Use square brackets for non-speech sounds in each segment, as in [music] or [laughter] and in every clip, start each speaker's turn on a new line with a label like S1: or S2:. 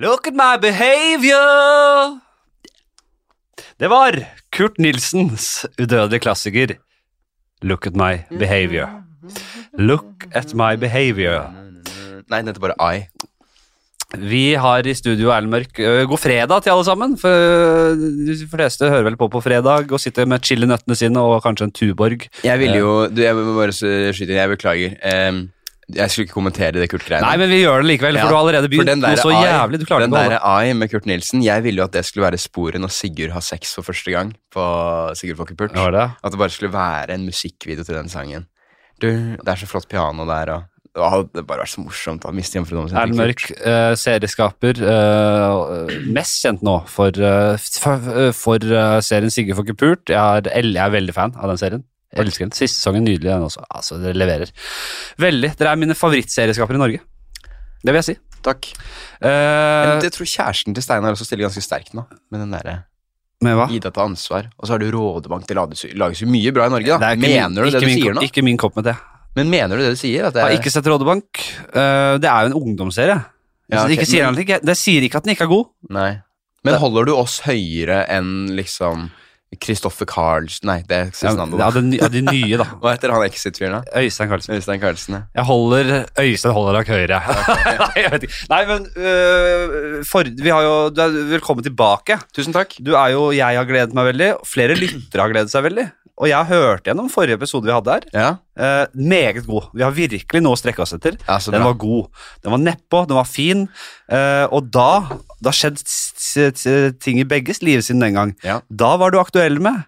S1: Look at my behavior! Det var Kurt Nilsens udødelige klassiker Look at my behavior. Look at my behavior.
S2: Nei, den heter bare I.
S1: Vi har i studio Erlend Mørk. Øh, God fredag til alle sammen. For øh, de fleste hører vel på på fredag og sitter med chili nøttene sine og kanskje en Tuborg.
S2: Jeg ville jo du, Jeg må bare skyte inn. Jeg beklager. Ehm, jeg skulle ikke kommentere det Kurt-greiene.
S1: Nei, men vi gjør det likevel, for
S2: Ja,
S1: du har allerede
S2: For
S1: begynt
S2: den
S1: noe
S2: der
S1: så
S2: I-
S1: jævlig. Du klarer
S2: den
S1: ikke å holde
S2: der I med Kurt Nilsen, jeg ville jo at det skulle være sporet når Sigurd har sex for første gang på Sigurd Folkepult.
S1: Hva var det?
S2: At det bare skulle være en musikkvideo til den sangen. Du, det er så flott piano der, og det hadde bare vært så morsomt å miste hjemmefrudommen sin.
S1: Erlend Mørk, eh, serieskaper, eh, mest kjent nå for, eh, for, for eh, serien Sigurd får ikke pult. Jeg, har- el- jeg er veldig fan av den serien. Jeg elsker den. Siste sesongen nydelig, den også. Altså, det leverer. Veldig. Dere er mine favorittserieskapere i Norge. Det vil jeg si.
S2: Takk.
S1: Eh,
S2: Men jeg tror kjæresten til Steinar også stiller ganske sterkt nå, med den derre
S1: med hva?
S2: Ida tar ansvar. Og så har du Rådebank. Det lages jo- lages jo mye bra i Norge, da.
S1: Det er ikke min-
S2: Mener du det
S1: ikke
S2: du
S1: min
S2: sier
S1: kopp-
S2: nå?
S1: Ikke min kopp med det.
S2: Men mener du det du sier? At det
S1: Jeg
S2: er
S1: har ikke sett Rådebank. Eh, det er jo en ungdomsserie.
S2: Ja,
S1: Så det
S2: ok,
S1: ikke sier
S2: men-
S1: han ikke, det sier ikke at den ikke er god.
S2: Nei. Men holder du oss høyere enn liksom Kristoffer Carlsen Nei, det er
S1: Ja,
S2: Cezinando.
S1: av, den, av de nye, da.
S2: Hva heter han Exit-fyren, da?
S1: Øystein Karlsen.
S2: Øystein Carlsen, ja.
S1: Jeg holder Øystein holder nok høyre. [laughs] Nei, jeg vet ikke. Nei, men øh, for, vi har jo, du er Velkommen tilbake.
S2: Tusen takk.
S1: Du er jo, Jeg har gledet meg veldig. og Flere lyttere har gledet seg veldig. Og jeg hørte gjennom forrige episode vi hadde her.
S2: Ja,
S1: Eh, meget god. Vi har virkelig noe å strekke oss etter.
S2: ja så
S1: Den
S2: bra.
S1: var god. Den var nedpå, den var fin. Eh, og da Det har skjedd s- s- s- ting i begges liv siden den gang.
S2: Ja.
S1: Da var du aktuell med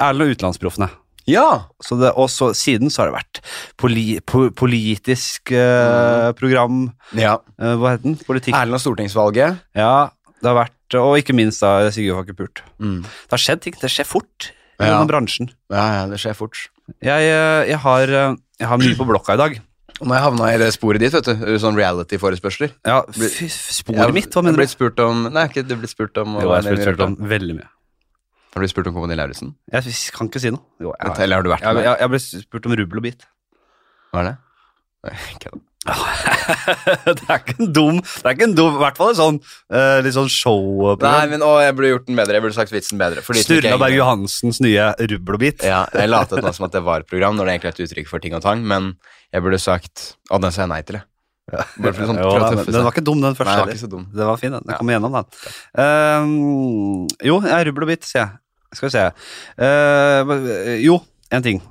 S1: Erlend og Utenlandsproffene.
S2: Ja!
S1: Så det, og så, siden så har det vært poli, po, politisk eh,
S2: Mm.
S1: program
S2: ja.
S1: eh, Hva heter den? Politikk.
S2: Erlend og stortingsvalget.
S1: Ja, det har vært Og ikke minst da Sigurd Fakkepult.
S2: Mm.
S1: Det har skjedd ting. Det skjer fort i
S2: Ja.
S1: denne bransjen.
S2: Ja, ja, det skjer fort.
S1: Jeg, eh, jeg, har, eh, jeg har mye på blokka i dag.
S2: Og nå har jeg havna i det sporet ditt, vet du. Sånn reality-forespørsler.
S1: Ja,
S2: Bli-
S1: fy, sporet mitt, hva
S2: Jeg har
S1: mener du?
S2: blitt spurt om Nei, ikke det er blitt spurt om
S1: Jo, jeg har spurt om veldig mye.
S2: Har du blitt spurt om Kompani Lauritzen?
S1: Jeg s- kan ikke si noe. Jo, jeg, jeg,
S2: Eller har du vært
S1: jeg,
S2: med?
S1: jeg, jeg ble spurt om rubbel og bit. [laughs]
S2: Hva er det? Nei, kødda.
S1: det er ikke en dum Det er ikke en dum, i hvert fall en sånn eh, litt sånn
S2: Nei,
S1: showprogram.
S2: men å, jeg burde gjort den bedre. Jeg burde sagt vitsen bedre. for de som ikke
S1: Sturla
S2: egentlig-
S1: Berg Johansens nye rubbel og bit.
S2: Ja, jeg latet nå som at det var et program, når det egentlig er et uttrykk for ting og tang, men jeg burde sagt Å, den sa jeg nei til, jeg. Bare for sånn,
S1: [laughs] Jo,
S2: for å
S1: da,
S2: tøffe
S1: men
S2: seg.
S1: den var ikke dum, den
S2: Nei,
S1: første.
S2: det var
S1: heller.
S2: ikke så dum.
S1: Den var fin, den. Den
S2: Ja.
S1: kom igjennom, den. Ehm, jo, jeg er rubbel og bit, sier jeg. Skal vi se. Eh, jo, en ting.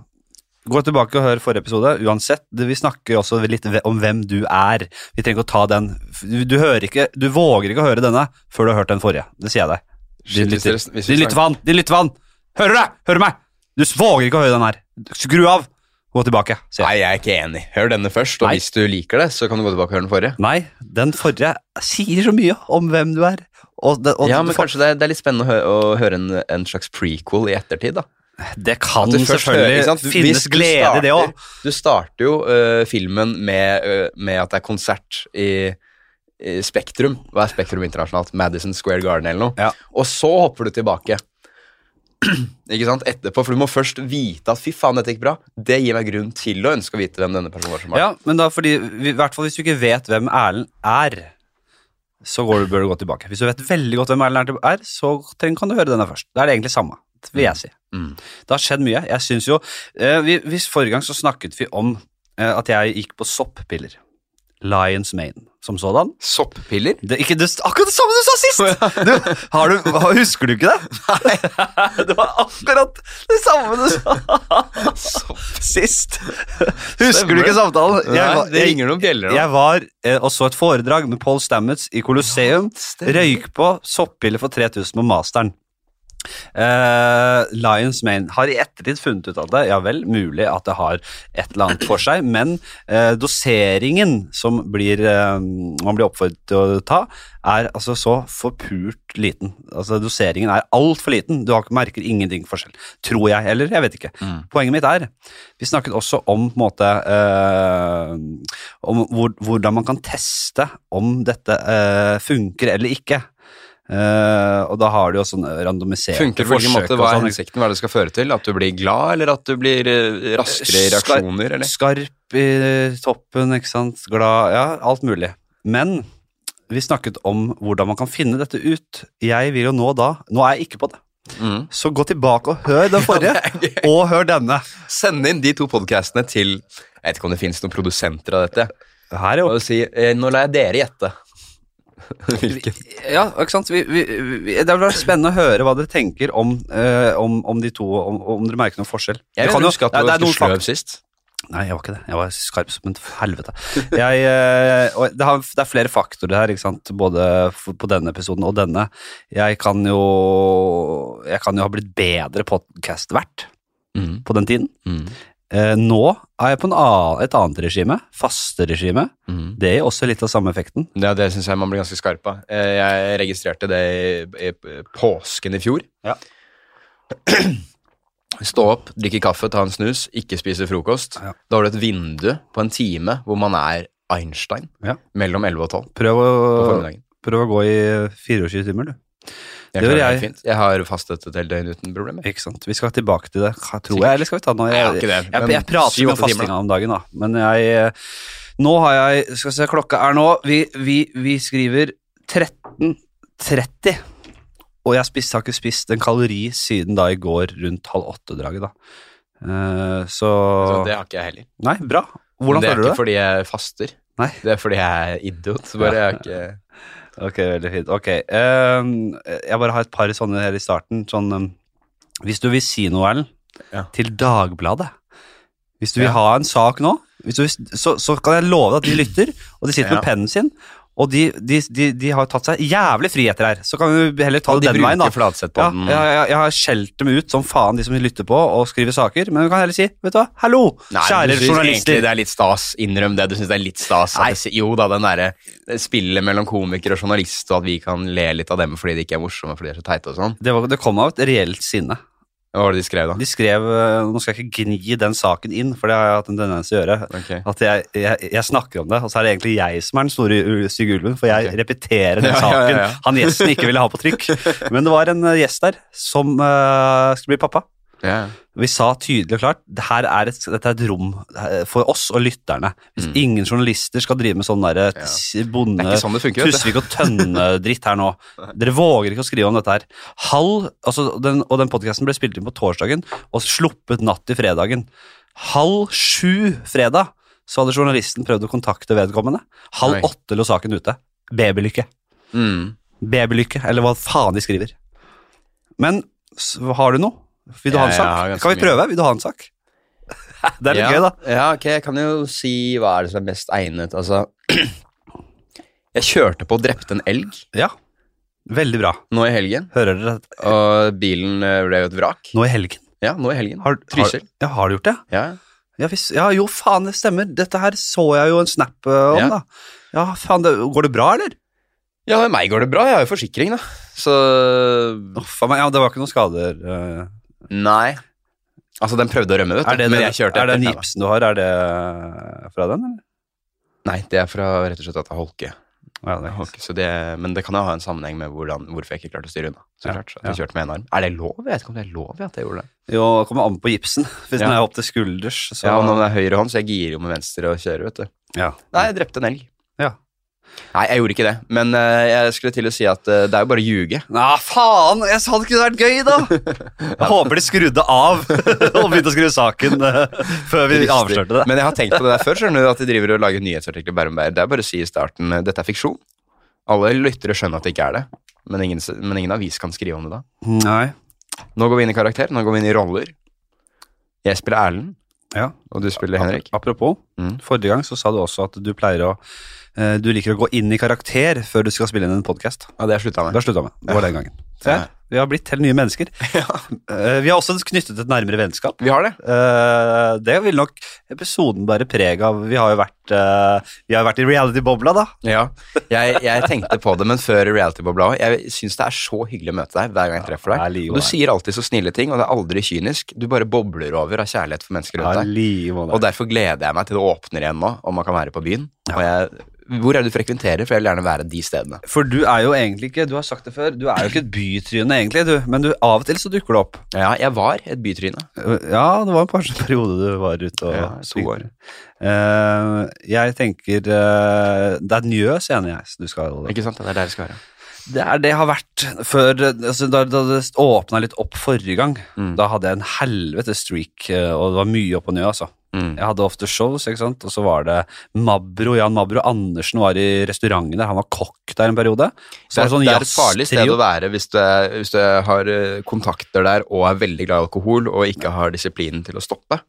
S1: Gå tilbake og hør forrige episode. Uansett, det- vi snakker også litt ve- om hvem du er. Vi trenger ikke å ta den. Du, du, hører ikke, du våger ikke å høre denne før du har hørt den forrige. Det sier jeg deg. Din
S2: Shit, hvis
S1: lytter.
S2: dere- hvis vi
S1: Din lyttervann! Din lyttervann! Hører du det? Hører du meg? Du våger ikke å høre den her. Skru av! Gå tilbake, sier jeg.
S2: Nei, jeg er ikke enig. Hør denne først, og
S1: Nei.
S2: hvis du liker det, så kan du gå tilbake og høre den forrige.
S1: Nei, den forrige sier så mye om hvem du er. Og, det- og
S2: Ja,
S1: du
S2: men
S1: får-
S2: kanskje det er, det er litt spennende å hø- å høre en, en slags prequel i ettertid, da.
S1: Det kan
S2: At du først hører,
S1: selvfølgelig
S2: ikke sant? Mm, Du-
S1: finnes
S2: hvis du
S1: glede i det
S2: starter-
S1: òg.
S2: Du starter jo øh, filmen med, øh, med at det er konsert i, i Spektrum. Hva er Spektrum internasjonalt? Madison Square Garden eller noe.
S1: Ja.
S2: Og så hopper du tilbake. [clears throat] ikke sant? Etterpå, for du må først vite at 'fy faen, dette gikk bra'. Det gir meg grunn til å ønske å vite hvem denne personen var som var.
S1: Ja, men da fordi, i hvert fall hvis du ikke vet hvem Erlend er, så går du, bør du gå tilbake. Hvis du vet veldig godt hvem Erlend er- er, så treng, kan du høre denne først. Da er det egentlig samme, det vil jeg si.
S2: Mm.
S1: Det har skjedd mye. Jeg synes jo, eh, vi, hvis Forrige gang så snakket vi om eh, at jeg gikk på soppiller. Lions Mane som sådan.
S2: Soppiller?
S1: Det, ikke, det, akkurat det samme du sa [laughs] sist! Du, har du, husker du ikke det? [laughs] Nei. Det var akkurat det samme du sa
S2: [laughs]
S1: sist. Husker du ikke samtalen?
S2: Nei,
S1: var-
S2: det ringer noen bjeller nå.
S1: jeg var eh, og så et foredrag med Paul Stamets i Colosseum. Røyk på soppiller for 3000 på masteren. Eh, Lions Mane har i ettertid funnet ut av det. Ja vel, mulig at det har et eller annet for seg, men eh, doseringen som blir, eh, man blir oppfordret til å ta, er altså så forpult liten. Altså Doseringen er altfor liten. Du har, merker ingenting forskjell. Tror jeg, eller jeg vet ikke. Poenget mitt er Vi snakket også om på en måte eh, om hvor, hvordan man kan teste om dette eh, funker eller ikke. Eh, og da har du jo sånn randomiserte
S2: Funker på hvilken
S1: forsøk
S2: måte?
S1: og
S2: Hva er
S1: sånn.
S2: hensikten? Hva er det skal føre til? At du blir glad, eller at du blir eh, raskere i
S1: Skar-
S2: reaksjoner? Eller?
S1: Skarp i toppen, ikke sant. Glad. Ja, alt mulig. Men vi snakket om hvordan man kan finne dette ut. Jeg vil jo nå da Nå er jeg ikke på det.
S2: Mm.
S1: Så gå tilbake og hør den
S2: [laughs]
S1: forrige,
S2: det
S1: og hør denne.
S2: Send inn de to podcastene til Jeg vet ikke om det finnes noen produsenter av dette.
S1: Her, jo.
S2: Og si eh, Nå lar jeg dere gjette. Hvilken?
S1: Ja, ikke sant? Vi, vi, vi, det hadde vært spennende å høre hva dere tenker om, eh, om, om de to, om, om dere merker noen forskjell. Det
S2: Jeg
S1: kan
S2: vil
S1: jo-
S2: huske at
S1: det-
S2: du
S1: det er
S2: var
S1: noen
S2: ganske sløv
S1: fakta-
S2: sist.
S1: Nei, jeg var ikke det. Jeg var skarp som en helvete. Jeg, eh, og det, har, det er flere faktorer her, ikke sant? både f- på denne episoden og denne. Jeg kan jo, jeg kan jo ha blitt bedre podkastvert
S2: Mm.
S1: på den tiden.
S2: Mm.
S1: Eh, nå er jeg på en annen, et annet regime, faste regime.
S2: Mm.
S1: Det gir også litt av samme effekten.
S2: Ja, det syns jeg man blir ganske skarp av. Eh, Jeg registrerte det i, i påsken i fjor.
S1: Ja.
S2: [clears throat] Stå opp, drikke kaffe, ta en snus, ikke spise frokost.
S1: Ja.
S2: Da har du et vindu på en time hvor man er Einstein
S1: Ja.
S2: mellom 11 og 12
S1: Prøv å,
S2: på formiddagen.
S1: prøv å gå i 24 timer, du.
S2: Jeg,
S1: det gjør
S2: klarer meg
S1: jeg.
S2: Fint. jeg har fastet et helt døgn uten problemer.
S1: Ikke sant? Vi skal tilbake til det, ka- tror
S2: Sikkert.
S1: jeg. Eller skal vi ta det nå?
S2: Nei, jeg har ikke det,
S1: jeg,
S2: men
S1: jeg prater jo om
S2: syv-åtte timer,
S1: fastinga om dagen, da. Men jeg eh, Nå har jeg Skal vi se, klokka er nå Vi, vi, vi skriver 13.30. Og jeg spiste, har ikke spist en kalori siden da i går rundt halv åtte-draget, da. Eh, så,
S2: Så det har ikke jeg heller.
S1: Nei, bra. Hvordan
S2: det er
S1: føler du
S2: ikke
S1: det?
S2: fordi jeg faster.
S1: Nei.
S2: Det er fordi jeg er idiot. så Bare jeg har ikke...
S1: Ok, veldig fint. Ok, ehm, jeg bare har et par sånne her i starten. Sånn, ehm, hvis du vil si noe, Erlend,
S2: Ja.
S1: til Dagbladet. Hvis du vil
S2: Ja.
S1: ha en sak nå, hvis du, vil- så, så kan jeg love deg at de lytter, og de sitter
S2: Ja.
S1: med pennen sin, og de, de, de, de har tatt seg jævlig friheter her. Så kan vi heller ta
S2: Og
S1: det
S2: de
S1: den veien, da.
S2: bruker flatsett på
S1: Ja,
S2: den.
S1: jeg, jeg, jeg har skjelt dem ut som faen, de som lytter på og skriver saker, men vi kan heller si, vet du hva, hallo, kjære
S2: Nei, du synes Egentlig
S1: journalister.
S2: det er litt stas. Innrøm det. Du syns det er litt stas. at det si- Jo da, den derre det spillet mellom komiker og journalist, og at vi kan le litt av dem fordi de ikke er morsomme, fordi de er så teite og sånn.
S1: Det, var, det kom av et reelt sinne.
S2: Hva var det de skrev, da?
S1: De skrev eh, Nå skal jeg ikke gni den saken inn, for det har jeg hatt en tendens til å gjøre.
S2: Ok.
S1: At jeg, jeg, jeg snakker om det, og så er det egentlig jeg som er den store u- stygge ulven, for jeg
S2: Ok. [laughs]
S1: repeterer den
S2: Ja,
S1: saken
S2: ja, ja, ja.
S1: han gjesten ikke ville ha på trykk.
S2: [laughs]
S1: Men det var en eh, gjest der som eh, skulle bli pappa.
S2: Ja.
S1: Vi sa tydelig og klart det her er et, dette er et rom eh, for oss og lytterne. Hvis
S2: Mm.
S1: ingen journalister skal drive med sånn derre
S2: Ja.
S1: s-
S2: Det
S1: bonde
S2: er ikke sånn det funker. vet du.
S1: Tusvik og Tønne-dritt her nå.
S2: [laughs]
S1: Dere våger ikke å skrive om dette her. Halv, altså den, Og den podkasten ble spilt inn på torsdagen og sluppet natt til fredagen. Halv sju fredag så hadde journalisten prøvd å kontakte vedkommende. Halv
S2: Oi.
S1: åtte lå saken ute. Babylykke.
S2: Mm.
S1: Babylykke, eller hva faen de skriver. Men s- har du noe? Vil du ha en
S2: Jeg har
S1: sak?
S2: ganske
S1: Kan vi prøve? Vil du ha en sak?
S2: [laughs]
S1: Det er litt
S2: ja.
S1: gøy, da.
S2: Ja, ok, jeg kan jo si hva er det som er best egnet. Altså [clears throat] Jeg kjørte på og drepte en elg
S1: Ja. Veldig bra.
S2: nå i helgen,
S1: Hører dere dette?
S2: og bilen eh, ble jo et vrak.
S1: Nå i helgen.
S2: Ja, nå i helgen.
S1: Har, har,
S2: Trysil.
S1: ja, har du gjort det?
S2: Ja.
S1: Ja, hvis, ja, jo, faen, det stemmer. Dette her så jeg jo en snap eh, om,
S2: Ja.
S1: da. Ja, faen, det, går det bra, eller?
S2: ja, meg går det bra. Jeg har jo forsikring, da. Så
S1: Å, faen, meg, ja, det var ikke noen skader. eh.
S2: Nei. Altså, den prøvde å rømme, vet du.
S1: Er det,
S2: men
S1: den-
S2: jeg kjørte
S1: er det den
S2: etter.
S1: gipsen du har, er det eh, fra den, eller?
S2: Nei, det er fra rett og slett at jeg holke.
S1: Ja, det er ikke-
S2: holke så det, men det kan jo ha en sammenheng med hvordan, hvorfor jeg ikke klarte å styre unna. Så
S1: Ja,
S2: klart, at jeg kjørte med en arm. Er det lov? Jeg vet ikke om det er lov ja, at jeg gjorde det.
S1: Jo, det kommer an på gipsen. [laughs] Hvis
S2: Ja.
S1: den er opp til skulders, så
S2: Ja, og når det er høyre hånd, så jeg girer jo med venstre og kjører, vet du.
S1: Ja.
S2: Nei, jeg drepte en elg.
S1: Ja.
S2: Nei, jeg gjorde ikke det. Men eh, jeg skulle til å si at eh, det er jo bare å ljuge.
S1: Nei, faen! Jeg sa det kunne vært gøy, da! [laughs] Jeg håper de skrudde av [laughs] og begynte å skru saken eh, før vi avslørte det.
S2: Men jeg har tenkt på det der før, skjønner du, at de driver og lager nyhetsartikler Bærum Bærer. Det er bare å si i starten eh, dette er fiksjon. Alle lyttere skjønner at det ikke er det, men ingen, men ingen avis kan skrive om det da.
S1: Nei.
S2: Nå går vi inn i karakter, nå går vi inn i roller. Jeg spiller Erlend,
S1: Ja.
S2: og du spiller Henrik.
S1: Apropos,
S2: Mm.
S1: forrige gang så sa du også at du pleier å eh, Du liker å gå inn i karakter før du skal spille inn en podkast.
S2: Ja, det har jeg slutta
S1: Det har slutta med. Det var den gangen. Se her.
S2: Ja.
S1: Vi har blitt helt nye
S2: [laughs]
S1: mennesker. Eh, Vi har også knyttet et nærmere vennskap.
S2: Vi har det.
S1: Eh, Det vil nok episoden bære preg av. Vi har jo vært, eh, vi har vært i reality-bobla, da.
S2: Ja. Jeg, jeg tenkte på det, men før reality-bobla òg. Jeg syns det er så hyggelig å møte deg hver gang jeg treffer
S1: Ja, det er
S2: deg.
S1: livet,
S2: Og du
S1: det.
S2: sier alltid så snille ting, og det er aldri kynisk. Du bare bobler over av kjærlighet for mennesker rundt deg.
S1: livet,
S2: Og derfor gleder jeg meg til det åpner igjen nå, og man kan være på byen. Og jeg Hvor er det du frekventerer? For jeg vil gjerne være de stedene.
S1: For du er jo egentlig ikke Du har sagt det før, du er jo ikke et bytryne, egentlig, du. Men du, av og til så dukker det opp.
S2: Ja, jeg var et bytryne.
S1: Ja, det var kanskje en sånn periode du var ute og
S2: Ja, to år.
S1: Eh, jeg tenker eh, Det er Njøs, enig jeg. Så du skal
S2: Ikke sant? Det er der det skal være.
S1: Det er det jeg har vært før eh, altså, Da, da det åpna litt opp forrige gang,
S2: Mm.
S1: da hadde jeg en helvete streak, eh, og det var mye opp og ned, altså.
S2: Mm.
S1: Jeg hadde ofte shows, ikke sant? og så var det Mabro, Jan Mabro Andersen var i restauranten der, han var kokk der en periode. Så
S2: Det er,
S1: var sånn
S2: det er et farlig sted
S1: jazztrio.
S2: å være hvis du, er, hvis du har eh, kontakter der og er veldig glad i alkohol og ikke har disiplinen til å stoppe.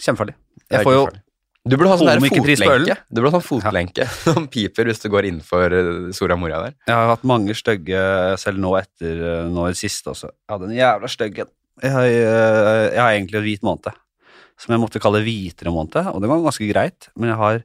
S1: Kjempefarlig.
S2: Det er
S1: Jeg får jo
S2: ikke farlig. du burde ha sånn der
S1: komikerpris på ølen.
S2: fotlenke Du burde ha sånn fotlenke [laughs] som piper hvis du går innenfor eh, Soria Moria der.
S1: Jeg har hatt mange stygge, selv nå etter eh, nå i det siste også. Jeg hadde en jævla stygg en. Jeg, har, eh, jeg har egentlig en hvit måned, som jeg måtte kalle hvitere måned, og det var ganske greit, men jeg har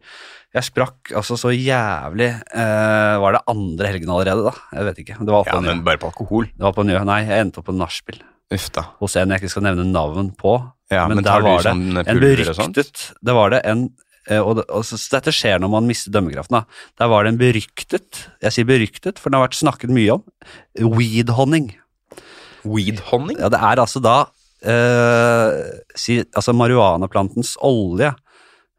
S1: jeg sprakk altså så jævlig eh, Var det andre helgen allerede, da? Jeg vet ikke. Det var på,
S2: Ja,
S1: en,
S2: men bare på alkohol.
S1: det var på en, Nei, jeg endte opp på en nachspiel
S2: Uff da.
S1: hos en jeg ikke skal nevne navn på.
S2: Ja,
S1: men
S2: men,
S1: der
S2: tar du
S1: var det
S2: sånn
S1: En
S2: pulver og sånt?
S1: beryktet Det var det en eh, og, det- og så, så dette skjer når man mister dømmekraften. Da. Der var det en beryktet, jeg sier beryktet, for den har vært snakket mye om, weed-honning.
S2: Weed-honning?
S1: Ja, det er altså da eh, si, altså marihuanaplantens olje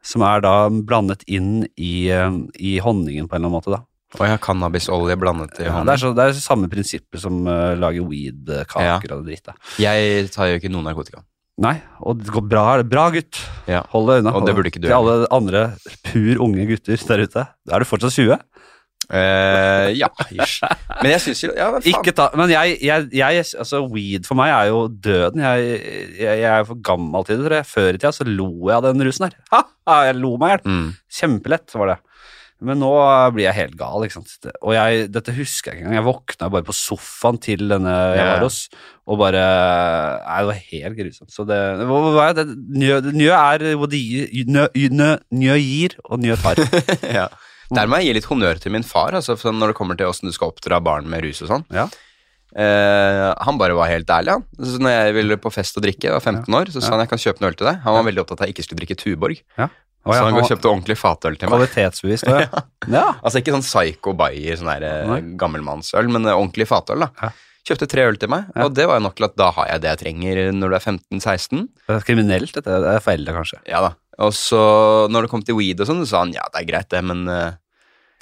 S1: som er da blandet inn i, eh, i honningen på en eller annen måte. Da.
S2: Å ja, cannabisolje blandet i
S1: Ja,
S2: honning.
S1: det, er så, det er samme prinsippet som eh, lager weed-kaker
S2: Ja.
S1: og det dritt. Da.
S2: Jeg tar jo ikke noe narkotika.
S1: Nei, og det går bra, bra gutt.
S2: Ja.
S1: Hold deg unna.
S2: Og
S1: hold
S2: det
S1: deg.
S2: burde ikke du
S1: Til alle andre pur unge gutter der ute. Er du fortsatt 20?
S2: Eh, ja, ish. Men jeg syns jo ja, men faen.
S1: Ikke ta, men jeg, jeg, jeg, altså weed for meg er jo døden. Jeg, jeg, jeg er for gammel til det, tror jeg. Før i tida så lo jeg av den rusen her. Ha, ha, jeg lo meg i hjel.
S2: Mm.
S1: Kjempelett var det. Men nå blir jeg helt gal, ikke sant. Det- Og jeg, dette husker jeg ikke engang. Jeg våkna bare på sofaen til denne jeg
S2: Ja.
S1: var hos, og bare Nei, det var helt grusomt. Så det Hva hva er det? Njø, njø er hvor de Njø, njø, njø gir, og njø [laughs] tar.
S2: ja. Der må jeg gi litt honnør til min far, altså, for når det kommer til åssen du skal oppdra barn med rus og sånn.
S1: Ja.
S2: Eh, han bare var helt ærlig, han. Så når jeg ville på fest og drikke, jeg var 15 år, så sa han jeg kan kjøpe en øl til deg. Han var veldig opptatt av at jeg ikke skulle drikke Tuborg,
S1: Å,
S2: så
S1: ja,
S2: han
S1: han-
S2: går og kjøpte ordentlig fatøl til meg.
S1: Kvalitetsbevis, da, [laughs] ja. ja.
S2: Altså ikke sånn psycho bayer, sånn der eh, gammelmannsøl, men eh, ordentlig fatøl, da.
S1: Ja.
S2: Kjøpte tre øl til meg,
S1: Ja.
S2: og det var jo nok til at da har jeg det jeg trenger når du er 15-16.
S1: Det er kriminelt, dette. Det er foreldre, kanskje.
S2: Ja da. Og så når det kom til weed og sånn, så sa han ja, det er greit det, men eh,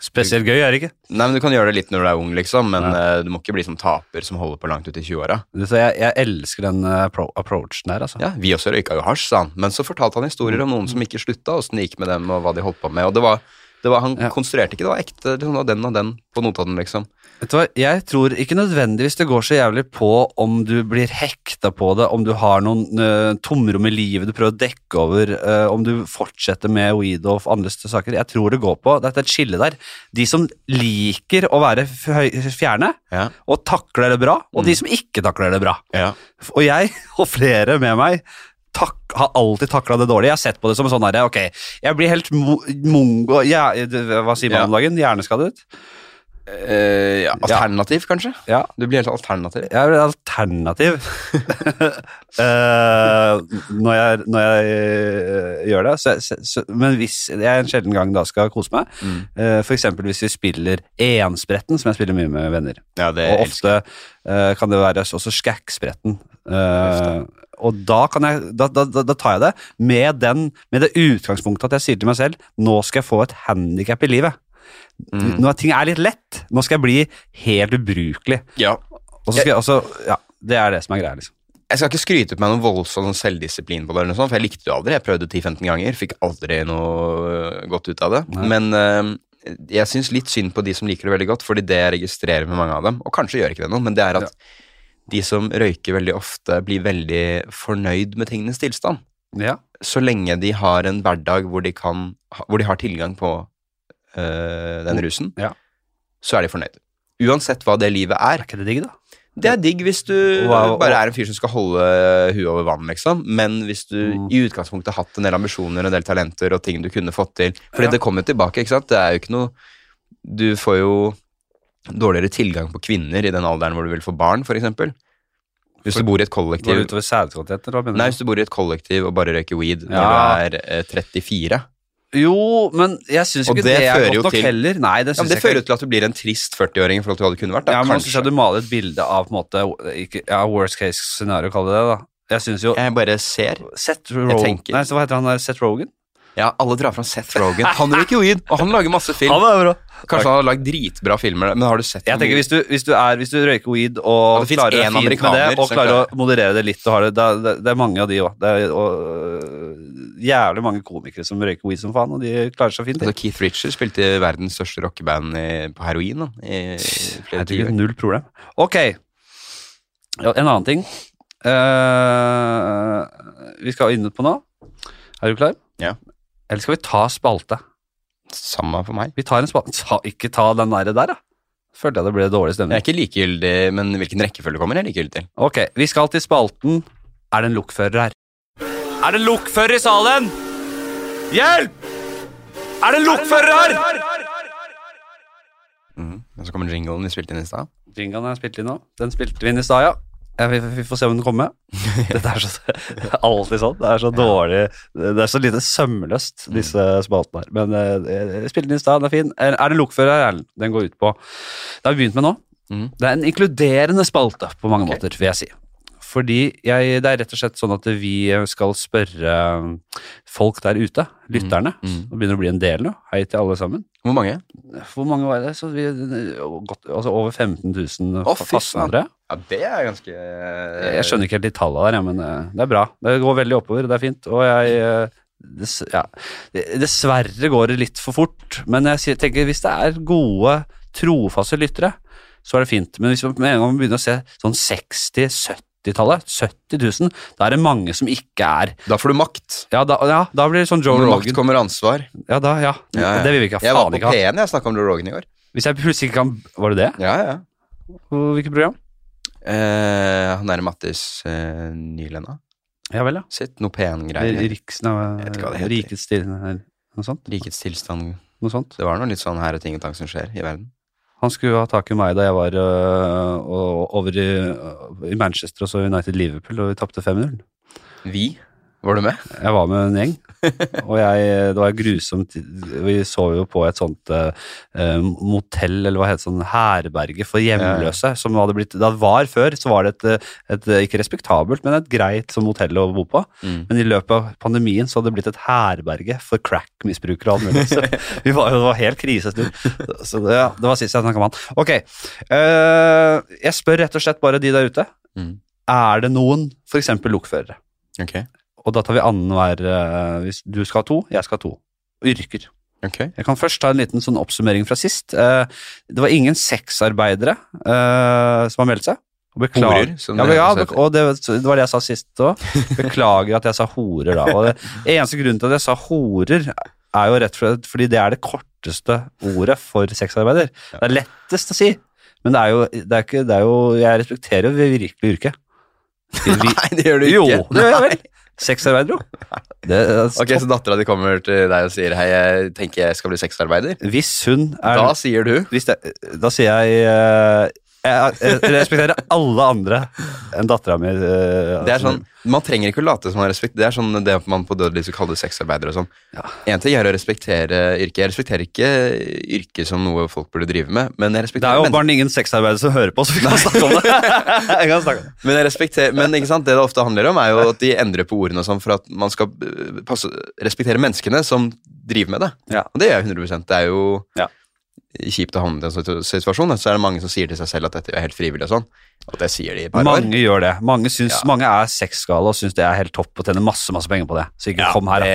S1: Spesielt gøy er det ikke.
S2: Nei, men Du kan gjøre det litt når du er ung, liksom, men
S1: Ja.
S2: eh, du må ikke bli som taper som holder på langt ut i 20-åra.
S1: Så jeg, jeg elsker den eh, pro approachen der, altså.
S2: Ja, vi også røyka jo hasj, sa han, men så fortalte han historier om noen som ikke slutta, åssen det gikk med dem, og hva de holdt på med. Og det var, det var, Han
S1: Ja.
S2: konstruerte ikke, det var ekte. Liksom, det var den og den på Notodden, liksom.
S1: Vet du hva, jeg tror ikke nødvendigvis det går så jævlig på om du blir hekta på det, om du har noen eh, tomrom i livet du prøver å dekke over, eh, om du fortsetter med weed og andre større saker. Jeg tror det går på Det er et skille der. De som liker å være f- høy- fjerne,
S2: Ja.
S1: og takler det bra, og de som ikke takler det bra.
S2: Ja.
S1: Og jeg, [laughs] og flere med meg, tak, har alltid takla det dårlig. Jeg har sett på det som sånn herre, ok, jeg blir helt mo mongo... Ja, hva sier man om dagen? Hjerneskadet?
S2: Eh, ja. Alternativ, kanskje?
S1: Ja.
S2: Du blir helt alternativ.
S1: Jeg er et [laughs] alternativ Eh, når jeg, når jeg eh, gjør det. Så, så, så, men hvis jeg en sjelden gang da skal kose meg,
S2: Mm.
S1: eh, for f.eks. hvis vi spiller enspretten, som jeg spiller mye med venner,
S2: Ja, det
S1: og ofte eh, kan det være også skækkspretten. Eh, og da, kan jeg, da, da, da da tar jeg det med, den, med det utgangspunktet at jeg sier til meg selv nå skal jeg få et handikap i livet.
S2: Mm.
S1: Når ting er litt lett. Nå skal jeg bli helt ubrukelig.
S2: ja.
S1: Og så skal jeg også, ja, Det er det som er greia. liksom.
S2: Jeg skal ikke skryte på meg noen voldsom sånn selvdisiplin på det, eller noe sånt, for jeg likte det aldri. Jeg prøvde 10-15 ganger, fikk aldri noe øh, godt ut av det.
S1: Nei.
S2: Men øh, jeg syns litt synd på de som liker det veldig godt, fordi det jeg registrerer med mange av dem, og kanskje gjør ikke det noe, men det er at de som røyker veldig ofte, blir veldig fornøyd med tingenes tilstand.
S1: Ja.
S2: Så lenge de har en hverdag hvor de, kan, hvor de har tilgang på øh, den rusen,
S1: Oh, Ja.
S2: så er de fornøyd. Uansett hva det livet er.
S1: Er ikke det digg, da?
S2: Det er digg hvis du
S1: Wow,
S2: bare
S1: wow.
S2: er en fyr som skal holde huet over vann, liksom. Men hvis du
S1: Mm.
S2: i utgangspunktet har hatt en del ambisjoner, en del talenter og ting du kunne fått til Fordi
S1: Ja.
S2: det kommer jo tilbake, ikke sant. Det er jo ikke noe Du får jo dårligere tilgang på kvinner i den alderen hvor du vil få barn, f.eks. Hvis
S1: For-
S2: du bor i et
S1: Går det
S2: kollektiv
S1: utover sædkvalitet? eller hva mener du?
S2: Nei, hvis du bor i et kollektiv og bare røyker weed
S1: Ja.
S2: når du er eh, 34,
S1: Jo, men jeg syns
S2: Og
S1: ikke det,
S2: det
S1: er
S2: fører
S1: godt
S2: jo
S1: nok
S2: til-
S1: heller. Nei, det
S2: Ja, men
S1: synes
S2: Det
S1: jeg ikke.
S2: fører jo til at du blir en trist 40-åring i forhold til hva du kunne vært. da,
S1: Ja, men nå synes jeg
S2: kanskje.
S1: du maler et bilde av på en måte ikke, ja, worst case scenario, kaller det det. da Jeg synes jo
S2: Jeg bare ser.
S1: Seth Rogen
S2: tenker-
S1: Nei, så hva heter han der? Seth Rogen?
S2: Ja, Alle drar fram Seth [laughs] Rogan. Han røyker jo inn, og han lager masse film.
S1: er bra.
S2: Kanskje han har lagd dritbra filmer, men har du sett
S1: Jeg tenker Hvis du, hvis du, er, hvis du røyker weed
S2: Ja,
S1: og
S2: det finnes
S1: klarer deg
S2: én
S1: fint med det,
S2: amerikaner
S1: og
S2: som
S1: klarer
S2: klarer-
S1: å moderere det litt og har det, det, er- det, det er mange av de òg. Det er og, øh, jævlig mange komikere som røyker weed som faen, og de klarer seg fint.
S2: Altså, Keith Richards spilte i verdens største rockeband i- på heroin da, i i flere
S1: Herregud,
S2: tiår.
S1: null problem. Ok. Ja, En annen ting eh, vi skal inn på nå. Er du klar?
S2: Ja.
S1: Eller skal vi ta spalte?
S2: Samme for meg.
S1: Vi tar en spalte. Ta, ikke ta den der, der, da. Følte jeg det ble dårlig
S2: Jeg er
S1: stemning.
S2: ikke likegyldig, men hvilken rekkefølge kommer jeg likegyldig til?
S1: Ok, vi skal til spalten Er det en lokfører her? Er det en lokfører i salen? Hjelp! Er det en lokfører her?
S2: Mhm. Og så kommer jinglen vi spilte inn i stad.
S1: Jinglen jeg spilte inn nå, den spilte vi inn i stad, ja. Ja, Vi, vi får se om den kommer. [laughs] Dette er så, [laughs] det er alltid sånn. Det er så dårlig Det er så lite sømløst, disse spaltene her. Men eh, jeg spilte den i stad, den er fin. Er er det lokfører her, Erlend? Den går ut på Det har vi begynt med nå.
S2: Mhm.
S1: Det er en inkluderende spalte på mange måter, vil jeg si. Fordi jeg, det er rett og slett sånn at vi skal spørre folk der ute, lytterne.
S2: Mm.
S1: Det begynner å bli en del nå. Hei til alle sammen.
S2: Hvor mange?
S1: Hvor mange var det? Så vi, godt, altså over 15 000
S2: Å,
S1: fa-
S2: fy
S1: faste,
S2: faen. Eh.
S1: tror jeg.
S2: Ja, det er ganske
S1: Jeg skjønner ikke helt de tallene der, jeg, men eh, det er bra. Det går veldig oppover, det er fint. Og jeg eh, dess, ja. Dessverre går det litt for fort, men jeg sier- tenker hvis det er gode, trofaste lyttere, så er det fint. Men hvis man med en gang begynner å se sånn 60-70-tallet, 70 000, da er det mange som ikke er
S2: Da får du makt.
S1: Ja, da, ja, da blir det sånn Joe
S2: Når makt
S1: Rogan.
S2: kommer ansvar.
S1: Ja, da, ja.
S2: Ja, ja.
S1: Det vil vi ikke ha.
S2: Jeg var
S1: Faen
S2: på
S1: ikke ha.
S2: P1, jeg snakka om Joe Rogan i går.
S1: Hvis jeg plutselig ikke kan Var det det?
S2: Ja, ja.
S1: Hvilket program?
S2: Eh, han derre Mattis eh, Nylenda
S1: Ja vel, ja.
S2: sitt, noe P1-greier.
S1: Riksen av
S2: Jeg vet ikke hva det heter.
S1: Rikets stilling eller noe sånt?
S2: Rikets tilstand.
S1: Noe sånt.
S2: Det var noe litt sånn her og ting og tang som skjer i verden.
S1: Han skulle ha tak i meg da jeg var øh, og- over i, øh, i Manchester og så United Liverpool, og vi tapte 5-0.
S2: Vi? Var du med?
S1: Jeg var med en
S2: [laughs]
S1: gjeng, og jeg, det var grusomt. Vi sov jo på et sånt øh, øh, motell, eller hva heter det, sånn herberge for hjemløse. som hadde blitt, Det var før, så var det et, øh, et øh, ikke respektabelt, men et greit sånn hotell å bo på.
S2: [laughs]
S1: Men i løpet av pandemien så hadde det blitt et herberge for crack-misbrukere og alt
S2: [laughs]
S1: mulig. Så [laughs] vi var, jo- det var helt krisestund. Så det, ja, det var sist jeg snakka med han. Ok. eh, jeg spør rett og slett bare de der ute.
S2: Mm.
S1: Er det noen f.eks. lokførere?
S2: Ok.
S1: Og da tar vi annenhver eh, Hvis du skal ha to, jeg skal ha to. Yrker.
S2: Ok.
S1: Jeg kan først ta en liten sånn oppsummering fra sist. Eh, det var ingen sexarbeidere eh, som har meldt seg. Og beklager
S2: Horer, som
S1: ja,
S2: det
S1: men ja,
S2: også heter.
S1: og det, det var det jeg sa sist òg. Beklager at jeg sa horer da. Og det, eneste grunnen til at jeg sa horer, er jo rett og slett fordi det er det korteste ordet for sexarbeider. Det er lettest å si, men det er jo, det er ikke, det er jo Jeg respekterer jo virkelig yrket.
S2: Nei, det gjør du
S1: Jo,
S2: ikke.
S1: det gjør jeg vel. Sexarbeider, jo. Det,
S2: [laughs]
S1: eh,
S2: Ok, Så dattera di kommer til deg og sier 'hei, jeg tenker jeg skal bli sexarbeider'?
S1: hvis hun er
S2: Da sier du
S1: hvis det, Da sier jeg eh, jeg, jeg respekterer alle andre enn dattera mi. eh,
S2: Det
S1: Altså,
S2: er sånn, Man trenger ikke å late som man respekt. Det er sånn det man på dødelig skal kalle sexarbeidere og sånn. En ting er å respektere yrket. Jeg respekterer ikke yrket som noe folk burde drive med, men jeg
S1: Det er
S2: respekterer
S1: jo bare ingen sexarbeidere som hører på, så vi kan snakke om det. Jeg kan snakke om det.
S2: Men, [laughs] jeg respekterer, men ikke sant? det det ofte handler om, er jo at de endrer på ordene og sånn for at man skal eh, passe, respektere menneskene som driver med det.
S1: Ja.
S2: Og det gjør jeg 100 Det er jo
S1: Ja.
S2: kjipt å havne i en sånn situasjon. da. Så er det mange som sier til seg selv at dette er helt frivillig og sånn. Og det sier de i et par år.
S1: Mange gjør det. Mange, syns,
S2: Ja.
S1: mange er sexgale og syns det er helt topp og tjener masse masse penger på det. Så ikke kom her, da.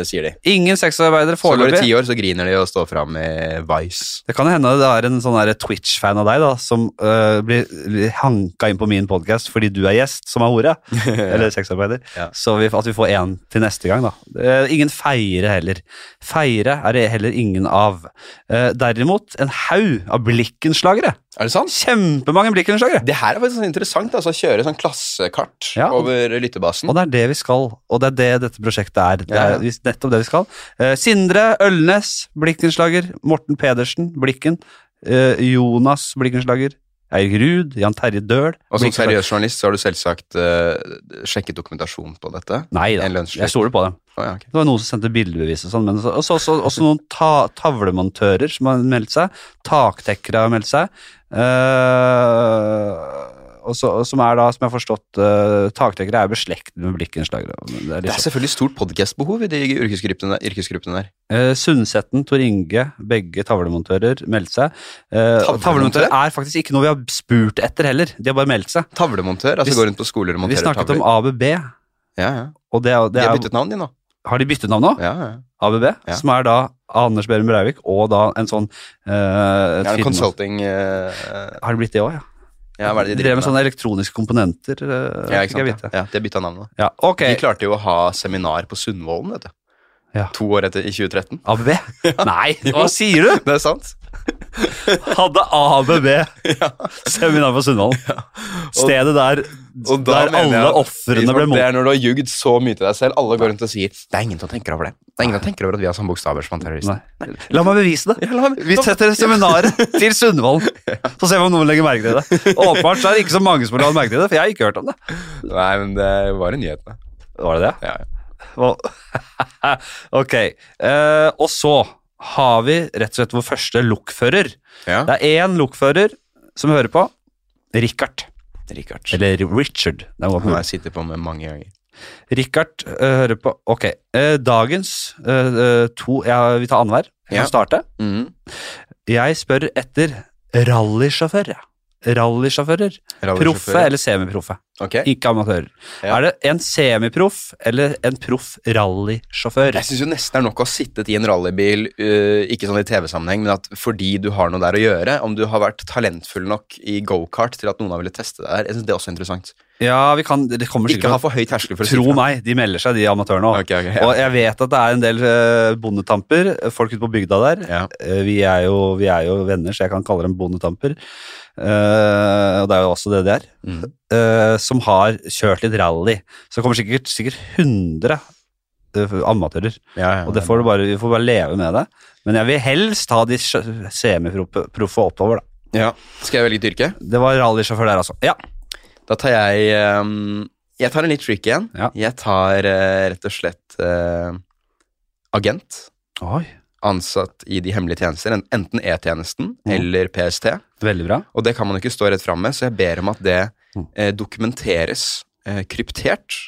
S2: Det sier de.
S1: Ingen sexarbeidere
S2: Så går det
S1: foreløpig.
S2: ti år, så griner de og står fram i Vice.
S1: Det kan hende det er en sånn der Twitch-fan av deg da, som øh, blir blir hanka inn på min podkast fordi du er gjest, som [laughs] er hore. Eller sexarbeider.
S2: Ja.
S1: Så vi, at vi får én til neste gang, da. Eh, ingen feire heller. Feire er det heller ingen av. Eh, derimot en haug av blikkenslagere.
S2: Er det sant?
S1: Kjempemange blikkenslagere.
S2: Det her er faktisk sånn interessant. altså å Kjøre sånn klassekart
S1: Ja.
S2: over lyttebasen.
S1: Og det er det vi skal, og det er det dette prosjektet er. Det
S2: Ja,
S1: er
S2: ja.
S1: vis- nettopp det vi skal. Eh, Sindre Ølnes, Blikkenslager. Morten Pedersen, Blikken. eh, Jonas Blikkenslager. Eirik Ruud, Jan Terje Døhl
S2: Og som
S1: Mikael-
S2: seriøs journalist så har du selvsagt eh, sjekket dokumentasjon på dette.
S1: Nei da,
S2: En lønnsslipp.
S1: jeg stoler på dem.
S2: Å, ja, ok.
S1: Det var noen som sendte bildebevis og sånn. Men så, også, også, også noen ta, tavlemontører som har meldt seg. Taktekkere har meldt seg. eh, og så, og som er da, som jeg har forstått eh, Taktekkere er jo beslektet med blikkenslagere. men Det er
S2: Det
S1: litt
S2: er
S1: sånn.
S2: selvfølgelig stort podcastbehov i de yrkesgruppene, yrkesgruppene der.
S1: Eh, Sundsetten, Tor Inge, begge tavlemontører meldte seg. Eh, og
S2: Tavlemontører?
S1: tavlemontører er faktisk ikke noe vi har spurt etter heller. De har bare meldt seg.
S2: Tavlemontør, altså
S1: Vi-
S2: går rundt på skoler og
S1: Vi
S2: monterer
S1: snakket
S2: tavler.
S1: om ABB,
S2: ja, ja.
S1: og det, er-
S2: De
S1: det
S2: har
S1: er,
S2: byttet navn, de nå.
S1: har de byttet navn nå?
S2: Ja, ja.
S1: ABB,
S2: Ja.
S1: som er da Anders Behrum Breivik og da en sånn eh,
S2: Ja,
S1: firma-
S2: consulting eh, eh,
S1: Har det blitt det òg, ja?
S2: Ja, hva er det de
S1: drev
S2: driver
S1: med sånne elektroniske komponenter. eh,
S2: Ja,
S1: fikk jeg
S2: ikke sant.
S1: vite.
S2: Ja, Ja, de bytta navn nå.
S1: Ja, ok.
S2: De
S1: [laughs]
S2: klarte jo å ha seminar på Sundvolden, vet du.
S1: Ja.
S2: To år etter, i 2013.
S1: ABB? Nei, hva sier du?
S2: [laughs] Det er sant.
S1: Hadde ABB seminar på Sundvolden? Stedet der,
S2: Og da
S1: der
S2: mener jeg
S1: alle
S2: at-
S1: ofrene ble
S2: Det
S1: mot.
S2: er når du har ljugd så mye til deg selv. Alle går rundt og sier 'det er ingen som tenker over det'. Det er ingen som tenker over at vi har samme bokstaver som han terroristen.
S1: Nei. La meg bevise
S2: [laughs]
S1: det. Vi setter seminaret til Sundvolden, så ser vi om noen legger merke til det. Åpenbart så er det ikke så mange som har lagt merke til det, for jeg har ikke hørt om det.
S2: Nei, men det var i nyhetene.
S1: Var det det?
S2: Ja, ja.
S1: Og- [laughs] ok. eh, og så har vi rett og slett vår første lokfører.
S2: ja.
S1: Det er én lokfører som hører på. Richard.
S2: Richard.
S1: Eller Richard. Det
S2: Han har
S1: var
S2: jeg sittet på med mange ganger.
S1: Richard eh, hører på. Ok. eh, dagens eh, eh, to ja, Vi tar annenhver. Jeg
S2: Ja.
S1: kan starte.
S2: Mhm.
S1: Jeg spør etter rallysjåfør. ja. Rallysjåfører. Proffe eller semiproffe.
S2: Ok.
S1: Ikke amatører.
S2: Ja.
S1: Er det en semiproff eller en proff rallysjåfør?
S2: Jeg syns jo nesten det er nok å ha sittet i en rallybil, eh, ikke sånn i TV-sammenheng, men at fordi du har noe der å gjøre, om du har vært talentfull nok i gokart til at noen har villet teste deg der, jeg synes det er også interessant.
S1: Ja, vi kan Det kommer sikkert
S2: Ikke ha for høy terskel for å si
S1: Tro
S2: fra.
S1: meg, de melder seg, de amatørene òg.
S2: Ok, ok, ja.
S1: Og jeg vet at det er en del eh, bondetamper, eh, folk ute på bygda der.
S2: Ja.
S1: Eh, vi, er jo, vi er jo venner, så jeg kan kalle dem bondetamper. Eh, og det er jo også det det er.
S2: Mm.
S1: [laughs] eh, som har kjørt litt rally. Så det kommer sikkert, sikkert 100 eh, amatører.
S2: Ja, ja,
S1: Og det får du bare, vi får bare leve med det. Men jeg vil helst ha de sjø- semiproffe oppover, da.
S2: ja. Skal jeg velge et yrke?
S1: Det var rallysjåfør der, altså. Ja.
S2: Da tar jeg ehm, Jeg tar en litt tricky en.
S1: Ja.
S2: Jeg tar eh, rett og slett eh, agent.
S1: Oi,
S2: Ansatt i de hemmelige tjenester, en- enten E-tjenesten
S1: Mm.
S2: eller PST.
S1: veldig bra.
S2: Og det kan man jo ikke stå rett fram med, så jeg ber om at det
S1: Mm.
S2: eh, dokumenteres eh, kryptert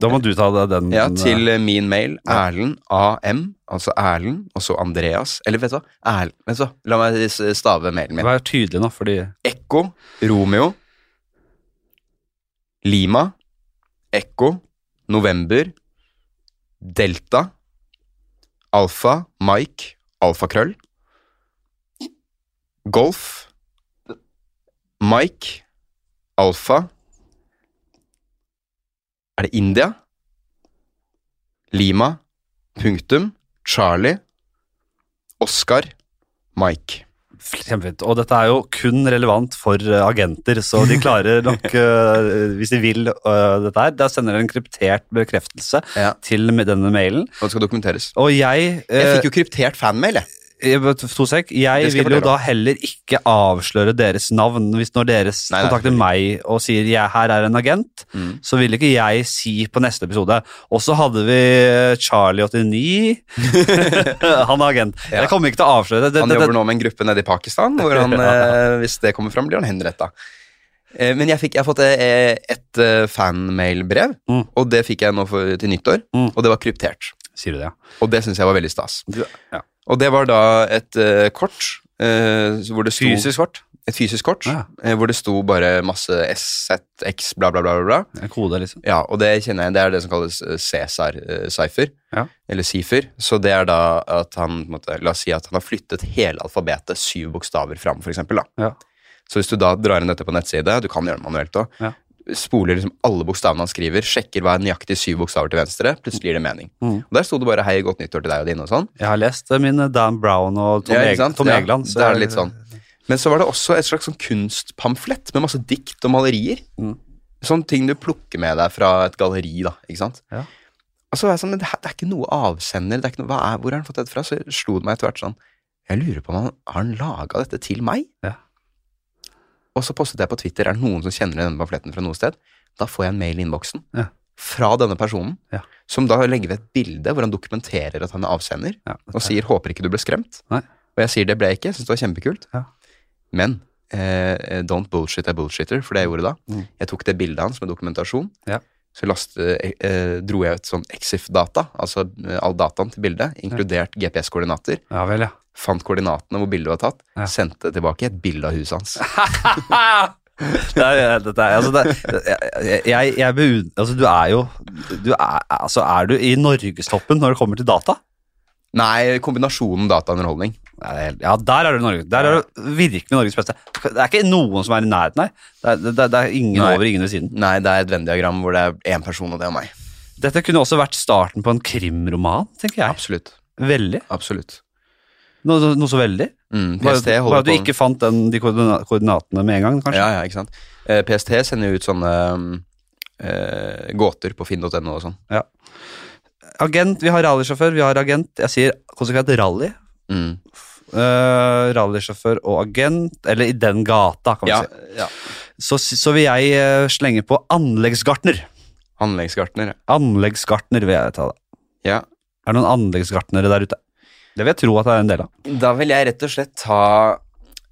S1: Da må du ta det- den.
S2: ja, til eh, min mail
S1: Mm, Ja.
S2: Erlend AM, altså Erlend, og så Andreas. Eller vet du hva? Erl- vet du hva? La meg s- stave mailen min.
S1: eh, Vær tydelig nå, fordi
S2: Ekko, Romeo, Lima, Ekko, November, Delta, Alfa, Mike, Alfakrøll, Golf, Mike, Alfa Er det India? Lima, punktum, Charlie, Oscar, Mike.
S1: Kjempefint. Og dette er jo kun relevant for eh, agenter, så de klarer nok,
S2: [laughs]
S1: eh, hvis de vil eh, dette her, da sender de en kryptert bekreftelse
S2: Ja.
S1: til med denne mailen.
S2: Og det skal dokumenteres.
S1: Og jeg,
S2: Jeg
S1: eh,
S2: fikk jo kryptert fanmail, jeg.
S1: jeg vet- to sek, jeg
S2: Det skal jeg
S1: vil jo
S2: fortelle
S1: da heller ikke avsløre deres navn. Hvis når deres
S2: Nei, nei,
S1: kontakter meg og sier ja, 'her er en agent',
S2: Mm.
S1: så vil ikke jeg si på neste episode. Og så hadde vi
S2: [laughs]
S1: Charlie89. [laughs] Han er agent.
S2: Ja.
S1: Jeg kommer ikke til å avsløre det. det,
S2: Han
S1: det, det
S2: jobber nå med en gruppe nede i Pakistan, hvor
S1: [laughs]
S2: han, eh, hvis det kommer fram, blir han henretta. Eh, men jeg, fikk, jeg har fått eh, et eh, fanmailbrev,
S1: Mm.
S2: og det fikk jeg nå for, til nyttår.
S1: Mm.
S2: Og det var kryptert.
S1: Sier du det, ja?
S2: Og det syns jeg var veldig stas.
S1: ja.
S2: Og det var da et eh, kort eh, hvor det sto
S1: Fysisk kort?
S2: Et fysisk kort
S1: Ja.
S2: eh, hvor det sto bare masse SZX, bla, bla, bla. bla, bla.
S1: En kode, liksom?
S2: Ja, og det kjenner jeg, det er det som kalles eh, Cæsar-cypher,
S1: Ja.
S2: eller sifer. Så det er da at han, på en måte, la oss si at han har flyttet hele alfabetet syv bokstaver fram, for eksempel, da.
S1: Ja.
S2: Så hvis du da drar inn dette på nettside, du kan gjøre det manuelt òg,
S1: Ja.
S2: spoler liksom alle bokstavene han skriver, sjekker hva er nøyaktig syv bokstaver til venstre, plutselig gir det mening.
S1: Mhm.
S2: Og der sto det bare 'hei, godt nyttår til deg og dine' og sånn.
S1: Jeg har lest eh, mine Dan Brown og Tom,
S2: Ja, ikke
S1: Eg-
S2: sant?
S1: Tom
S2: Ja,
S1: Egeland. så-
S2: det er litt sånn. Men så var det også et slags sånn kunstpamflett med masse dikt og malerier.
S1: Mm.
S2: Sånne ting du plukker med deg fra et galleri, da, ikke sant?
S1: Ja.
S2: Og så var jeg sånn, men det, her- det er ikke noe avsender, det er ikke noe, hva er, hvor har han fått dette fra? Så slo det meg etter hvert sånn, jeg lurer på om han har laga dette til meg?
S1: Ja.
S2: Og så postet jeg på Twitter er det noen som kjenner denne pamfletten fra noe sted. Da får jeg en mail i innboksen
S1: Ja.
S2: fra denne personen,
S1: Ja.
S2: som da legger ved et bilde hvor han dokumenterer at han er avsender,
S1: Ja,
S2: og sier 'håper ikke du ble skremt'.
S1: Nei.
S2: Og jeg sier 'det ble jeg ikke', jeg syns det var kjempekult.
S1: Ja.
S2: Men eh, don't bullshit a bullshitter, for det jeg gjorde da.
S1: Mm.
S2: Jeg tok det bildet hans med dokumentasjon.
S1: Ja.
S2: Så last, eh, eh, dro jeg ut sånn exif-data, altså eh, all dataen til bildet, inkludert GPS-koordinater
S1: ja vel, ja.
S2: fant koordinatene hvor bildet var tatt,
S1: Ja.
S2: sendte det tilbake et bilde av huset hans.
S1: [laughs] det er, dette er, altså, det, jeg, jeg, jeg beund- altså, du er jo du er, altså, er du i norgestoppen når det kommer til data?
S2: Nei, kombinasjonen dataunderholdning.
S1: Ja, det er helt- ja, der er du Norge. Der er du virkelig Norges beste. Det er ikke noen som er i nærheten her. Det er, det, er- det er ingen
S2: Nei.
S1: over, ingen ved siden.
S2: Nei, det er et Venn-diagram hvor det er én person, og det er meg.
S1: Dette kunne også vært starten på en krimroman, tenker jeg.
S2: Absolutt.
S1: Veldig.
S2: Absolutt.
S1: Noe, så- noe så veldig.
S2: Mm,
S1: Bare,
S2: PST
S1: bare
S2: holder
S1: at du
S2: på
S1: ikke fant den, de koordina- koordinatene med en gang, kanskje.
S2: Ja, ja, ikke sant. Eh, PST sender jo ut sånne mm, eh, gåter på finn.no og sånn.
S1: Agent, vi har rallysjåfør, vi har agent. Jeg sier konsekvent rally.
S2: Mm.
S1: Eh, rallysjåfør og agent, eller i den gata, kan vi
S2: Ja,
S1: si.
S2: ja.
S1: Så, så vil jeg eh, slenge på anleggsgartner.
S2: Anleggsgartner.
S1: Anleggsgartner vil jeg ta det.
S2: Ja.
S1: Er det noen anleggsgartnere der ute? Det vil jeg tro at det er en del av.
S2: Da vil jeg rett og slett ta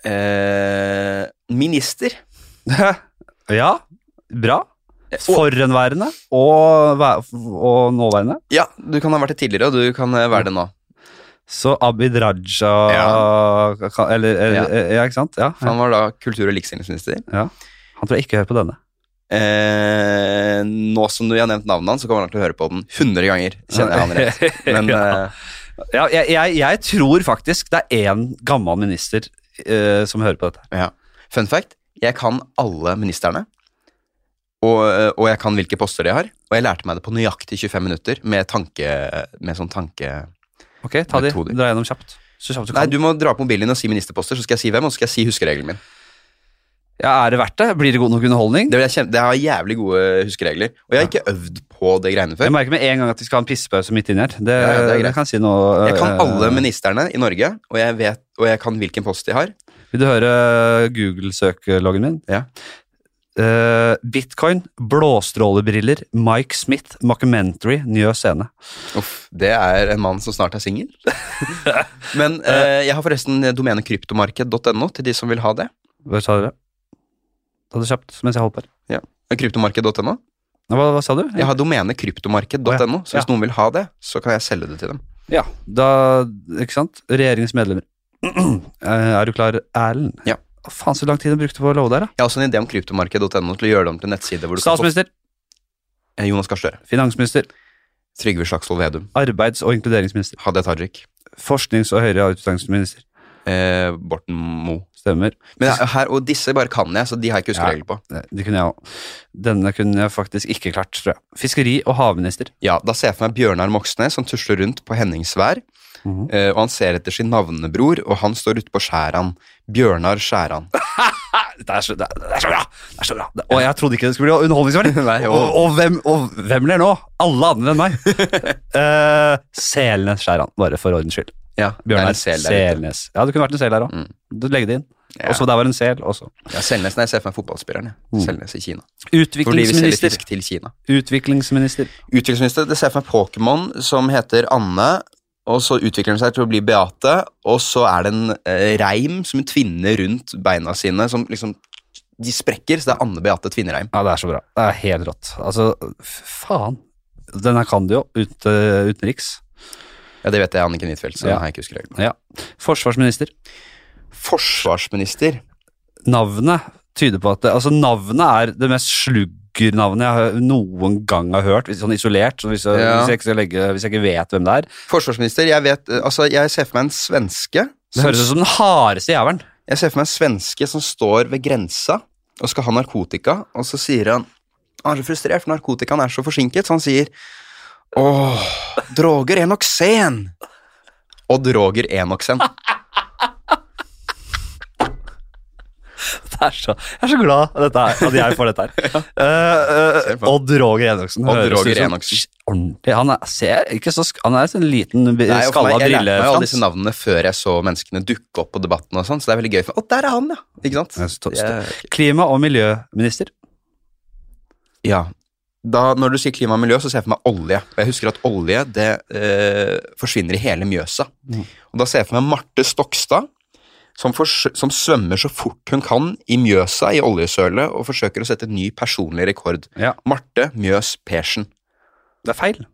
S2: eh, minister.
S1: ja, bra. Forhenværende og, væ- og nåværende.
S2: Ja, du kan ha vært det tidligere, og du kan eh, være det nå.
S1: Så Abid Raja ka- Eller, eller eh,
S2: Ja.
S1: ja. ikke sant? Ja,
S2: For Han var da kultur- og likestillingsminister.
S1: Han tror jeg ikke hører på denne.
S2: Eh, nå som du har nevnt navnet hans, så kommer han til å høre på den 100 ganger. Kjenner [laughs] jeg han rett. Men
S1: ja. [laughs]
S2: eh,
S1: Ja, jeg, jeg, jeg tror faktisk det er én gammel minister eh, som hører på dette.
S2: fun fact, jeg kan alle ministerne. Og, eh, og jeg kan hvilke poster de har. Og jeg lærte meg det på nøyaktig 25 minutter med tanke... Med sånn tanke...
S1: Ok, ta de.
S2: Metoder.
S1: Dra gjennom kjapt. Så kjapt du
S2: Nei,
S1: kan.
S2: du må dra på mobilen din og si ministerposter, så skal jeg si hvem, og så skal jeg si huskeregelen min.
S1: Ja, er det verdt det? Blir det god nok underholdning?
S2: Det, vil jeg kjem- det har jævlig gode huskeregler. Og jeg har ikke øvd på det greiene
S1: Jeg
S2: før.
S1: merker med en gang at vi skal ha en pissepause midt inni her. Det,
S2: Ja, ja, det er
S1: det,
S2: greit.
S1: kan si noe.
S2: Jeg kan
S1: eh,
S2: alle ministerne i Norge, og jeg, vet, og jeg kan hvilken post de har.
S1: Vil du høre eh, Google-søkeloggen min?
S2: Ja.
S1: Eh, Bitcoin, blåstrålebriller, Mike Smith, mockumentary, njø scene.
S2: Uff, det er en mann som snart
S1: [laughs]
S2: er singel. Men eh, jeg har forresten domenet kryptomarked.no til de som vil ha det.
S1: Hva sa dere? Ta det kjapt mens jeg holder på. her.
S2: Kryptomarked.no.
S1: Hva, hva sa du?
S2: Jeg har domenet kryptomarked.no,
S1: Å,
S2: så
S1: Ja.
S2: hvis noen vil ha det, så kan jeg selge det til dem.
S1: Ja, da Ikke sant? Regjeringens medlemmer. [clears throat] Eh, er du klar, Erlend?
S2: Ja.
S1: Å, Faen, så lang tid du brukte på å love der, da.
S2: Jeg har også en idé om kryptomarked.no til å gjøre det om til en nettside hvor du kan få
S1: Statsminister,
S2: Eh, Jonas Gahr Støre,
S1: finansminister,
S2: Trygve Slagsvold Vedum,
S1: arbeids- og inkluderingsminister,
S2: Hadia Tajik,
S1: forsknings- og høyere utdanningsminister.
S2: eh, Borten Moe.
S1: Stemmer.
S2: Men her, og disse bare kan jeg, så de har jeg ikke huskeregler på.
S1: Nei, Det kunne jeg òg. Denne kunne jeg faktisk ikke klart, tror jeg. Fiskeri- og havminister.
S2: Ja, Da ser jeg for meg Bjørnar Moxnes som tusler rundt på Henningsvær,
S1: Mhm.
S2: eh, og han ser etter sin navnebror, og han står ute på skjæran. Bjørnar Skjæran.
S1: Det er så, det er, det er så bra! Det er så bra. Det, og jeg trodde ikke det skulle bli [laughs] underholdningsverdig.
S2: Nei,
S1: og,
S2: og-
S1: og, hvem, og hvem ler nå? Alle andre [laughs] enn meg. uh, Selnes Skjæran, bare for ordens skyld.
S2: Ja,
S1: Bjørnar
S2: det er en sel der ute.
S1: Selnes. Ja, det kunne vært en sel der òg.
S2: Mm.
S1: Du legger det inn.
S2: Ja.
S1: Også der var en sel også.
S2: Ja, Selnes, nei, jeg ser for meg fotballspilleren.
S1: Mm.
S2: Mm. Selnes i Kina. Fordi vi selger
S1: Utviklingsminister.
S2: fisk til Kina.
S1: Utviklingsminister.
S2: Utviklingsminister, det ser jeg for meg Pokémon som heter Anne, og så utvikler den seg til å bli Beate, og så er det en eh, reim som hun tvinner rundt beina sine, som liksom De sprekker, så det er Anne Beate Tvinnereim.
S1: Ja, det er så bra. Det er helt rått. Altså, f- faen. Den her kan du jo, ut, eh, utenriks.
S2: Ja, det vet jeg, Anniken Huitfeldt, så
S1: Ja.
S2: den har jeg ikke husker regelen.
S1: Ja. Forsvarsminister.
S2: Forsvarsminister.
S1: Navnet tyder på at det, Altså, navnet er det mest sluggernavnet jeg har- noen gang har hørt, hvis- sånn isolert. Så hvis, jeg,
S2: Ja.
S1: hvis, jeg ikke skal legge, hvis jeg ikke vet hvem det er.
S2: Forsvarsminister, jeg vet eh, Altså, jeg ser for meg en svenske.
S1: Det høres ut som den hardeste jævelen.
S2: Jeg ser for meg en svenske som står ved grensa og skal ha narkotika, og så sier han Han er så frustrert, for narkotikaen er så forsinket, så han sier Åh, Droger Enoksen! Odd Roger Enoksen.
S1: Det er så, jeg er så glad at dette her, at jeg får
S2: [laughs]
S1: dette her. Eh, eh,
S2: Selv for.
S1: Odd Roger Enoksen.
S2: Odd
S1: høres ut
S2: Roger
S1: som
S2: Enoksen.
S1: Ordentlig. Han er, ser ikke så sk- Han er en liten b-
S2: Nei, og for
S1: skalla
S2: meg- jeg lærte meg jo alle
S1: brillefrans.
S2: disse navnene før jeg så menneskene dukke opp på debatten, og sånn, så det er veldig gøy. for meg. Å, der er han, ja! Ikke sant?
S1: Jeg stå- stå-
S2: Jeg-
S1: Klima- og miljøminister.
S2: Ja. Da, når du sier klima og miljø, så ser jeg for meg olje. Og jeg husker at olje det eh, forsvinner i hele Mjøsa.
S1: Mm.
S2: Og da ser jeg for meg Marte Stokstad, som, fors- som svømmer så fort hun kan i Mjøsa, i oljesølet, og forsøker å sette ny personlig rekord.
S1: Ja.
S2: Marte Mjøs Persen.
S1: Det er feil.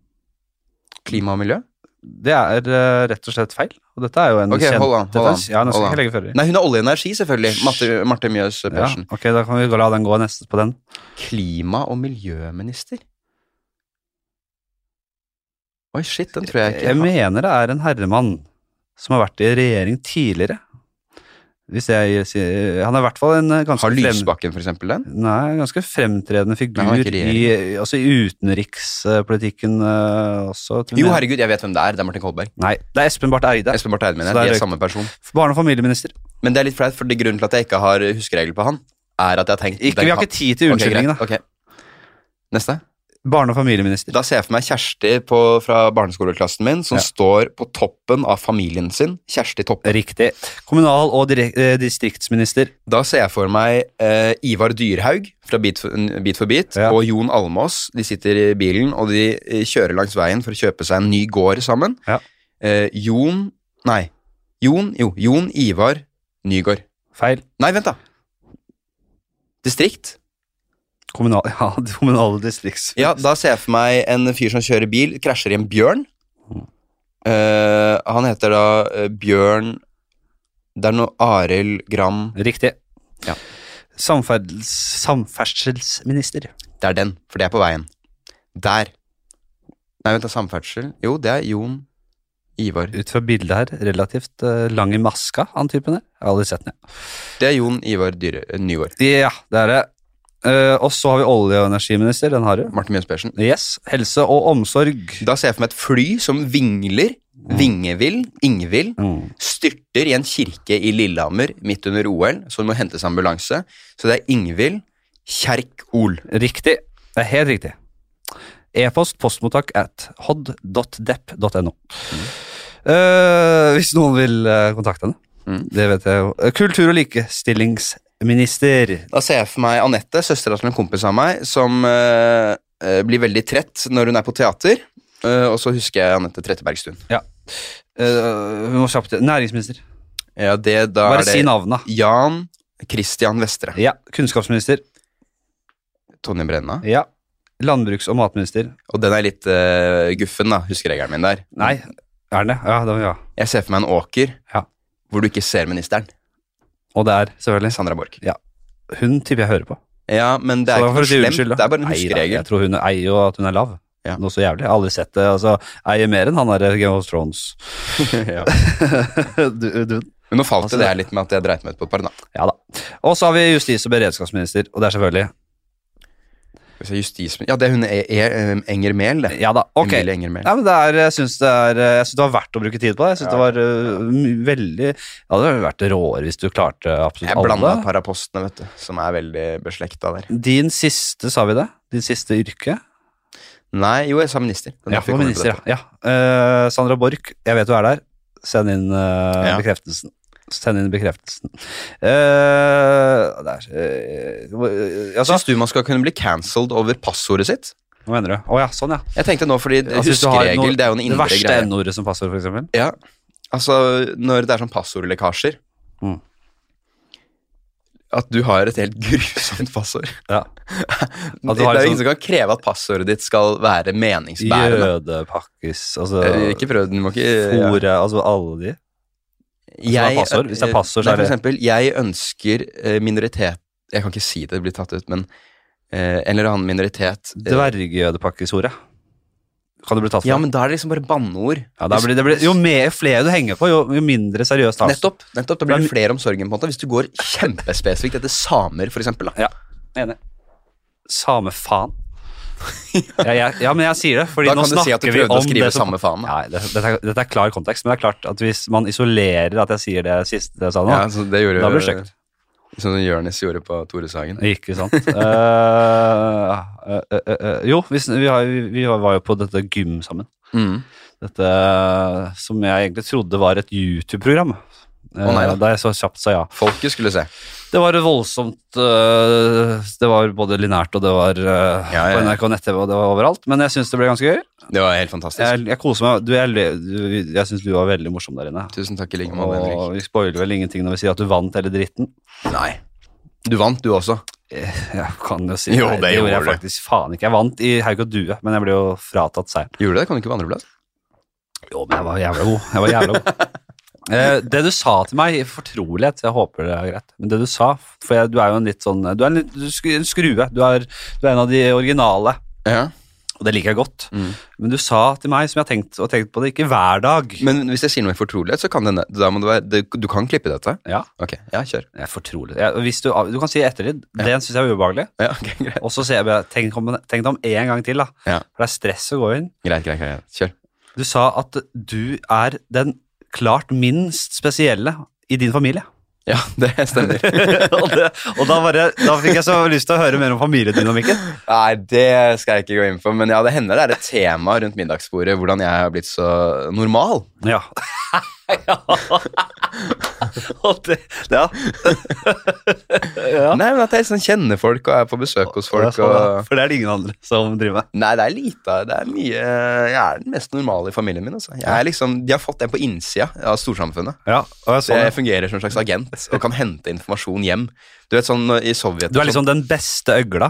S2: Klima og miljø?
S1: Det er eh, rett og slett feil. Og dette er jo en
S2: Ok,
S1: kjent
S2: hold an,
S1: dette er-
S2: hold an,
S1: Ja, nå skal
S2: hold
S1: jeg ikke legge føringer.
S2: Nei, hun er olje og energi, selvfølgelig. Marte, Marte Mjøs
S1: Ja,
S2: Persen.
S1: ok, da kan vi la den gå neste på den.
S2: Klima- og miljøminister? Oi, shit, den tror jeg ikke.
S1: Jeg mener det er en herremann som har vært i regjering tidligere. Hvis jeg sier Han er i hvert fall en eh, ganske
S2: Har
S1: flem-
S2: Lysbakken for eksempel den?
S1: Nei, ganske fremtredende figur
S2: Nei, han er ikke
S1: i, altså i utenrikspolitikken eh, også. tror
S2: Jo,
S1: jeg.
S2: herregud, jeg vet hvem det er. Det er Martin Kolberg.
S1: Nei, det er Espen Barth Eide.
S2: Espen Barth Eide mener
S1: Så der
S2: jeg. De
S1: røyk-
S2: er samme person.
S1: Barne- og familieminister.
S2: Men det er litt flaut, for grunnen til at jeg ikke har huskeregel på han, er at jeg har tenkt
S1: Ikke, vi har ikke tid til unnskyldningene.
S2: Neste.
S1: Barne- og familieminister.
S2: Da ser jeg for meg Kjersti på, fra barneskoleklassen min, som
S1: Ja.
S2: står på toppen av familien sin. Kjersti Toppe.
S1: Riktig. Kommunal- og direk- eh, distriktsminister.
S2: Da ser jeg for meg eh, Ivar Dyrhaug fra Beat for, Beat, for Beat
S1: Ja.
S2: og Jon Almås. De sitter i bilen, og de eh, kjører langs veien for å kjøpe seg en ny gård sammen.
S1: Ja.
S2: Eh, Jon Nei. Jon Jo, Jon Ivar Nygård.
S1: Feil.
S2: Nei, vent, da. Distrikt?
S1: Kommunal, [laughs] ja, kommunale distrikts...
S2: Ja, da ser jeg for meg en fyr som kjører bil, krasjer i en bjørn. Eh, han heter da eh, Bjørn Det er noe Arild Gram
S1: Riktig.
S2: Ja.
S1: Samferdsels, samferdselsminister.
S2: Det er den, for det er på veien. Der. Nei, vent da, samferdsel. Jo, det er Jon Ivar.
S1: Ut fra bildet her, relativt eh, lang i maska, han typen der. Jeg har aldri sett den, jeg.
S2: Det er Jon Ivar Dyre, eh, Nygaard.
S1: Ja, det er det. Eh, og så har vi olje- og energiminister, den har du.
S2: Martin Mjøs Persen.
S1: Yes. Helse og omsorg.
S2: Da ser jeg for meg et fly som vingler, vingevill, ingvill,
S1: Mm.
S2: styrter i en kirke i Lillehammer midt under OL, så det må hentes ambulanse. Så det er Ingvild Kjerk-Ol.
S1: Riktig. Det er helt riktig. E-post postmottak at hod.depp.no.
S2: Mm.
S1: Eh, hvis noen vil eh, kontakte henne.
S2: Mm.
S1: Det vet jeg jo. Eh, Kultur- og likestillingsminister.
S2: Da ser jeg for meg Anette, søstera til en kompis av meg, som eh, eh, blir veldig trett når hun er på teater. Eh, og så husker jeg Anette Trettebergstuen.
S1: Eh, vi må kjapt til. Næringsminister.
S2: Ja, det, da
S1: Bare
S2: er det
S1: si navnet.
S2: Jan Christian Vestre.
S1: Ja. Kunnskapsminister.
S2: Tonje Brenna.
S1: Ja. Landbruks- og matminister.
S2: Og den er litt eh, guffen, da, huskeregelen min der.
S1: Nei, er den det? Ja, det var ja.
S2: Jeg ser for meg en åker
S1: Ja.
S2: hvor du ikke ser ministeren.
S1: Og det er selvfølgelig
S2: Sandra Borch.
S1: Hun tipper jeg hører på.
S2: Ja, men det
S1: Så
S2: er
S1: da
S2: ikke
S1: får
S2: noe
S1: du si
S2: slemt.
S1: unnskyld, da.
S2: Det er bare en
S1: Nei da,
S2: huskeregel.
S1: Jeg tror hun eier jo at hun er lav.
S2: Ja.
S1: Noe så jævlig. Jeg har aldri sett det. Altså, eier mer enn han der Game of
S2: [laughs]
S1: Thrones.
S2: ja.
S1: du, du.
S2: Men nå falt
S1: Altså,
S2: det der litt med at jeg dreit meg ut på et par, da.
S1: Ja da. Og så har vi justis- og beredskapsminister, og det er selvfølgelig
S2: Hvis jeg er justisminister Ja, det er hun e e em, Enger Mehl, det.
S1: Ja da, ok.
S2: Emilie Enger Mehl.
S1: Ja, men det er, jeg syns det, er- jeg synes det var verdt å bruke tid på det. Jeg synes
S2: Ja.
S1: det var øh, my- veldig Det hadde vært råere hvis du klarte absolutt
S2: Jeg blanda et
S1: alle.
S2: par av postene, vet du, som er veldig beslekta der.
S1: Din siste, sa vi det? Din siste yrke?
S2: Nei, jo, jeg sa minister. Det
S1: Ja,
S2: er derfor jeg
S1: for
S2: kommer på
S1: minister,
S2: dette.
S1: ja. Eh, Sandra Borch, jeg vet du er der. Send inn eh,
S2: Ja.
S1: bekreftelsen. Send inn bekreftelsen. Eh, det er eh, hvor- eh, altså,
S2: Syns du man skal kunne bli cancelled over passordet sitt?
S1: Hva mener du? Å ja, sånn ja.
S2: Jeg tenkte nå, fordi
S1: Altså, hvis du har
S2: huskeregel,
S1: noe-
S2: det er jo en
S1: Det
S2: indre
S1: verste
S2: greie.
S1: n-ordet som passord, for eksempel.
S2: Ja, altså når det er sånn passordlekkasjer
S1: Mm.
S2: At du har et helt [laughs] grusomt passord.
S1: Ja.
S2: Det
S1: At
S2: er
S1: du har et
S2: jo
S1: sånn-
S2: ingen som kan kreve at passordet ditt skal være meningsbærende.
S1: Jødepakkis, altså
S2: Eh, Ikke prøv, du må ikke ja.
S1: Fore, altså alle de.
S2: Jeg-
S1: har passord. Hvis det er passord, så
S2: Nei,
S1: er det-
S2: For eksempel, jeg ønsker eh, minoritet Jeg kan ikke si det, det blir tatt ut, men eh, En eller annen minoritet eh,
S1: Dvergjødepakkishore. Kan du bli tatt for
S2: Ja,
S1: det?
S2: men da er det liksom bare banneord.
S1: ja, da blir, det blir, jo mer flere du henger på, jo, jo mindre seriøst tas det.
S2: Nettopp. nettopp, Da blir det flere om sorgen, på en måte. Hvis du går kjempespesifikt etter samer, for eksempel. Da.
S1: Enig. Same faen. [laughs] Ja, jeg, ja, men jeg sier det, fordi
S2: da
S1: nå
S2: kan du si at du
S1: snakker vi
S2: prøvde
S1: om
S2: å skrive
S1: det som
S2: samme faen. Da.
S1: Nei, det, dette, er, dette er klar kontekst, men det er klart at hvis man isolerer at jeg sier det siste jeg sa nå,
S2: Ja, så det gjorde
S1: da blir det stygt.
S2: Sånn som Jonis gjorde på Tore Sagen.
S1: Ikke sant. sånn. [laughs] Eh, eh, eh, eh, jo, vi, sn- vi, har, vi var jo på dette gym sammen.
S2: Mm.
S1: Dette som jeg egentlig trodde var et YouTube-program. eh,
S2: nei da.
S1: da jeg så kjapt sa ja.
S2: Folket skulle se.
S1: Det var voldsomt eh, Det var både linært, og det var eh,
S2: Ja, ja, ja.
S1: på NRK nett-TV, og det var overalt. Men jeg syns det ble ganske gøy.
S2: Det var helt fantastisk.
S1: Jeg, jeg koser meg. Du, jeg le- du, jeg syns du var veldig morsom der inne.
S2: Tusen takk i like måte, Henrik.
S1: Og vi spoiler vel ingenting når vi sier at du vant hele dritten. [laughs]
S2: Nei. Du vant, du også.
S1: Jeg kan jo si
S2: Jo,
S1: nei,
S2: det
S1: det gjorde
S2: gjorde
S1: jeg
S2: du.
S1: faktisk faen ikke. Jeg vant i Haug og Due, men jeg ble jo fratatt seieren.
S2: Gjorde du det? Kan du ikke på andreplass?
S1: Jo, men jeg var jævla god. Jeg var jævla god. [laughs] Eh, Det du sa til meg, i fortrolighet, jeg håper det er greit, men det du sa For jeg, du er jo en litt sånn Du er en, litt, du sk- en skrue. Du er, du er en av de originale,
S2: Ja.
S1: og det liker jeg godt.
S2: Mm.
S1: Men du sa til meg, som jeg har tenkt og tenkt på det, ikke hver dag.
S2: Men hvis jeg sier noe i fortrolighet, så kan det da må det være, det, Du kan klippe dette?
S1: Ja,
S2: Ok, ja, kjør.
S1: jeg er fortrolig. Jeg, hvis du, du kan si ettertid. Det syns jeg er ubehagelig.
S2: Ja, ok, [laughs] greit.
S1: Og så ser jeg bare, tenk om, tenk det om én gang til, da.
S2: Ja.
S1: For det er stress å gå inn.
S2: greit, greit, greit. Kjør.
S1: Du sa at du er den klart minst spesielle i din familie.
S2: Ja, det stemmer.
S1: [laughs] og, det, og da, bare, da fikk jeg så lyst til å høre mer om familiedynamikken.
S2: Nei, det skal jeg ikke gå inn på, men ja, det hender det er et tema rundt middagsbordet hvordan jeg har blitt så normal.
S1: Ja. [laughs] ja. Og det, ja. ja.
S2: Nei, men at jeg sånn kjenner folk og er sånn, på besøk hos folk. Og...
S1: sånn, For det er det ingen andre som driver med.
S2: Nei, det er lite av- Det er mye Jeg er den mest normale i familien min. Altså. Jeg er liksom, de har fått det på innsida av storsamfunnet.
S1: Ja, og jeg
S2: Så
S1: så
S2: jeg
S1: det.
S2: fungerer som en slags agent og kan hente informasjon hjem. Du vet sånn i Sovjet
S1: Du er liksom den beste øgla.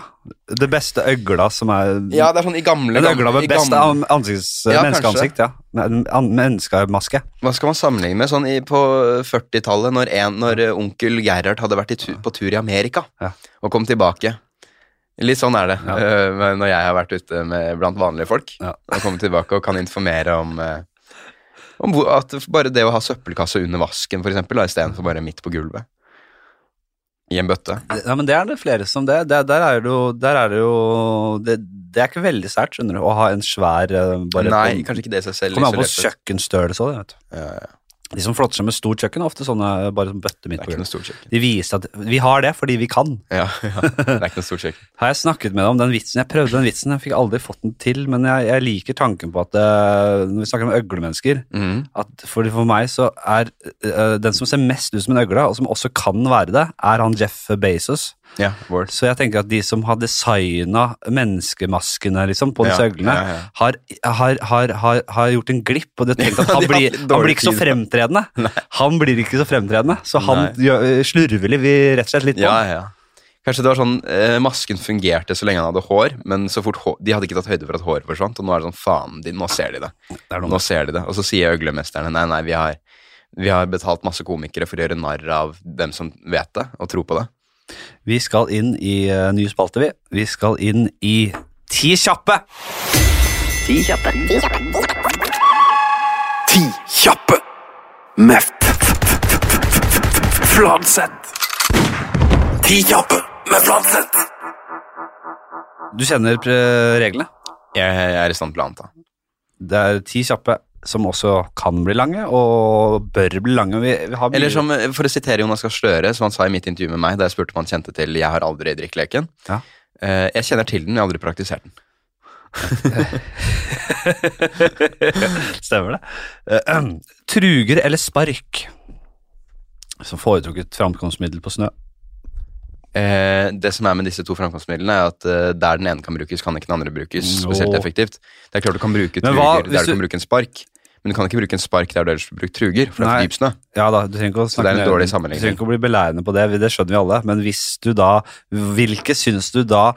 S1: Det beste øgla som er
S2: Ja, det er sånn i gamle,
S1: Den øgla
S2: gamle,
S1: med
S2: i
S1: best
S2: gamle
S1: an- ansikts,
S2: Ja,
S1: menneskeansikt, ja. Nei, en an- Menneskemaske.
S2: Hva skal man sammenligne med? Sånn i, på 40-tallet, når, en- når eh, onkel Gerhard hadde vært i tu, på tur i Amerika
S1: Ja.
S2: og kom tilbake. Litt sånn er det
S1: Ja.
S2: eh, men når jeg har vært ute med, blant vanlige folk.
S1: Ja.
S2: [laughs] Og kommer tilbake og kan informere om, eh, om hvor, at bare det å ha søppelkasse under vasken, for eksempel, da, istedenfor bare midt på gulvet. I en bøtte.
S1: Ja, men det er det flere som det. det der er det jo, der er det, jo det, det er ikke veldig sært, skjønner du, å ha en svær eh, bare
S2: Nei, kanskje ikke det i seg selv.
S1: Kommer an på
S2: isolert sett.
S1: kjøkkenstørrelse òg, vet du.
S2: Ja, ja, ja.
S1: De som flotter seg med stort kjøkken, er ofte sånne eh, bare sånn bøtte
S2: Det
S1: midt
S2: er
S1: på
S2: ikke noe
S1: gulvet.
S2: stort kjøkken.
S1: De viser at vi har det fordi vi kan.
S2: Ja, ja. [laughs] Det er ikke noe stort kjøkken.
S1: Har jeg snakket med deg om den vitsen? Jeg prøvde den vitsen, jeg fikk aldri fått den til, men jeg, jeg liker tanken på at eh, når vi snakker om øglemennesker,
S2: Mhm.
S1: at for, for meg så er øh, den som ser mest ut som en øgle, og som også kan være det, er han Jeff Bezos.
S2: Ja, Word.
S1: Så jeg tenker at de som har designa menneskemaskene liksom, på disse
S2: Ja,
S1: øglene,
S2: ja, ja.
S1: Har, har, har, har, har gjort en glipp, og de har tenkt
S2: [laughs]
S1: at han
S2: de har
S1: blir,
S2: litt
S1: han
S2: dårlig
S1: blir ikke så
S2: tid.
S1: fremtredende. Han blir ikke så fremtredende, så han
S2: Nei.
S1: gjør, slurver litt, vi rett og slett litt på.
S2: Ja,
S1: han.
S2: ja. Kanskje det var sånn, eh, Masken fungerte så lenge han hadde hår, men så fort hår, de hadde ikke tatt høyde for at håret forsvant. Og nå er det sånn, faen, de, nå ser de det.
S1: Det er noe med
S2: Nå ser de det. Og så sier øglemesterne nei, nei, vi har, vi har betalt masse komikere for å gjøre narr av dem som vet det, og tror på det.
S1: Vi skal inn i eh, ny spalte, vi. Vi skal inn i Ti kjappe!
S3: Ti kjappe. Ti kjappe.
S4: Ti kjappe med f- f- f- f- f- Fladseth. Ti kjappe med Fladseth.
S1: Du kjenner eh, reglene.
S2: Jeg, jeg er i stand til å anta.
S1: Det er ti kjappe som også kan bli lange, og bør bli lange. Vi, vi har mye-
S2: Eller som, eh, for å sitere Jonas Gahr Støre, som han sa i mitt intervju med meg da jeg spurte om han kjente til 'Jeg har aldri drikkeleken'.
S1: Ja.
S2: Eh, jeg kjenner til den, jeg har aldri praktisert den.
S1: Stemmer det. Eh, [clears throat] ehm, truger eller spark som foretrukket framkomstmiddel på snø.
S2: Eh, det som er med disse to framkomstmidlene, er at eh, der den ene kan brukes, kan ikke den andre brukes spesielt
S1: Nå.
S2: effektivt. Det er klart du kan bruke
S1: Men
S2: truger
S1: hva hvis
S2: der du
S1: du-
S2: kan bruke en spark, men du kan ikke bruke en spark der du ellers bruker truger, for det er
S1: Nei.
S2: for dyp snø.
S1: Ja da, du trenger ikke å
S2: det er
S1: snakke
S2: en
S1: ned-
S2: dårlig
S1: Du
S2: sammenligning.
S1: trenger ikke å bli belærende på det, vi- det skjønner vi alle. Men hvis du da Hvilke syns du da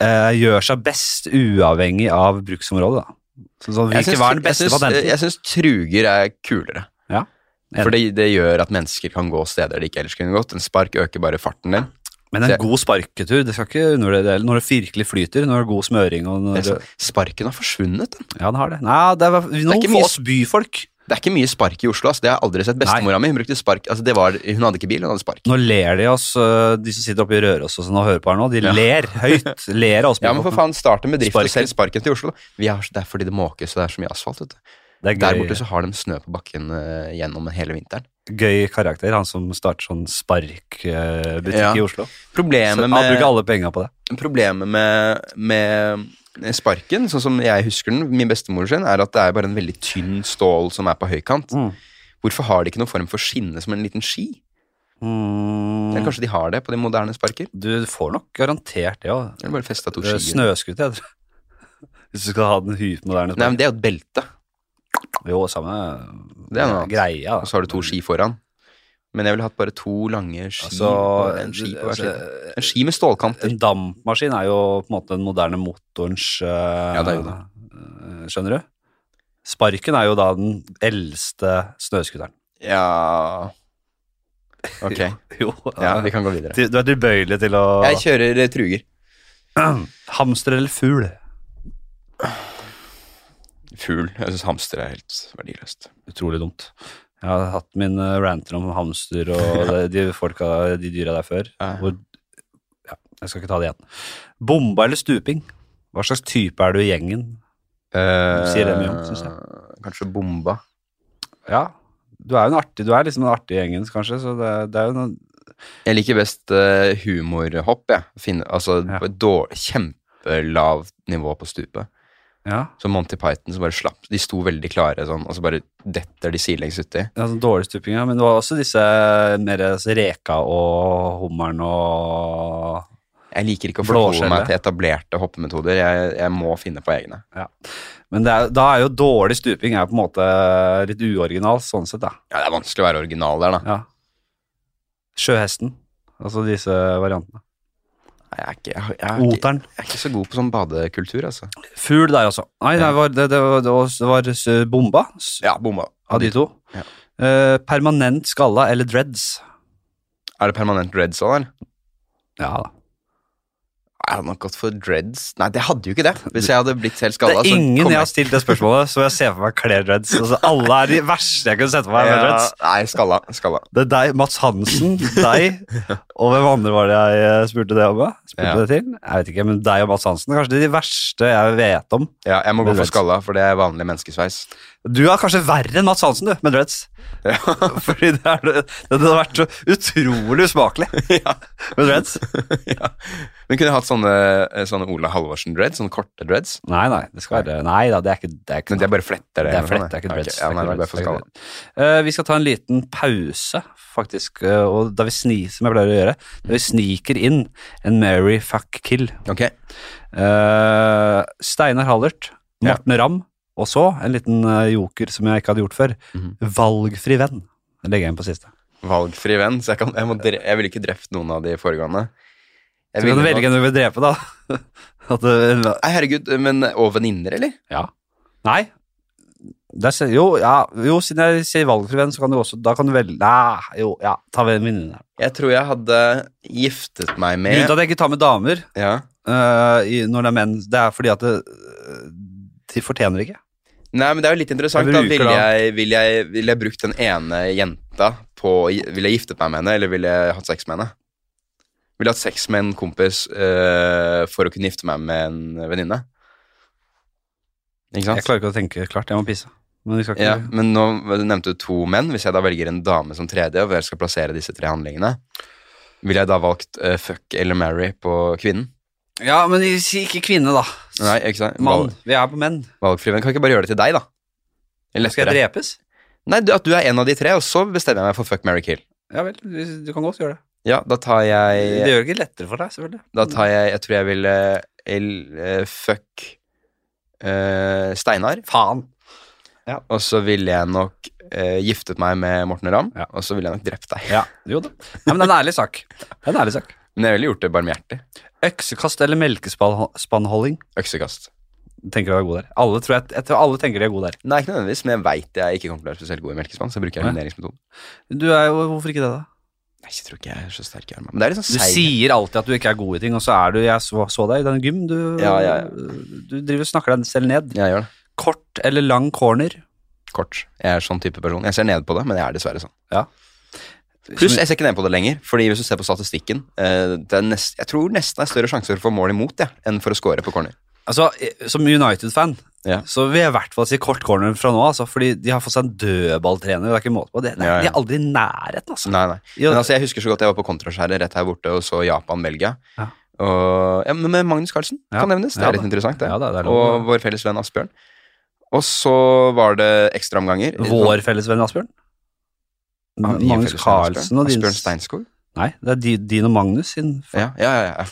S1: eh, gjør seg best uavhengig av bruksområdet, da? Så, sånn,
S2: Jeg
S1: hvilke
S2: syns-
S1: var den beste
S2: jeg eh, syns-
S1: patenten?
S2: Jeg syns truger er kulere.
S1: Ja.
S2: For det, det gjør at mennesker kan gå steder de ikke ellers kunne gått. En spark øker bare farten din.
S1: Men en god sparketur, det skal ikke undervurdere Når det virkelig flyter, når det er god smøring og når
S2: Det er
S1: det,
S2: sånn- Sparken har forsvunnet. Den.
S1: Ja, den har det. Nei, det er, det
S2: ikke
S1: for
S2: mye-
S1: oss byfolk.
S2: Det er ikke mye spark i Oslo. Ass. Det har jeg aldri sett. Bestemora mi brukte spark. Altså, det var, hun hadde ikke bil, hun hadde spark.
S1: Nå ler de oss, øh, de som sitter oppe i Røros og sånn og hører på her nå, de ler høyt. Ler av oss.
S2: Ja, men for faen, start en bedrift
S1: Sparken.
S2: og selg sparken til Oslo. Vi har, det er fordi det måkes, og det er så mye asfalt. Vet du.
S1: Det er
S2: Der
S1: gøy,
S2: borte så har de snø på bakken eh, gjennom hele vinteren.
S1: gøy karakter, han som starter sånn sparkbutikk
S2: Ja. eh,
S1: i Oslo. Så
S2: Problemet
S1: han
S2: med,
S1: bruker alle penga på det.
S2: problemet med, med sparken, sånn som jeg husker den, min bestemor sin, er at det er bare en veldig tynn stål som er på høykant.
S1: Mm.
S2: Hvorfor har de ikke noen form for skinne som en liten ski? Eller
S1: Mm.
S2: kanskje de har det på de moderne sparker?
S1: Hmm, Du får nok garantert det òg.
S2: Eller bare festa to skier?
S1: Snøskuter, heter det. [laughs] Hvis du skal ha den hypermoderne.
S2: Nei, men det er jo et belte,
S1: Jo, samme
S2: Det er noe annet.
S1: greia. da.
S2: og så har du to ski foran. Men jeg ville hatt bare to lange ski
S1: Altså,
S2: og en ski på hver side.
S1: altså,
S2: En ski med stålkanter.
S1: En dampmaskin er jo på en måte den moderne motorens eh,
S2: det er jo det.
S1: eh, Skjønner du? Sparken er jo da den eldste snøskuteren.
S2: Ja Ok.
S1: Jo.
S2: [laughs] Ja,
S1: eh,
S2: vi kan gå videre.
S1: du du er tilbøyelig til å
S2: Jeg kjører eh, truger.
S1: Hamster eller fugl?
S2: Fugl. Jeg syns hamster er helt verdiløst.
S1: Utrolig dumt. Jeg har hatt mine ranter om hamster og
S2: [laughs]
S1: de, de folka, de dyra der før.
S2: Ja.
S1: Hvor, ja, jeg skal ikke ta det igjen. Bomba eller stuping? Hva slags type er du i gjengen? sier det mye om, synes
S2: Eh, Kanskje bomba.
S1: Ja, du er jo en artig, du er liksom en artig i gjengen, kanskje, så det, det er jo noe
S2: Jeg liker best eh, humorhopp, jeg. Finne, altså
S1: Ja.
S2: på et dårlig, kjempelavt nivå på stupet.
S1: ja,
S2: Så Monty Python som bare slapp De sto veldig klare sånn, og så bare detter de sidelengs uti.
S1: ja, sånn dårlig stuping, ja, men det var også disse eh, mer altså, reka og hummeren og
S2: Jeg liker ikke å
S1: Blåskjellet.
S2: forholde meg til etablerte hoppemetoder. Jeg, jeg må finne på egne.
S1: Men det er, da er jo dårlig stuping er på en måte litt uoriginal, sånn sett, da.
S2: Ja, Det er vanskelig å være original der, da.
S1: Ja. Sjøhesten, altså disse variantene.
S2: Nei, Jeg er ikke, jeg, jeg, er ikke,
S1: Oteren.
S2: jeg er ikke så god på sånn badekultur, altså.
S1: Fugl der, altså. Nei, det var, det, det var, det var, det var s- bomba s-
S2: Ja, bomba.
S1: av de to.
S2: Ja.
S1: Eh, permanent skalla eller dreads?
S2: Er det permanent dreads òg, eller?
S1: Ja da.
S2: Jeg hadde nok gått for dreads. Nei, det hadde jo ikke det.
S1: [laughs]
S2: Hvis jeg hadde blitt helt skalla,
S1: det
S2: altså,
S1: er ingen
S2: så
S1: jeg har stilt det spørsmålet, så jeg ser for meg kler dreads. Altså, alle er de verste jeg kunne sett for meg med dreads.
S2: Ja, nei, skalla. skalla.
S1: Det er deg, Mats Hansen,
S2: [laughs]
S1: deg, og hvem andre var det jeg eh, spurte det om? da? Spurte
S2: Ja.
S1: det til? Jeg vet ikke, men deg og Mats Hansen er kanskje de verste jeg vet om.
S2: Ja, jeg må gå
S1: Med
S2: for
S1: dreads.
S2: skalla, for det er vanlig menneskesveis.
S1: [laughs]
S2: [laughs]
S1: Du er kanskje verre enn Mats Hansen, du, med dreads. [laughs] Fordi det, er, det hadde vært så utrolig usmakelig
S2: [laughs]
S1: med dreads.
S2: ja. Men kunne jeg hatt sånne, sånne Ola Halvorsen-dreads? Sånne korte dreads?
S1: Nei, nei, det skal være Nei da, det er ikke Det er, ikke,
S2: Men det er bare fletter,
S1: det
S2: det.
S1: er
S2: eller
S1: flett,
S2: sånn,
S1: det er ikke
S2: Ok,
S1: dreads.
S2: Ja,
S1: det
S2: nei,
S1: er
S2: det
S1: ikke
S2: er bare for
S1: dreads, det er
S2: skalla.
S1: ikke dreads. Eh, vi skal ta en liten pause, faktisk, eh, og da vi sni, som jeg pleier å gjøre, da vi sniker inn en Mary fuck kill.
S2: Ok,
S1: Eh, Steinar Hallert,
S2: Ja.
S1: Morten Ramm, og så en liten eh, joker som jeg ikke hadde gjort før.
S2: Mhm.
S1: Valgfri venn. Det legger jeg inn på siste.
S2: Valgfri venn, så jeg, kan, jeg, må, dre- jeg ville ikke drept noen av de foregående. Jeg
S1: Så kan du
S2: ville
S1: velge
S2: nok-
S1: hvem du vil drepe, da. [laughs] At eh, du,
S2: Nei, herregud, men Og venninner, eller?
S1: ja. Nei. Der, ser- jo, ja, jo, siden jeg sier valgfri venn, så kan du også Da kan du velge Nei, jo, ja. Ta venninne.
S2: Jeg tror jeg hadde giftet meg med
S1: Grunnen til at jeg ikke tar med damer
S2: ja.
S1: eh, i, når det er menn, det er fordi at det, de fortjener ikke.
S2: Nei, men det er jo litt interessant.
S1: Jeg
S2: da.
S1: bruker
S2: Ville
S1: da-
S2: jeg, vil jeg, vil jeg brukt den ene jenta på Ville jeg giftet meg med henne, eller ville jeg hatt sex med henne? Ville jeg hatt sex med en kompis eh, for å kunne gifte meg med en venninne? Ikke
S1: Jeg
S2: sant?
S1: klarer ikke å tenke klart. Jeg må pisse. Men vi skal ikke
S2: Ja, men nå nevnte du to menn. Hvis jeg da velger en dame som tredje, og jeg skal plassere disse tre handlingene, ville jeg da valgt eh, fuck eller marry på kvinnen?
S1: Ja, men si ikke kvinne, da.
S2: Nei, ikke sant?
S1: Mann. Vi er på menn.
S2: Valg- Valgfri venn. Kan ikke jeg bare gjøre det til deg, da? Det er
S1: Skal
S2: lettere.
S1: jeg drepes?
S2: Nei, du, at du er en av de tre, og så bestemmer jeg meg for fuck, marry, kill.
S1: Ja vel, du- du kan godt gjøre det.
S2: Ja, da tar
S1: Det
S2: jeg
S1: gjør det ikke lettere for deg, selvfølgelig.
S2: Da tar jeg Jeg tror jeg vil eh, el- eh, fuck eh, Steinar.
S1: Faen.
S2: Og så ville jeg nok eh, giftet meg med Morten Ramm,
S1: Ja.
S2: og så ville jeg nok drept deg.
S1: Ja, jo da. Nei, men det er en ærlig sak. [laughs] Det er en ærlig sak.
S2: Men jeg ville gjort det barmhjertig.
S1: Øksekast eller melkespannholding?
S2: Øksekast.
S1: Tenker du er god der. Alle, tror jeg, jeg tror alle tenker de er gode der.
S2: Nei, ikke nødvendigvis, men jeg veit jeg ikke kommer til å være spesielt god i melkespann, så jeg bruker
S1: Nei.
S2: elimineringsmetoden.
S1: Du er jo, Hvorfor ikke det, da?
S2: Nei, jeg tror ikke jeg er så sterk i armene. Men det er litt sånn
S1: Du
S2: seig.
S1: sier alltid at du ikke er god i ting, og så er du Jeg så, så deg i den gym. Du,
S2: Ja, ja, ja.
S1: du driver og snakker deg selv ned.
S2: Ja, jeg gjør det.
S1: Kort eller lang corner?
S2: Kort. Jeg er sånn type person. Jeg ser ned på det, men jeg er dessverre sånn. Pluss,
S1: Som-
S2: jeg ser ikke ned på det lenger, fordi hvis du ser på statistikken eh, det er nest, Jeg tror nesten det er større sjanse for å få mål imot, jeg, enn for å score på corner.
S1: Altså, eh, som United-fan
S2: Ja.
S1: så vil jeg i hvert fall si kort corner fra nå, altså, fordi de har fått seg en dødballtrener. Det er ikke måte på. Det, det,
S2: Ja, ja.
S1: De er aldri i nærheten, altså.
S2: Nei, nei.
S1: Jo,
S2: Men altså, jeg husker så godt jeg var på kontraskjæret rett her borte og så Japan-Belgia.
S1: Ja.
S2: Og- Ja, men med Magnus Carlsen
S1: Ja.
S2: kan nevnes. Det er
S1: Ja,
S2: litt
S1: da.
S2: interessant, det.
S1: Ja, da, det er lov.
S2: og vår felles venn Asbjørn. Og så var det ekstraomganger.
S1: Vår felles venn Asbjørn.
S2: Ja, din
S1: Magnus
S2: felles venn
S1: Carlsen
S2: Asbjørn.
S1: og din
S2: Asbjørn Steinskog.
S1: Nei, det er di- din og Magnus sin fa-
S2: Ja, ja, ja, ja.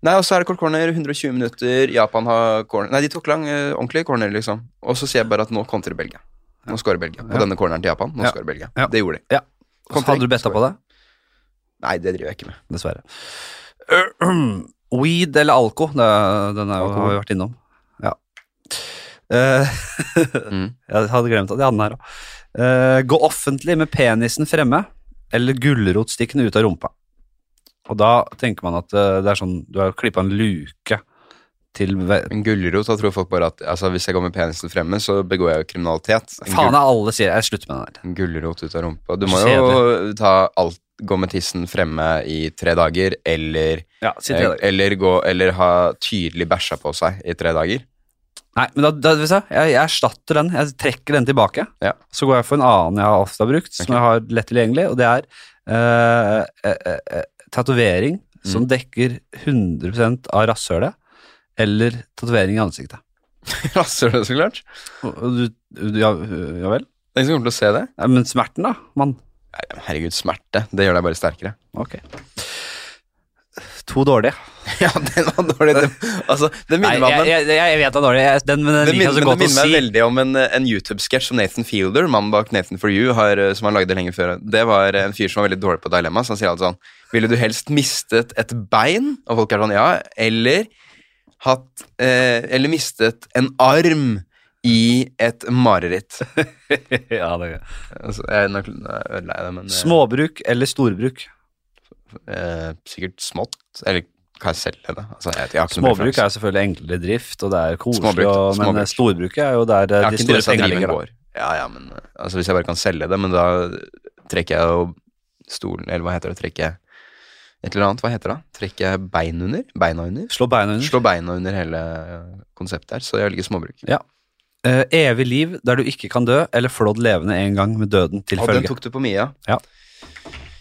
S2: Nei, og så er det kort corner, 120 minutter, Japan har corner Nei, de tok lang, eh, ordentlig corner, liksom. Og så sier jeg bare at nå kontrer Belgia. Nå scorer Belgia. På
S1: Ja.
S2: denne corneren til Japan, nå
S1: Ja.
S2: scorer Belgia.
S1: Ja.
S2: Det gjorde de.
S1: Ja. Så Hadde du betta på det?
S2: Nei, det driver jeg ikke med.
S1: Dessverre. [clears throat] Weed eller alko, det, den er, jo- har vi vært innom. Ja. Eh,
S2: Mm.
S1: jeg hadde glemt at jeg hadde den her òg. gå offentlig med penisen fremme eller gulrotstikkene ut av rumpa. Og da tenker man at eh, det er sånn Du har klippa en luke til ve-
S2: En gulrot, da tror folk bare at altså, hvis jeg går med penisen fremme, så begår jeg jo kriminalitet. En,
S1: Faen, det er alle sier Jeg slutter med den der.
S2: gul- en gulrot ut av rumpa. Du
S1: Så
S2: må jo ta alt, gå med tissen fremme i tre dager, eller,
S1: Ja, si tre dager.
S2: eller, gå, eller ha tydelig bæsja på seg i tre dager. [laughs]
S1: Nei, men da, da, vet du hva, jeg, jeg erstatter den. Jeg trekker den tilbake.
S2: Ja.
S1: Så går jeg for en annen jeg ofte har brukt, som jeg har lett tilgjengelig, og det er eh, eh, eh, tatovering som
S2: Mm.
S1: dekker 100 av rasshølet, eller tatovering i ansiktet.
S2: Rasser det, så klart.
S1: Og- og Du, du, ja, ja vel?
S2: Det er ingen som kommer til å se det.
S1: Nei, Men smerten, da, mann?
S2: Nei, Herregud, smerte. Det gjør deg bare sterkere.
S1: Ok. To dårlige.
S2: [laughs] Ja, den var dårlig. Det, altså, det
S1: Nei,
S2: minner meg om
S1: jeg,
S2: en,
S1: jeg, jeg vet det er dårlig, jeg, den, men den
S2: det
S1: liker jeg
S2: minner,
S1: så
S2: men
S1: godt
S2: det
S1: å
S2: minner meg
S1: si.
S2: veldig om en, en YouTube-sketsj som Nathan Fielder, mannen bak Nathan for you, har, eh, som han lagde lenge før. Det var eh, en fyr som var veldig dårlig på dilemma. Så han sier alltid sånn Ville du helst mistet et bein? Og folk er sånn, ja. Eller hatt eh, Eller mistet en arm i et mareritt. [laughs]
S1: [laughs] ja, det er. gøy.
S2: Altså, jeg er nok nå ødela jeg det, men eh,
S1: Småbruk eller storbruk?
S2: eh, Sikkert smått. Eller kan jeg selge det? Altså, jeg, jeg har ikke noen
S1: Småbruk
S2: preferanse.
S1: er selvfølgelig enklere drift, og det er koselig,
S2: Småbruk,
S1: og, men
S2: småbruk.
S1: storbruket er jo der eh,
S2: Jeg har
S1: de
S2: ikke
S1: store
S2: interesse av å
S1: pengene
S2: drive en
S1: ligger. da.
S2: gård. Ja, ja, men eh, altså, Hvis jeg bare kan selge det, men da trekker jeg jo stolen Eller hva heter det? Trekker jeg et eller annet? Hva heter det? da? Trekker jeg bein under? Beina under?
S1: Slå beina under.
S2: Slå beina under hele eh, konseptet her, så jeg velger småbruk.
S1: Ja. Eh, evig liv der du ikke kan dø, eller flådd levende en gang med døden til
S2: Og den
S1: følge.
S2: tok du på Mia.
S1: Ja.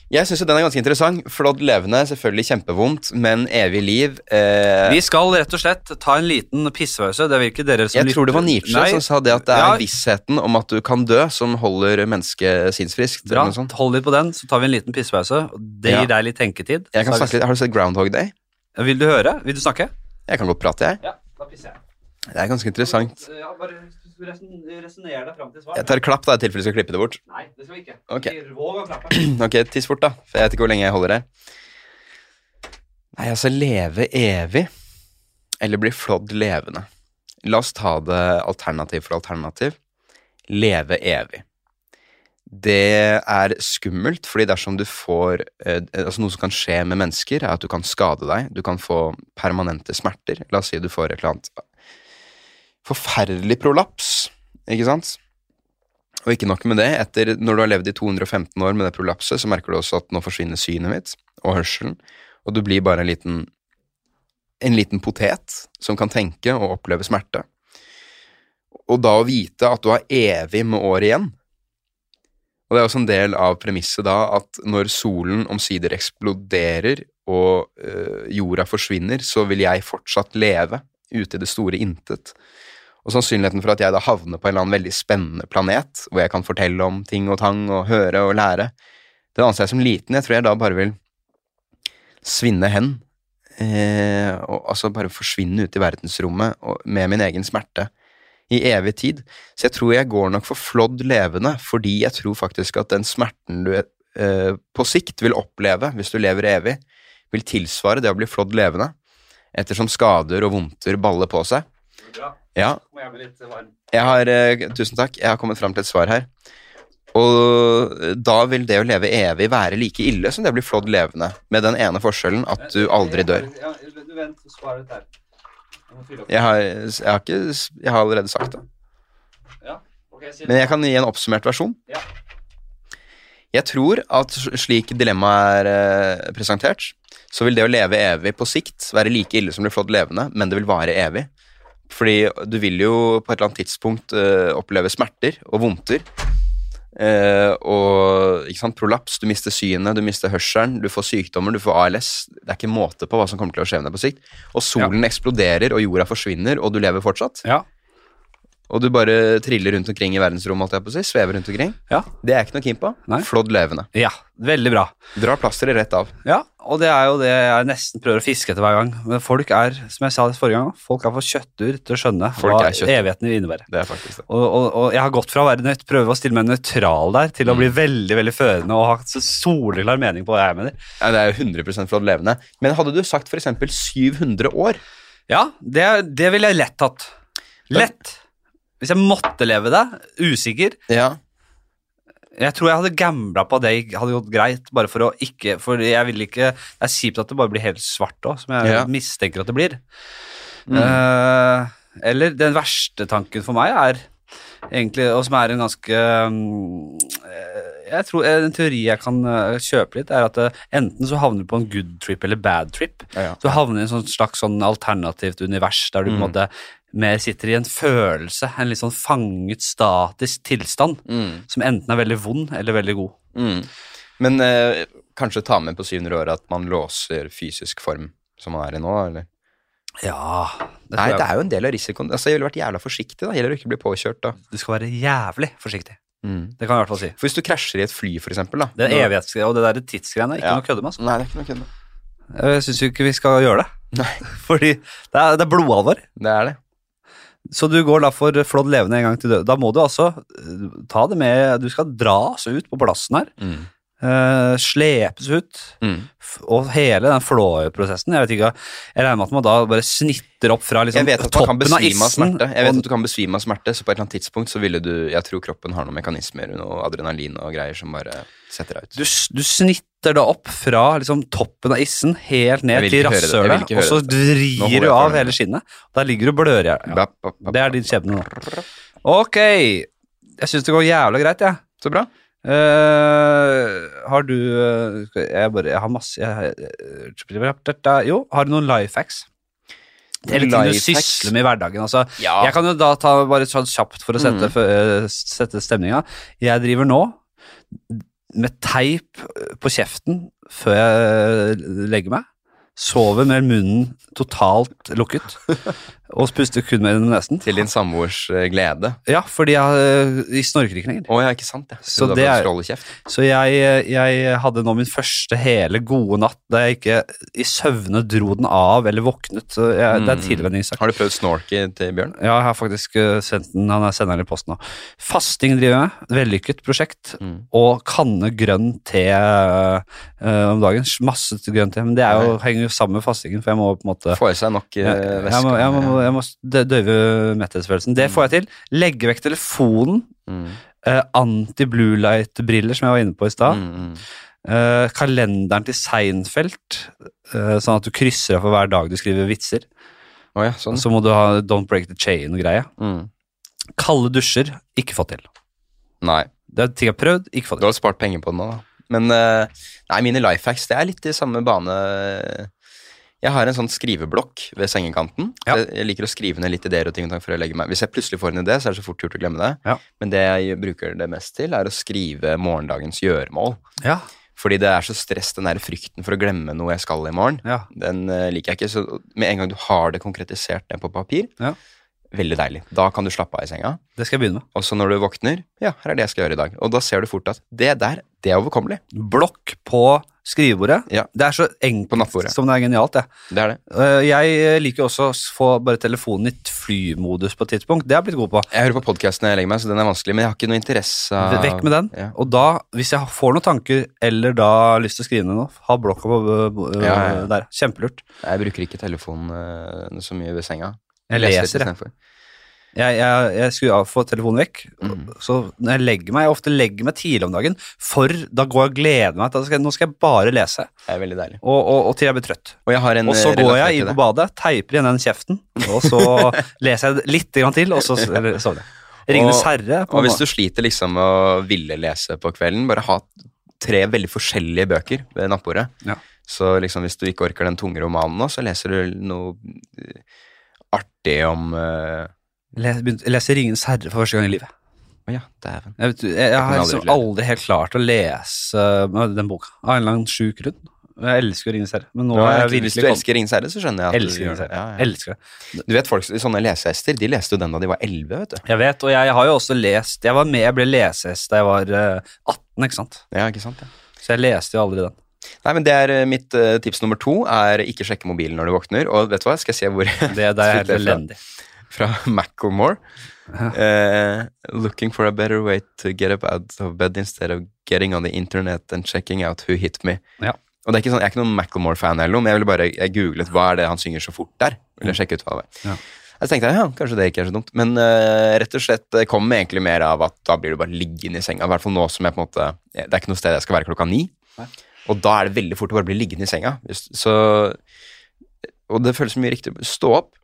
S2: Jeg syns den er ganske interessant. Flådd levende, selvfølgelig kjempevondt, men evig liv eh,
S1: Vi skal rett og slett ta en liten pissepause. Det vil ikke dere som
S2: Jeg tror det var Nietzsche
S1: Nei,
S2: som sa det at det er
S1: Ja.
S2: vissheten om at du kan dø, som holder mennesket sinnsfriskt. eller
S1: Bra,
S2: noe sånt.
S1: hold litt på den, så tar vi en liten pissepause. og Det
S2: Ja.
S1: gir deg litt tenketid.
S2: Jeg kan
S1: Så er
S2: snakke litt. Har du sett Groundhog Day?
S1: vi- Vil du høre? Vil du snakke?
S2: Jeg kan godt prate, jeg.
S1: Ja, da pisser jeg.
S2: Det er ganske interessant.
S1: Ja, bare resonner deg fram til svar.
S2: Jeg tar klapp, da, i tilfelle du skal klippe det bort.
S1: Nei, det skal vi ikke.
S2: Ok.
S1: Våg å
S2: [clears throat]
S1: klappe.
S2: Ok, tiss bort, da. For jeg vet ikke hvor lenge jeg holder her. Nei, altså, leve evig eller bli flådd levende. La oss ta det alternativ for alternativ. Leve evig. Det er skummelt, fordi dersom du får eh, altså Noe som kan skje med mennesker, er at du kan skade deg. Du kan få permanente smerter. La oss si du får et eller annet forferdelig prolaps, ikke sant? Og ikke nok med det, etter når du har levd i 215 år med det prolapset, så merker du også at nå forsvinner synet mitt og hørselen, og du blir bare en liten, en liten potet som kan tenke og oppleve smerte. Og da å vite at du har evig med år igjen. Og det er også en del av premisset da at når solen omsider eksploderer og øh, jorda forsvinner, så vil jeg fortsatt leve ute i det store intet. Og sannsynligheten for at jeg da havner på en eller annen veldig spennende planet, hvor jeg kan fortelle om ting og tang og høre og lære, den anser jeg som liten. Jeg tror jeg da bare vil svinne hen. Eh, og altså bare forsvinne ut i verdensrommet og, med min egen smerte i evig tid. Så jeg tror jeg går nok for flådd levende, fordi jeg tror faktisk at den smerten du eh, på sikt vil oppleve hvis du lever evig, vil tilsvare det å bli flådd levende, ettersom skader og vondter baller på seg. Ja,
S1: Må jeg bli litt varm?
S2: jeg har, eh, tusen takk. Jeg har kommet fram til et svar her. Og eh, da vil det å leve evig være like ille som det å bli flådd levende, med den ene forskjellen at du aldri dør.
S1: Ja, du vent, svar litt der. Jeg må fylle opp.
S2: Jeg har, jeg har, ikke, jeg har allerede sagt det.
S1: Ja, ok, si det.
S2: Men jeg kan gi en oppsummert versjon.
S1: Ja.
S2: Jeg tror at slik dilemmaet er eh, presentert, så vil det å leve evig på sikt være like ille som å bli flådd levende, men det vil vare evig. Fordi du vil jo på et eller annet tidspunkt eh, oppleve smerter og vondter. Eh, og ikke sant, prolaps, du mister synet, du mister hørselen, du får sykdommer, du får ALS. Det er ikke måte på hva som kommer til å skje med deg på sikt. Og solen eksploderer, og jorda forsvinner, og du lever fortsatt.
S1: Ja.
S2: Og du bare triller rundt omkring i verdensrommet, holdt jeg på å si. Svever rundt omkring.
S1: Ja.
S2: Det er jeg ikke noe keen på.
S1: Nei.
S2: Flådd levende.
S1: ja. Veldig bra.
S2: Dra plasteret rett av.
S1: Ja, og det er jo det jeg nesten prøver å fiske etter hver gang. Men folk er, som jeg sa det forrige gang, folk er for kjøttur til å skjønne
S2: Folk
S1: hva
S2: er kjøttur.
S1: evigheten vil innebære.
S2: Det er faktisk det.
S1: Og, og, og jeg har gått fra å være nøyt, prøve å stille meg nøytral der, til å bli veldig veldig førende og ha så soleklar mening på hva jeg mener.
S2: Ja, det er jo 100 flådd levende. Men hadde du sagt f.eks. 700 år
S1: Ja, det, det ville jeg lett tatt. Lett. Hvis jeg måtte leve det, usikker.
S2: Ja.
S1: Jeg tror jeg hadde gambla på at det gikk- hadde gått greit, bare for å ikke For jeg vil ikke Det er kjipt at det bare blir helt svart òg, som jeg
S2: Ja.
S1: mistenker at det blir. Eh, eller den verste tanken for meg er egentlig, og som er en ganske mm, eh, jeg tror En teori jeg kan eh, kjøpe litt, er at eh, enten så havner du på en good trip eller bad trip.
S2: Ja, ja.
S1: Du havner i en sånn slags sånn alternativt univers der du på en måte mer sitter i en følelse, en litt sånn fanget statisk tilstand, som enten er veldig vond eller veldig god.
S2: Mm. Men eh, kanskje ta med på 700 år at man låser fysisk form som man er i nå, eller?
S1: Ja, det
S2: Nei,
S1: tror
S2: det
S1: jeg.
S2: er jo en del av risikoen. Altså, jeg ville vært jævla forsiktig, da. Gjelder å ikke bli påkjørt, da.
S1: Du skal være jævlig forsiktig. Det kan jeg i hvert fall si.
S2: For hvis du krasjer i et fly, for eksempel, da.
S1: Mm. Det
S2: da-
S1: er evighetsgreia og det der tidsgreiene er ikke
S2: Ja.
S1: noe å kødde med. Altså.
S2: Nei, det er ikke noe kødd.
S1: Jeg syns jo ikke vi skal gjøre det,
S2: Nei,
S1: [laughs] fordi det er, det er blodalvor.
S2: det er det.
S1: Så du går da for flådd levende en gang til død. Da må du altså eh, ta det med Du skal dras ut på plassen her.
S2: Mm.
S1: eh, slepes ut. F- Og hele den flåprosessen Jeg vet ikke, jeg regner med at man da bare snitter opp fra liksom,
S2: Jeg vet at man kan
S1: toppen av
S2: besvime
S1: isen.
S2: av smerte. Jeg vet
S1: og-
S2: at du kan besvime av smerte, så på et eller annet tidspunkt så ville du Jeg tror kroppen har noen mekanismer og adrenalin og greier som bare setter deg ut.
S1: du, s- du snitter da opp fra liksom, toppen av isen helt ned
S2: Jeg vil
S1: til
S2: ikke høre det. Jeg vil
S1: rasshølet,
S2: ikke
S1: og
S2: høre
S1: så
S2: dette. Nå holder
S1: vrir
S2: jeg
S1: du
S2: på
S1: av
S2: med
S1: hele
S2: det.
S1: skinnet. Der ligger du og blør i hjel. Ja.
S2: Bap, bap, bap,
S1: Det er din skjebne nå. Ok, jeg syns det går jævla greit, jeg.
S2: Så bra.
S1: Eh, har du eh, skal jeg- Jeg bare Jeg har masse jeg, eh, Jo, har du noen life hacks? Eller ting du
S2: Life hacks?
S1: sysler med i hverdagen. Altså,
S2: Ja.
S1: Jeg kan jo da ta bare sånn kjapt for å sette, mm. sette stemninga. Jeg driver nå med teip på kjeften før jeg legger meg. Sover med munnen totalt lukket
S2: [laughs]
S1: og puster kun med nesen.
S2: Til din samboers eh, glede.
S1: Ja, fordi jeg, eh, jeg snorker ikke lenger.
S2: Å ja, ikke sant. Jeg.
S1: Så
S2: trodde
S1: det
S2: var
S1: er-
S2: strålekjeft.
S1: Så jeg, eh, jeg hadde nå min første hele gode natt da jeg ikke i søvne dro den av eller våknet. Så jeg, Det er
S2: Mm.
S1: tilvenningssak.
S2: Har du prøvd snorke til Bjørn?
S1: Ja, jeg har faktisk eh, sendt den, han er sender den i posten nå. Fasting driver jeg med, vellykket prosjekt,
S2: Mm.
S1: og kanne grønn te eh, om dagen. Masse grønn te, men det er jo, henger jo sammen med fastingen, for jeg må på en måte...
S2: Får i seg nok eh,
S1: Jeg, jeg, må,
S2: væske.
S1: jeg, må, jeg må dø- døyve metthetsfølelsen. Det får jeg til. Legge vekk telefonen,
S2: Mm.
S1: eh, anti-blue light-briller som jeg var inne på i stad,
S2: Mm, mm.
S1: Eh, kalenderen til Seinfeld, eh, sånn at du krysser av for hver dag du skriver vitser.
S2: Å ja, sånn.
S1: Så må du ha Don't Break the Chain-greie.
S2: Mm.
S1: Kalde dusjer, ikke fått til.
S2: Nei.
S1: Det er ting jeg har prøvd, ikke fått til.
S2: Du har spart penger på den nå, da. Men eh, nei, mine life hacks, det er litt i samme bane. Jeg har en sånn skriveblokk ved sengekanten.
S1: Ja.
S2: Jeg- Jeg liker å skrive ned litt ideer og ting og tang før jeg legger meg. Hvis jeg plutselig får en idé, så er det så fort gjort å glemme det.
S1: Ja.
S2: Men det jeg bruker det mest til, er å skrive morgendagens gjøremål.
S1: Ja,
S2: Fordi det er så stress, den der frykten for å glemme noe jeg skal i morgen.
S1: ja.
S2: Den eh, liker jeg ikke. Så med en gang du har det konkretisert ned på papir,
S1: Ja.
S2: veldig deilig. Da kan du slappe av i senga.
S1: Det skal jeg begynne med.
S2: Og så når du våkner, ja, her er det jeg skal gjøre i dag. Og da ser du fort at det der, det er overkommelig.
S1: Blokk på skrivebordet.
S2: Ja.
S1: Det er så
S2: På
S1: enkelt
S2: nattbordet.
S1: som det er genialt. Jeg,
S2: Det er det.
S1: Eh, jeg liker jo også å s- få bare telefonen i t- flymodus på et tidspunkt. Det har jeg blitt god på.
S2: Jeg hører på podkasten når jeg legger meg, så den er vanskelig, men jeg har ikke noe interesse av
S1: V- Vekk med den.
S2: Ja.
S1: Og da, hvis jeg får noen tanker, eller da har lyst til å skrive ned noe, ha blokka på øh, øh,
S2: Ja, ja, ja.
S1: der. Kjempelurt.
S2: Jeg bruker ikke telefonen eh, så mye ved senga.
S1: Jeg leser, jeg.
S2: istedenfor.
S1: Jeg, jeg, jeg skulle av- få telefonen vekk.
S2: Mhm.
S1: Så når jeg legger meg, jeg ofte legger meg tidlig om dagen, for da går jeg og gleder meg til at jeg skal, nå skal jeg bare lese,
S2: Det er veldig deilig.
S1: og, og, og til jeg blir trøtt.
S2: Og jeg har en
S1: Og så
S2: eh,
S1: går
S2: relatert
S1: jeg
S2: til
S1: inn
S2: det.
S1: på badet, teiper igjen den kjeften, og
S2: [laughs]
S1: så leser jeg litt grann til, og så s- eller sovner jeg. Ringenes
S2: Og-
S1: herre. på
S2: Og
S1: morgen-
S2: hvis du sliter liksom med å ville lese på kvelden, bare ha tre veldig forskjellige bøker ved nattbordet.
S1: Ja.
S2: Så liksom hvis du ikke orker den tunge romanen nå, så leser du noe artig om eh,
S1: Les, begynt, jeg leser Ringens herre for første gang i livet.
S2: Å ja, dæven.
S1: Jeg, vet, jeg, jeg har
S2: aldri
S1: liksom
S2: klare.
S1: aldri helt klart å lese øh, den boka av en eller annen sjuk grunn. Jeg elsker jo Ringens herre, men nå
S2: Ja,
S1: har jeg
S2: Hvis
S1: virkelig
S2: du elsker Ringens herre, så skjønner jeg at
S1: elsker
S2: du
S1: Ringens herre.
S2: Ja, ja.
S1: Elsker det.
S2: Du vet folk, Sånne lesehester de leste jo den da de var 11, vet du.
S1: Jeg vet, og jeg, har jo også lest Jeg var med, jeg ble lesehest da jeg var øh, 18, ikke sant?
S2: Ja, ikke sant? Ja.
S1: Så jeg leste jo aldri den.
S2: Nei, men det er eh, Mitt eh, tips nummer to er ikke sjekke mobilen når du våkner. Og vet du hva, skal jeg se hvor [laughs]
S1: Det, det er helt
S2: Slutt det fra.
S1: elendig.
S2: Fra Macclemore. Eh, looking for a better way to get up out of bed instead of getting on the internet and checking out who hit me.
S1: Ja.
S2: Og det er ikke sånn, Jeg er ikke noen Macclemore-fan, eller noe, men jeg ville bare, jeg googlet hva er det han synger så fort der. Ville sjekke ut hva det var.
S1: Mm. Ja.
S2: Jeg tenkte, ja, Kanskje det ikke er så dumt, men eh, rett og slett det kommer egentlig mer av at da blir du bare liggende i senga. I hvert fall nå som jeg på en måte, Det er ikke noe sted jeg skal være klokka ni. Og da er det veldig fort å bare bli liggende i senga. Hvis- Så, og det føles mye riktig. Stå opp,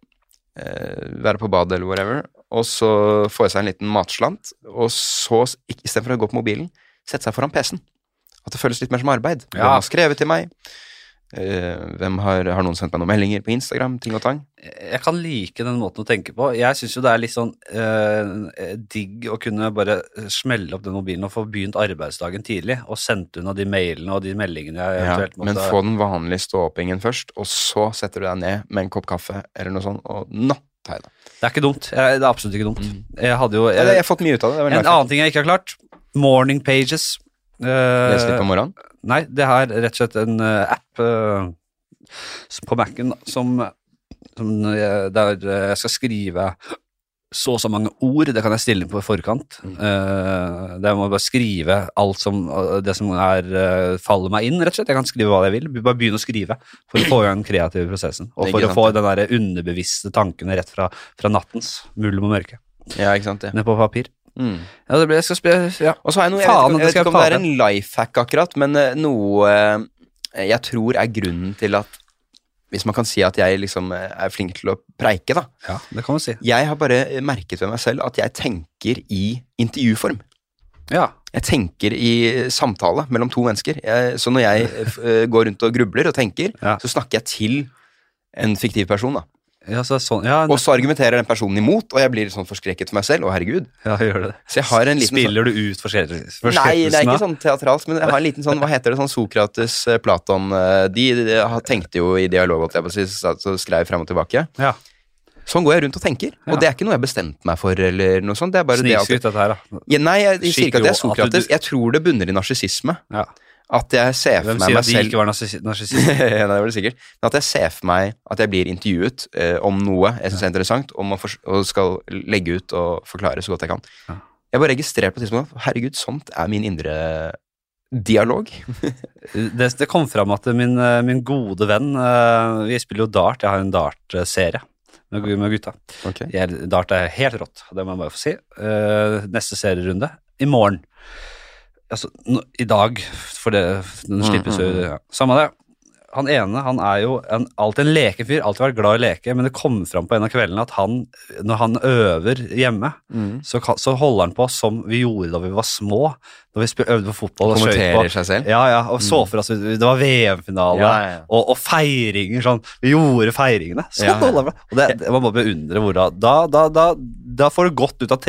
S2: eh, være på badet eller whatever, og så få i seg en liten matslant, og så, s- ikk- istedenfor å gå på mobilen, sette seg foran PC-en. At det føles litt mer som arbeid. Hvem
S1: Ja.
S2: har skrevet til meg? Eh, hvem har, har noen sendt meg noen meldinger på Instagram? Ting og tang.
S1: Jeg kan like den måten å tenke på. Jeg syns jo det er litt sånn eh, digg å kunne bare eh, smelle opp den mobilen og få begynt arbeidsdagen tidlig, og sendt unna de mailene og de meldingene jeg
S2: Ja,
S1: eventuelt
S2: men
S1: måtte
S2: få den vanlige stå-opp-ingen først, og så setter du deg ned med en kopp kaffe eller noe sånt, og nå tar jeg det.
S1: Det er ikke dumt. Jeg, det er absolutt ikke dumt. Jeg hadde jo
S2: Jeg, jeg har fått mye ut av Mm. det. det var
S1: Eh, En
S2: veldig
S1: annen ting jeg ikke har klart. Morning Pages. Eh,
S2: verdt. Lese litt på morgenen.
S1: nei, det er rett og slett en eh, app eh, som- på Mac-en da, som, som eh, der eh, jeg skal skrive så og så mange ord. Det kan jeg stille inn på i forkant. Eh, der må jeg bare skrive alt som, eh, det som er, eh, faller meg inn, rett og slett. Jeg kan skrive hva jeg vil. Bare begynne å skrive for å få i gang den kreative prosessen. Og for
S2: Ikke
S1: å
S2: sant,
S1: få den der underbevisste tankene rett fra, fra nattens mulm og mørke
S2: Ja, ikke sant, ja.
S1: ned på papir.
S2: Mm.
S1: Ja, det ble, jeg skal spille, ja.
S2: Og så har jeg noe, jeg
S1: Faen,
S2: vet ikke, om-
S1: det
S2: jeg vet
S1: skal
S2: ikke om
S1: jeg
S2: det er
S1: ta
S2: en life hack akkurat, men eh, noe eh, jeg tror er grunnen til at Hvis man kan si at jeg liksom eh, er flink til å preike, da.
S1: Ja, det kan du si.
S2: Jeg har bare merket ved meg selv at jeg tenker i intervjuform.
S1: Ja,
S2: Jeg tenker i samtale mellom to mennesker. Jeg, så når jeg eh, f- eh, går rundt og grubler og tenker,
S1: [laughs] Ja.
S2: så snakker jeg til en fiktiv person, da.
S1: ja så er det sånn. Ja,
S2: Og så argumenterer den personen imot, og jeg blir sånn forskrekket for meg selv. Å, herregud.
S1: ja gjør det.
S2: Så jeg har en liten sånn-
S1: Spiller du ut forskjellig?
S2: Nei, det er ikke sånn teatralsk, men jeg har en liten sånn, hva heter det, sånn Sokrates, eh, Platon eh, De, de har- tenkte jo i dialog, holdt jeg på å si, så så skrev frem og tilbake.
S1: Ja,
S2: Sånn går jeg rundt og tenker,
S1: Ja.
S2: og det er ikke noe jeg har bestemt meg for, eller noe sånt. Det er bare det at
S1: Snikskryt, dette her, da.
S2: ja, Nei, jeg, jeg sier ikke at
S1: Skikkelig, at
S2: jeg er
S1: du-
S2: Sokrates. Jeg tror det bunner i narsissisme.
S1: Ja.
S2: At jeg ser for
S1: Hvem
S2: meg
S1: sier
S2: meg
S1: at de
S2: selv
S1: ikke var narsis-
S2: [laughs]
S1: narsissister? [laughs]
S2: Nei, det var det sikkert. Men at jeg ser for meg at jeg blir intervjuet eh, om noe jeg syns er interessant, og, man fors- og skal legge ut og forklare så godt jeg kan.
S1: Ja.
S2: Jeg bare registrerer på et tidspunkt at herregud, sånt er min indre dialog.
S1: Det, det kom fram at min, eh, min gode venn eh, Vi spiller jo dart. Jeg har en dart-serie med, gu- med gutta. Jeg, dart er helt rått, det må jeg bare få si. Eh, neste serierunde i morgen. Altså, nå, I dag, for det, den slippes jo
S2: Mhm.
S1: ja. Samme det. Han ene han er jo en, alltid en lekefyr, alltid vært glad i å leke, men det kom fram på en av kveldene at han, når han øver hjemme,
S2: Mm.
S1: så, kan- så holder han på som vi gjorde da vi var små, da vi spil- øvde på fotball og skøyt på.
S2: Kommenterer seg selv.
S1: Ja, ja, og så for oss Det var VM-finale
S2: Ja, ja, ja.
S1: og, og feiringer sånn. Vi gjorde feiringene. Sånn
S2: Ja, ja.
S1: holder det. Og det, det man må beundre hvor da, da, da, da, da får du godt ut av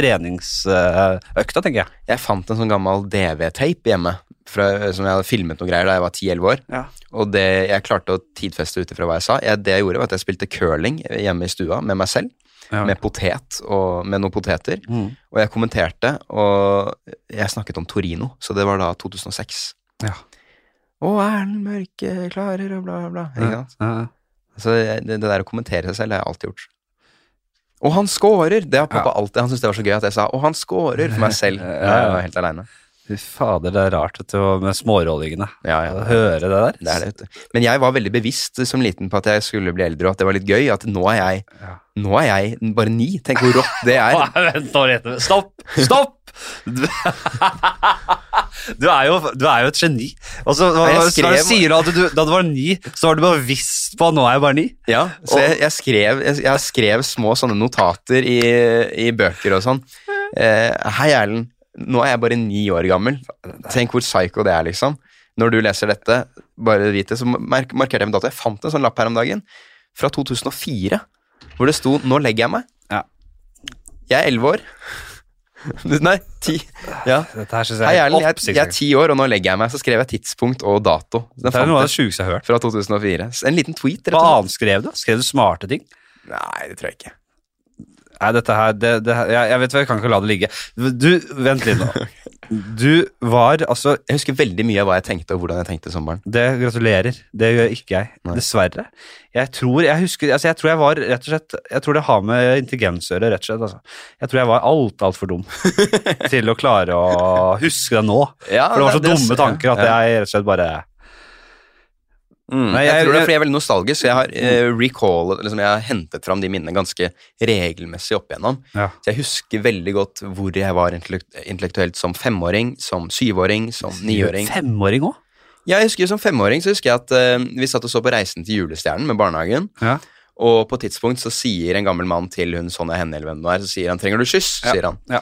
S1: treningsøkta, tenker jeg.
S2: Jeg fant en sånn gammel DV-tape hjemme fra, som jeg hadde filmet noen greier da jeg var 10-11 år.
S1: Ja.
S2: Og det, jeg klarte å tidfeste ut ifra hva jeg sa. Jeg, det jeg gjorde, var at jeg spilte curling hjemme i stua med meg selv.
S1: Ja. Mm.
S2: Med potet og med noen poteter. Og jeg kommenterte, og jeg snakket om Torino, så det var da 2006.
S1: Ja.
S2: Å, Erlend Mørke klarer og bla, bla, bla. Ikke sant?
S1: Ja.
S2: Så jeg- det, det der å kommentere seg selv det har jeg alltid gjort. Og han scorer! Det har pappa alltid. Han syntes det var så gøy at jeg sa 'Å, han scorer!' for meg selv.
S1: [laughs] ja.
S2: Jeg var helt aleine.
S1: Fy fader, det er rart vet du, med smårollingene.
S2: Ja,
S1: Å
S2: ja.
S1: høre det der.
S2: Det er det, vet du. Men jeg var veldig bevisst som liten på at jeg skulle bli eldre, og at det var litt gøy. At nå er jeg,
S1: Ja.
S2: nå er jeg bare ni. Tenk hvor rått det
S1: [laughs]
S2: er.
S1: Nei, Vent nå, Rete. Stopp! Stopp! [laughs] Du, du, er jo, du er jo et geni. Og så,
S2: Nei, jeg
S1: så
S2: skrev-
S1: sier du at du, da du var ni, så var du bevisst på at nå er jeg bare ni.
S2: Ja, så jeg, jeg, skrev, jeg, jeg skrev små sånne notater i, i bøker og sånn. Eh, Hei, Erlend. Nå er jeg bare ni år gammel. Tenk hvor psycho det er, liksom. Når du leser dette, bare vit det, så mark markerte jeg med dato. Jeg fant en sånn lapp her om dagen fra 2004. hvor det sto 'Nå legger jeg meg'.
S1: Ja.
S2: Jeg er elleve år. [laughs] Nei, ti. Ja.
S1: Dette her synes
S2: Hei,
S1: jeg er helt
S2: Erlend. Jeg, jeg er
S1: oppsiktsvekkende.
S2: ti år, og nå legger jeg meg. Så skrev jeg tidspunkt og dato. Den
S1: Det er
S2: fant
S1: noe av
S2: jeg
S1: det sjukeste jeg har hørt.
S2: fra 2004. Så En liten tweet, rett
S1: Hva
S2: og slett.
S1: annet skrev du? Skrev du smarte ting?
S2: Nei, det tror jeg ikke.
S1: Nei, dette her, det, det, her- jeg, jeg vet hva, jeg kan ikke la det ligge. Du, vent [laughs] litt nå. Du var, altså,
S2: Jeg husker veldig mye av hva jeg tenkte, og hvordan jeg tenkte som barn.
S1: det gratulerer. Det gjør ikke jeg,
S2: Nei.
S1: dessverre. Jeg tror jeg husker, altså jeg tror jeg var, rett og slett, jeg tror det har med intelligens å gjøre, rett og slett. Altså. Jeg tror jeg var alt, alt for [laughs] dum til å klare å huske det nå.
S2: Ja,
S1: For det var så dumme tanker at jeg rett og slett bare...
S2: Mm.
S1: Nei,
S2: jeg,
S1: jeg-
S2: tror det er
S1: jeg-
S2: fordi jeg er veldig nostalgisk, så jeg har eh, recallet, liksom, jeg har hentet fram de minnene ganske regelmessig opp igjennom.
S1: Ja.
S2: Så jeg husker veldig godt hvor jeg var intellekt intellektuelt som femåring, som syvåring, som niåring.
S1: Femåring også?
S2: Ja, jeg husker som femåring så husker jeg at eh, vi satt og så på Reisen til julestjernen med barnehagen.
S1: Ja.
S2: Og på et tidspunkt så sier en gammel mann til hun Sonja Henne eller hvem det nå er, så sier han 'trenger du kyss?'
S1: Ja,
S2: sier han.
S1: ja.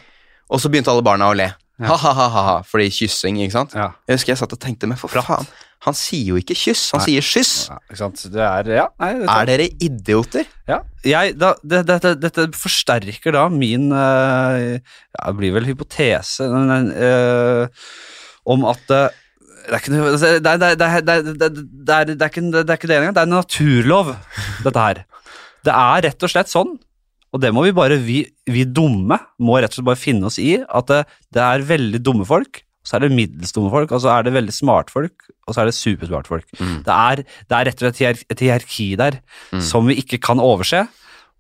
S2: Og så begynte alle barna å le. Ha-ha-ha, fordi kyssing, ikke sant.
S1: Ja.
S2: Jeg husker jeg satt og tenkte, men for faen, han sier jo ikke kyss, han
S1: Nei.
S2: sier skyss.
S1: Ja, ikke sant? Det er, ja, nei, det
S2: Er dere idioter?
S1: Ja, jeg, da, det, det, det, dette forsterker da min eh, ja, Det blir vel hypotese men, men, eh, om at det, det er ikke noe altså, det, er- det, er- det, er- det, er- det, er- det, er- det, er ikke- det er ikke det engang. Det er en naturlov, dette her. Det er rett og slett sånn, og det må vi bare Vi, vi dumme må rett og slett bare finne oss i at det, det er veldig dumme folk, så er det middels dumme folk, og så er det veldig smarte folk, og så er det supersmarte folk.
S2: Mm.
S1: Det, er, det er rett og slett hier- et hierarki der som vi ikke kan overse,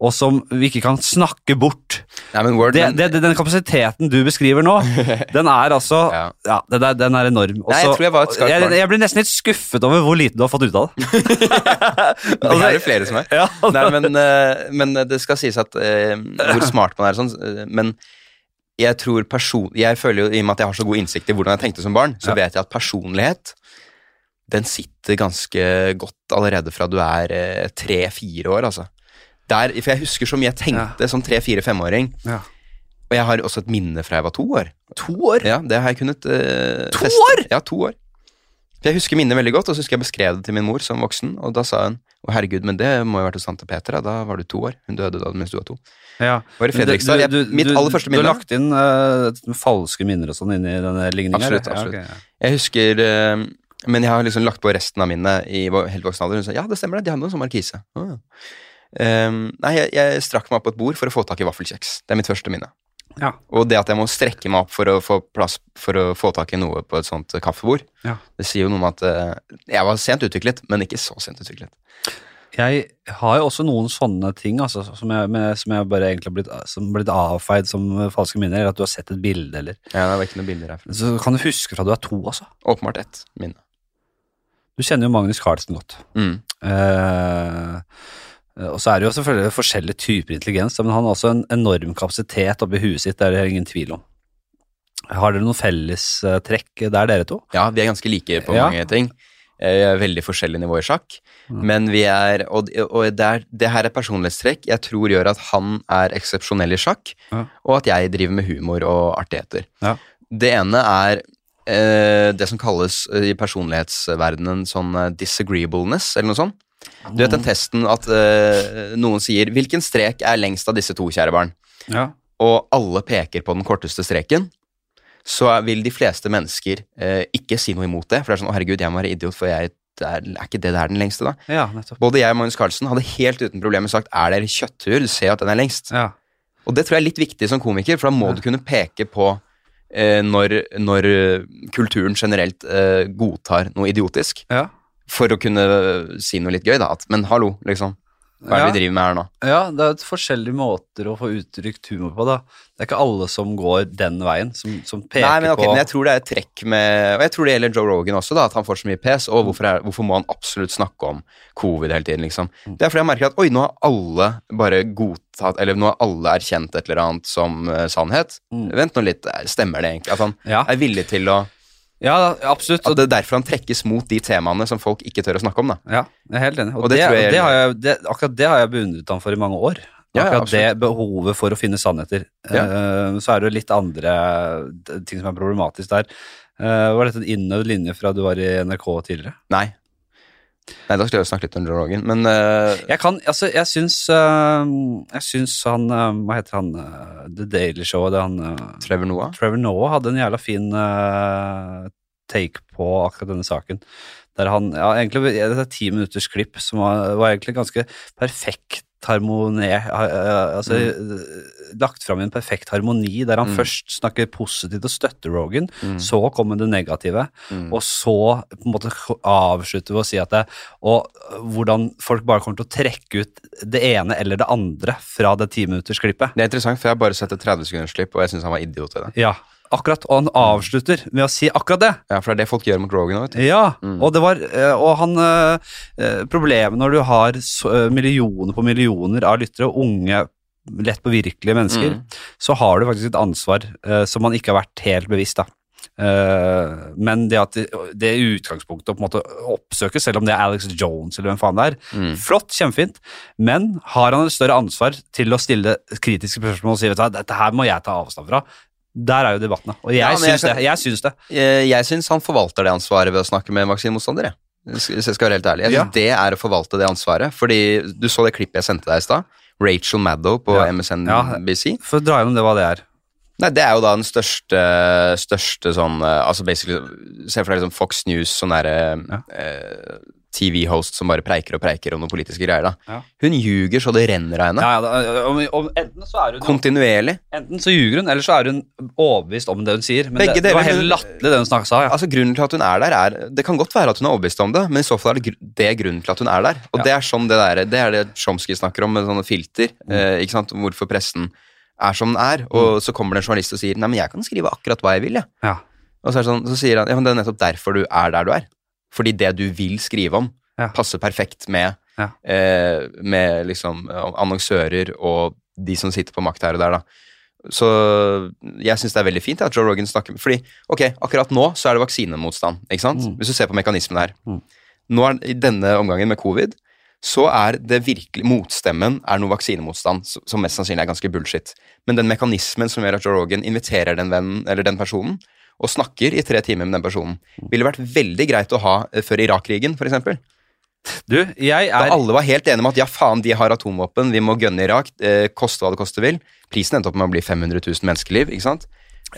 S1: og som vi ikke kan snakke bort.
S2: Nei, men Word,
S1: Det,
S2: men-
S1: det, det, den kapasiteten du beskriver
S2: [laughs]
S1: nå, den er altså
S2: Ja.
S1: ja. den, er, den er enorm. Og
S2: Nei, jeg
S1: så-
S2: tror jeg var et skarpt
S1: jeg,
S2: barn.
S1: jeg blir nesten litt skuffet over hvor lite du har fått ut av
S2: [laughs]
S1: det.
S2: det er det flere som er.
S1: Ja,
S2: altså, [laughs] Nei, men, eh, men det skal sies at eh, hvor smart man er og sånn, eh, men jeg tror person... Jeg føler jo, i og med at jeg har så god innsikt i hvordan jeg tenkte som barn, så
S1: Ja.
S2: vet jeg at personlighet, den sitter ganske godt allerede fra du er eh, tre-fire år, altså. Der, for jeg husker så mye jeg tenkte som tre-fire-femåring,
S1: [laughs] Ja.
S2: og jeg har også et minne fra jeg var to år.
S1: To år?
S2: Ja, det har jeg kunnet eh,
S1: To
S2: feste.
S1: år?
S2: Ja, to år. For Jeg husker minnet veldig godt, og så husker jeg beskrev det til min mor som voksen, og da sa hun å herregud, men det må jo ha vært hos tante Petra, da var du to år. Hun døde da mens du var to.
S1: Ja.
S2: Var i Fredrikstad. Jeg- mitt aller første
S1: Du
S2: minne-
S1: har lagt inn eh, falske minner og sånn inn i denne ligningen.
S2: Absolutt, absolutt. Jeg husker, eh, men jeg har liksom lagt på resten av minnet i vo- helt voksen alder. Hun sa ja, det stemmer det, de hadde noe som markise. Å, ja. Ehm, nei, jeg, jeg strakk meg opp på et bord for å få tak i vaffelkjeks. Det er mitt første minne.
S1: Ja.
S2: Og det at jeg må strekke meg opp for å få plass for å få tak i noe på et sånt eh, kaffebord,
S1: Ja.
S2: det sier jo noe om at eh, jeg var sent utviklet, men ikke så sent utviklet.
S1: Jeg har jo også noen sånne ting altså, som, jeg, med, som jeg bare egentlig har blitt, som blitt avfeid som eh, falske minner, eller at du har sett et bilde, eller
S2: Ja, det var ikke noen bilder herfra.
S1: Så kan du huske fra du er to, altså.
S2: Åpenbart ett minne.
S1: Du kjenner jo Magnus Carlsen godt.
S2: Mm.
S1: Eh, og så er det jo selvfølgelig forskjellige typer intelligens, men han har også en enorm kapasitet oppi huet sitt, det er det ingen tvil om. Har dere noen fellestrekk der, dere to?
S2: Ja, vi er ganske like på
S1: Ja.
S2: mange ting. Eh, Veldig forskjellig nivå i sjakk.
S1: Mm.
S2: Men vi er Og, og det, er, det her er personlighetstrekk jeg tror gjør at han er eksepsjonell i sjakk,
S1: Ja.
S2: og at jeg driver med humor og artigheter.
S1: Ja.
S2: Det ene er eh, det som kalles eh, i personlighetsverdenen sånn eh, disagreeableness, eller noe sånt. Du vet
S1: Mm.
S2: den testen at eh, noen sier 'Hvilken strek er lengst av disse to, kjære barn?'
S1: Ja.
S2: og alle peker på den korteste streken, så er- vil de fleste mennesker eh, ikke si noe imot det. For det er sånn 'Å, herregud, jeg må være idiot, for jeg, det er, er ikke det der den lengste', da?
S1: ja, nettopp.
S2: Både jeg og Magnus Carlsen hadde helt uten problemer sagt 'Er dere kjøttur? Du ser jo at den er lengst'.
S1: Ja.
S2: Og det tror jeg er litt viktig som komiker, for da må
S1: Ja.
S2: du kunne peke på eh, når, når eh, kulturen generelt eh, godtar noe idiotisk,
S1: Ja.
S2: for å kunne si noe litt gøy, da. At, men hallo, liksom. Hva er det vi driver med her nå?
S1: Ja, det er forskjellige måter å få uttrykt humor på, da. Det er ikke alle som går den veien, som, som peker
S2: Nei, men, ok,
S1: på
S2: men jeg tror det er et trekk med Og jeg tror det gjelder Joe Rogan også, da, at han får så mye pes.
S1: Mm.
S2: Og hvorfor, er, hvorfor må han absolutt snakke om covid hele tiden, liksom?
S1: Mm.
S2: Det er fordi jeg merker at oi, nå har alle bare godtatt Eller nå har alle erkjent et eller annet som eh, sannhet.
S1: Mm.
S2: Vent nå litt, eh, stemmer det egentlig? At han
S1: Ja,
S2: er villig til å
S1: ja absolutt.
S2: At det er derfor han trekkes mot de temaene som folk ikke tør å snakke om, da.
S1: Ja, jeg er helt enig. Og,
S2: Og
S1: det,
S2: det tror jeg-
S1: det har jeg, det, akkurat det har jeg beundret ham for i mange år.
S2: Ja, ja,
S1: Akkurat det
S2: absolutt.
S1: behovet for å finne sannheter.
S2: Ja.
S1: Eh, så er det jo litt andre d- ting som er problematisk der. Eh, var dette en innøvd linje fra du var i NRK tidligere?
S2: Nei. Nei, da skulle jeg jo snakke litt om Joe Rogan, men eh,
S1: Jeg kan, altså, jeg syns øh, Jeg syns han øh, Hva heter han øh, The Daily Show det han, øh,
S2: Trevor Noah
S1: Trevor Noah hadde en jævla fin øh, take på akkurat denne saken. Der han ja, egentlig Det er ti minutters klipp som var, var egentlig ganske perfekt harmonert øh, Altså øh, lagt fram i en perfekt harmoni, der han
S2: Mm.
S1: først snakker positivt og støtter Rogan,
S2: Mm.
S1: så kommer det negative.
S2: Mm.
S1: Og så på en måte avslutte ved å si at det, og hvordan folk bare kommer til å trekke ut det ene eller det andre fra det timinuttersklippet.
S2: Det er interessant, for jeg har bare sett et 30 sekunders klipp, og jeg syns han var idiot i det.
S1: Ja, akkurat. Og han avslutter med å si akkurat det.
S2: Ja, For det er det folk gjør mot Rogan òg.
S1: Ja,
S2: Mm.
S1: og det var eh, Og han eh, eh, Problemet når du har så- eh, millioner på millioner av lyttere, unge, lett påvirkelige mennesker,
S2: Mm.
S1: så har du faktisk et ansvar eh, som man ikke har vært helt bevisst, da. Eh, men det at det, det utgangspunktet å på en måte oppsøke, selv om det er Alex Jones eller hvem faen det er,
S2: Mm.
S1: flott, kjempefint, men har han et større ansvar til å stille kritiske spørsmål og si vet du hva, dette her må jeg ta avstand fra? Der er jo debattene, og jeg
S2: Ja, men jeg
S1: syns det.
S2: kan-
S1: Jeg syns det.
S2: Eh, Jeg syns han forvalter det ansvaret ved å snakke med vaksinemotstandere. Hvis hvis jeg skal være helt ærlig. Jeg synes Det er å forvalte det ansvaret. Fordi du så det klippet jeg sendte deg i stad. Rachel Maddow på
S1: Ja.
S2: MSNBC.
S1: For å dra gjennom det hva det er.
S2: Nei, Det er jo da den største, største sånn eh, Altså basically Se for deg liksom Fox News, sånn derre eh, TV-host som bare preiker og preiker om noen politiske greier. da.
S1: Ja.
S2: Hun ljuger så det renner av henne.
S1: Ja, ja, da- om, om, enten, så er hun,
S2: Kontinuerlig.
S1: enten så ljuger hun, eller så er hun overbevist om det hun sier. Men
S2: Begge
S1: det, det var
S2: deler,
S1: helt
S2: men-
S1: latterlig, det hun snakka sa. Ja.
S2: Altså Grunnen til at hun er der, er Det kan godt være at hun er overbevist om det, men i så fall er det, gru- det er grunnen til at hun er der. Og
S1: Ja.
S2: det er sånn det der, det er det Chomsky snakker om med sånne filter. Eh, ikke sant? om Hvorfor pressen er som den er. Og så kommer det en journalist og sier Nei, men jeg kan skrive akkurat hva jeg vil, jeg.
S1: Ja.
S2: Og så, er det sånn, så sier han ja, men det er nettopp derfor du er der du er. Fordi det du vil skrive om,
S1: Ja.
S2: passer perfekt med,
S1: Ja.
S2: eh, med liksom, eh, annonsører og de som sitter på makt her og der. Da. Så jeg syns det er veldig fint at Joe Rogan snakker Fordi ok, akkurat nå så er det vaksinemotstand. ikke sant?
S1: Mm.
S2: Hvis du ser på mekanismen her.
S1: Mm.
S2: Nå er, I denne omgangen med covid så er det virkelig, motstemmen er noe vaksinemotstand, s- som mest sannsynlig er ganske bullshit. Men den mekanismen som gjør at Joe Rogan inviterer den vennen, eller den personen, og snakker i tre timer med den personen,
S1: Mm.
S2: ville vært veldig greit å ha eh, før Irak-krigen, for eksempel.
S1: Du, jeg
S2: Da
S1: er
S2: alle var helt enige om at ja, faen, de har atomvåpen, vi må gønne Irak, eh, koste hva det koste vil. Prisen endte opp med å bli 500 000 menneskeliv, ikke sant?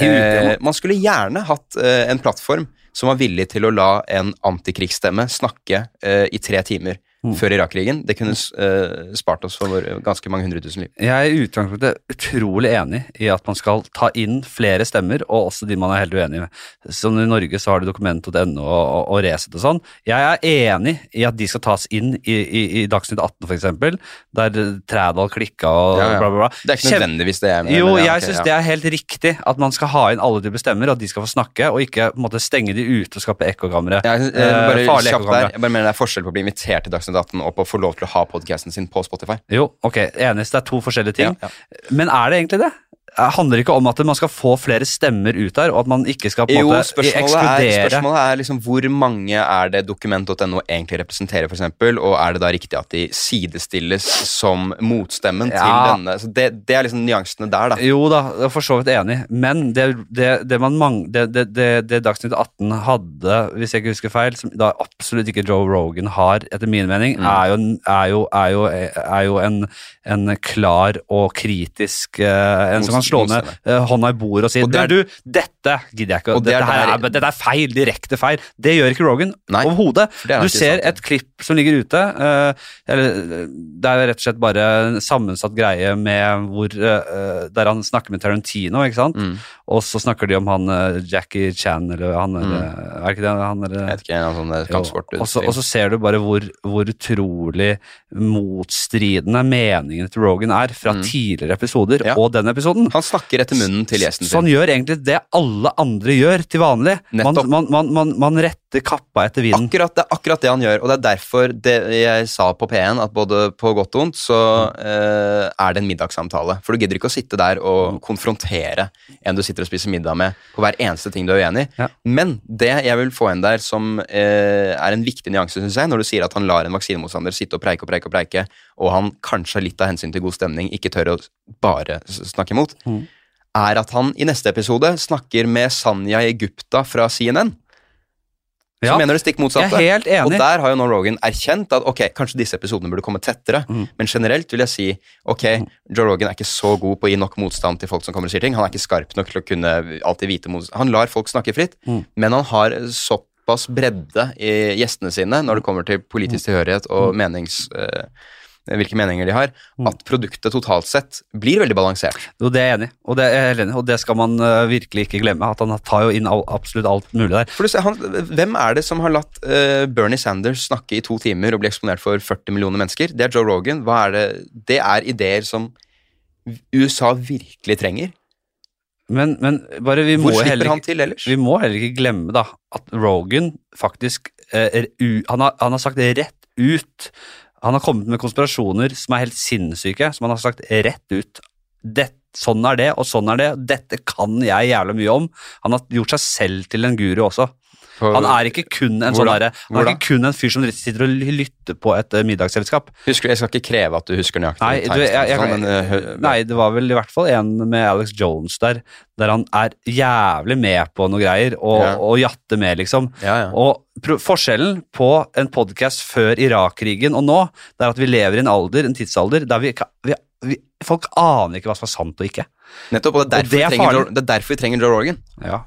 S1: I utlandet.
S2: Eh, man skulle gjerne hatt eh, en plattform som var villig til å la en antikrigsstemme snakke eh, i tre timer
S1: Mm.
S2: før Irak-krigen. Det kunne s- eh, spart oss for eh, ganske mange hundre tusen liv.
S1: jeg er i utgangspunktet utrolig enig i at man skal ta inn flere stemmer, og også de man er helt uenig med. Som I Norge så har du dokument.no og, og, og Resett og sånn. Jeg er enig i at de skal tas inn i, i, i Dagsnytt 18 f.eks., der Trædal klikka og
S2: Ja, ja.
S1: bla, bla, bla.
S2: Det er ikke
S1: Kjempe-
S2: nødvendigvis det jeg mener.
S1: Jo,
S2: men ja,
S1: jeg
S2: ok,
S1: syns
S2: ja.
S1: det er helt riktig at man skal ha inn alle typer stemmer, at de skal få snakke, og ikke på en måte, stenge de ute og skape ekkokamre.
S2: Jeg, jeg,
S1: Eh,
S2: bare
S1: farlige
S2: kjapt der,
S1: ekkokamre.
S2: jeg bare mener det er forskjell på å bli invitert til Dagsnytt 18 og på å få lov til å ha podcasten sin på Spotify.
S1: Jo, ok, enig, så det er to forskjellige ting.
S2: Ja,
S1: Men er det egentlig det? Eh, Handler det ikke om at man skal få flere stemmer ut der, og at man ikke skal på en
S2: Jo,
S1: måte
S2: spørsmålet er,
S1: ekskludere?
S2: spørsmålet er liksom hvor mange er det dokument.no egentlig representerer, for eksempel, og er det da riktig at de sidestilles som motstemmen til
S1: Ja.
S2: denne? Så det, det er liksom nyansene der, da.
S1: Jo da, jeg er for så vidt enig, men det, det, det, man mang, det, det, det, det Dagsnytt 18 hadde, hvis jeg ikke husker feil, som da absolutt ikke Joe Rogan har, etter min
S2: Mm.
S1: mening, er jo, en- er jo, er jo, er jo en, en klar og kritisk eh, En som kan slå ned eh, hånda i bordet og si
S2: Og det er-
S1: Du, dette gidder jeg ikke,
S2: Og det er
S1: dette, her
S2: der-
S1: er, dette er feil, direkte feil. Det gjør ikke Rogan
S2: Nei.
S1: overhodet.
S2: det er nok
S1: Du
S2: ikke
S1: ser
S2: sant,
S1: et klipp som ligger ute. eh, eller, eh, det er jo rett og slett bare en sammensatt greie med hvor, eh, eh, der han snakker med Tarantino, ikke sant?
S2: Mm.
S1: Og så snakker de om han eh, Jackie Chan, eller han
S2: Mm.
S1: er, eh, er ikke det han er,
S2: Jeg vet ikke, en sånn eh,
S1: jo,
S2: kampsport.
S1: og så- Og så ser du bare hvor, hvor utrolig motstridende meningene til Rogan er fra tidligere episoder
S2: Mm. Ja.
S1: og den episoden.
S2: Han snakker etter munnen til gjesten
S1: Så han
S2: sin.
S1: gjør egentlig det alle andre gjør til vanlig. Man,
S2: Nettopp.
S1: man, man, man, man retter kappa etter vinen.
S2: Akkurat, det er akkurat det han gjør, og det er derfor det jeg sa på P1 at både på godt og vondt så eh, er det en middagssamtale. For du gidder ikke å sitte der
S1: Mm.
S2: og konfrontere en du sitter og spiser middag med på hver eneste ting du er uenig i.
S1: Ja.
S2: Men det jeg vil få inn der som eh, er en viktig nyanse, synes jeg, når du sier at han lar en vaksinemotstander sitte og preike og preike og preike, og han kanskje litt av hensyn til god stemning ikke tør å bare s- snakke imot,
S1: Mhm.
S2: er at han i neste episode snakker med Sanja Gupta fra CNN. så
S1: Ja.
S2: mener du stikk motsatte.
S1: Jeg er helt enig.
S2: Og der har jo nå Rogan erkjent at ok, kanskje disse episodene burde komme tettere, men generelt vil jeg si ok, Joe Rogan er ikke så god på å gi nok motstand til folk som kommer og sier ting. Han er ikke skarp nok til å kunne alltid vite motstand. Han lar folk snakke fritt, men han har såpass bredde i gjestene sine når det kommer til politisk tilhørighet og menings... eh, hvilke meninger de har, at produktet totalt sett blir veldig balansert.
S1: Jo, det er jeg enig i, og det er jeg helt enig i, og det skal man eh, virkelig ikke glemme. At han tar jo inn all, absolutt alt mulig der.
S2: For du ser, han, hvem er det som har latt eh, Bernie Sanders snakke i to timer og bli eksponert for 40 millioner mennesker? Det er Joe Rogan. Hva er det? det er ideer som USA virkelig trenger.
S1: Men, men bare vi må
S2: Hvor
S1: jo heller
S2: slipper
S1: ikke-
S2: han til ellers?
S1: Vi må heller ikke glemme da, at Rogan faktisk eh, er u, han, har, han har sagt det rett ut. Han har kommet med konspirasjoner som er helt sinnssyke, som han har sagt rett ut. Det, sånn er det, og sånn er det. Dette kan jeg jævla mye om. Han har gjort seg selv til en guru også. Han er ikke kun en
S2: Hvor
S1: sånn
S2: da?
S1: derre Han
S2: Hvor
S1: er
S2: da?
S1: ikke kun en fyr som sitter og lytter på et eh, middagsselskap.
S2: Husker, jeg skal ikke kreve at du husker nøyaktig.
S1: Nei, du, jeg, jeg,
S2: timestamps, men, eh, hø-
S1: nei, det var vel i hvert fall en med Alex Jones der, der han er jævlig med på noe greier, og,
S2: Ja.
S1: og jatter med, liksom.
S2: Ja, ja.
S1: Og pro forskjellen på en podkast før Irak-krigen og nå, det er at vi lever i en alder, en tidsalder, der vi, ikke- vi, vi Folk aner ikke hva som er sant og ikke.
S2: Nettopp, og det er derfor,
S1: det er
S2: vi, trenger
S1: farlig.
S2: Joe, det er derfor vi trenger Joe Rogan.
S1: Ja.
S2: Ja,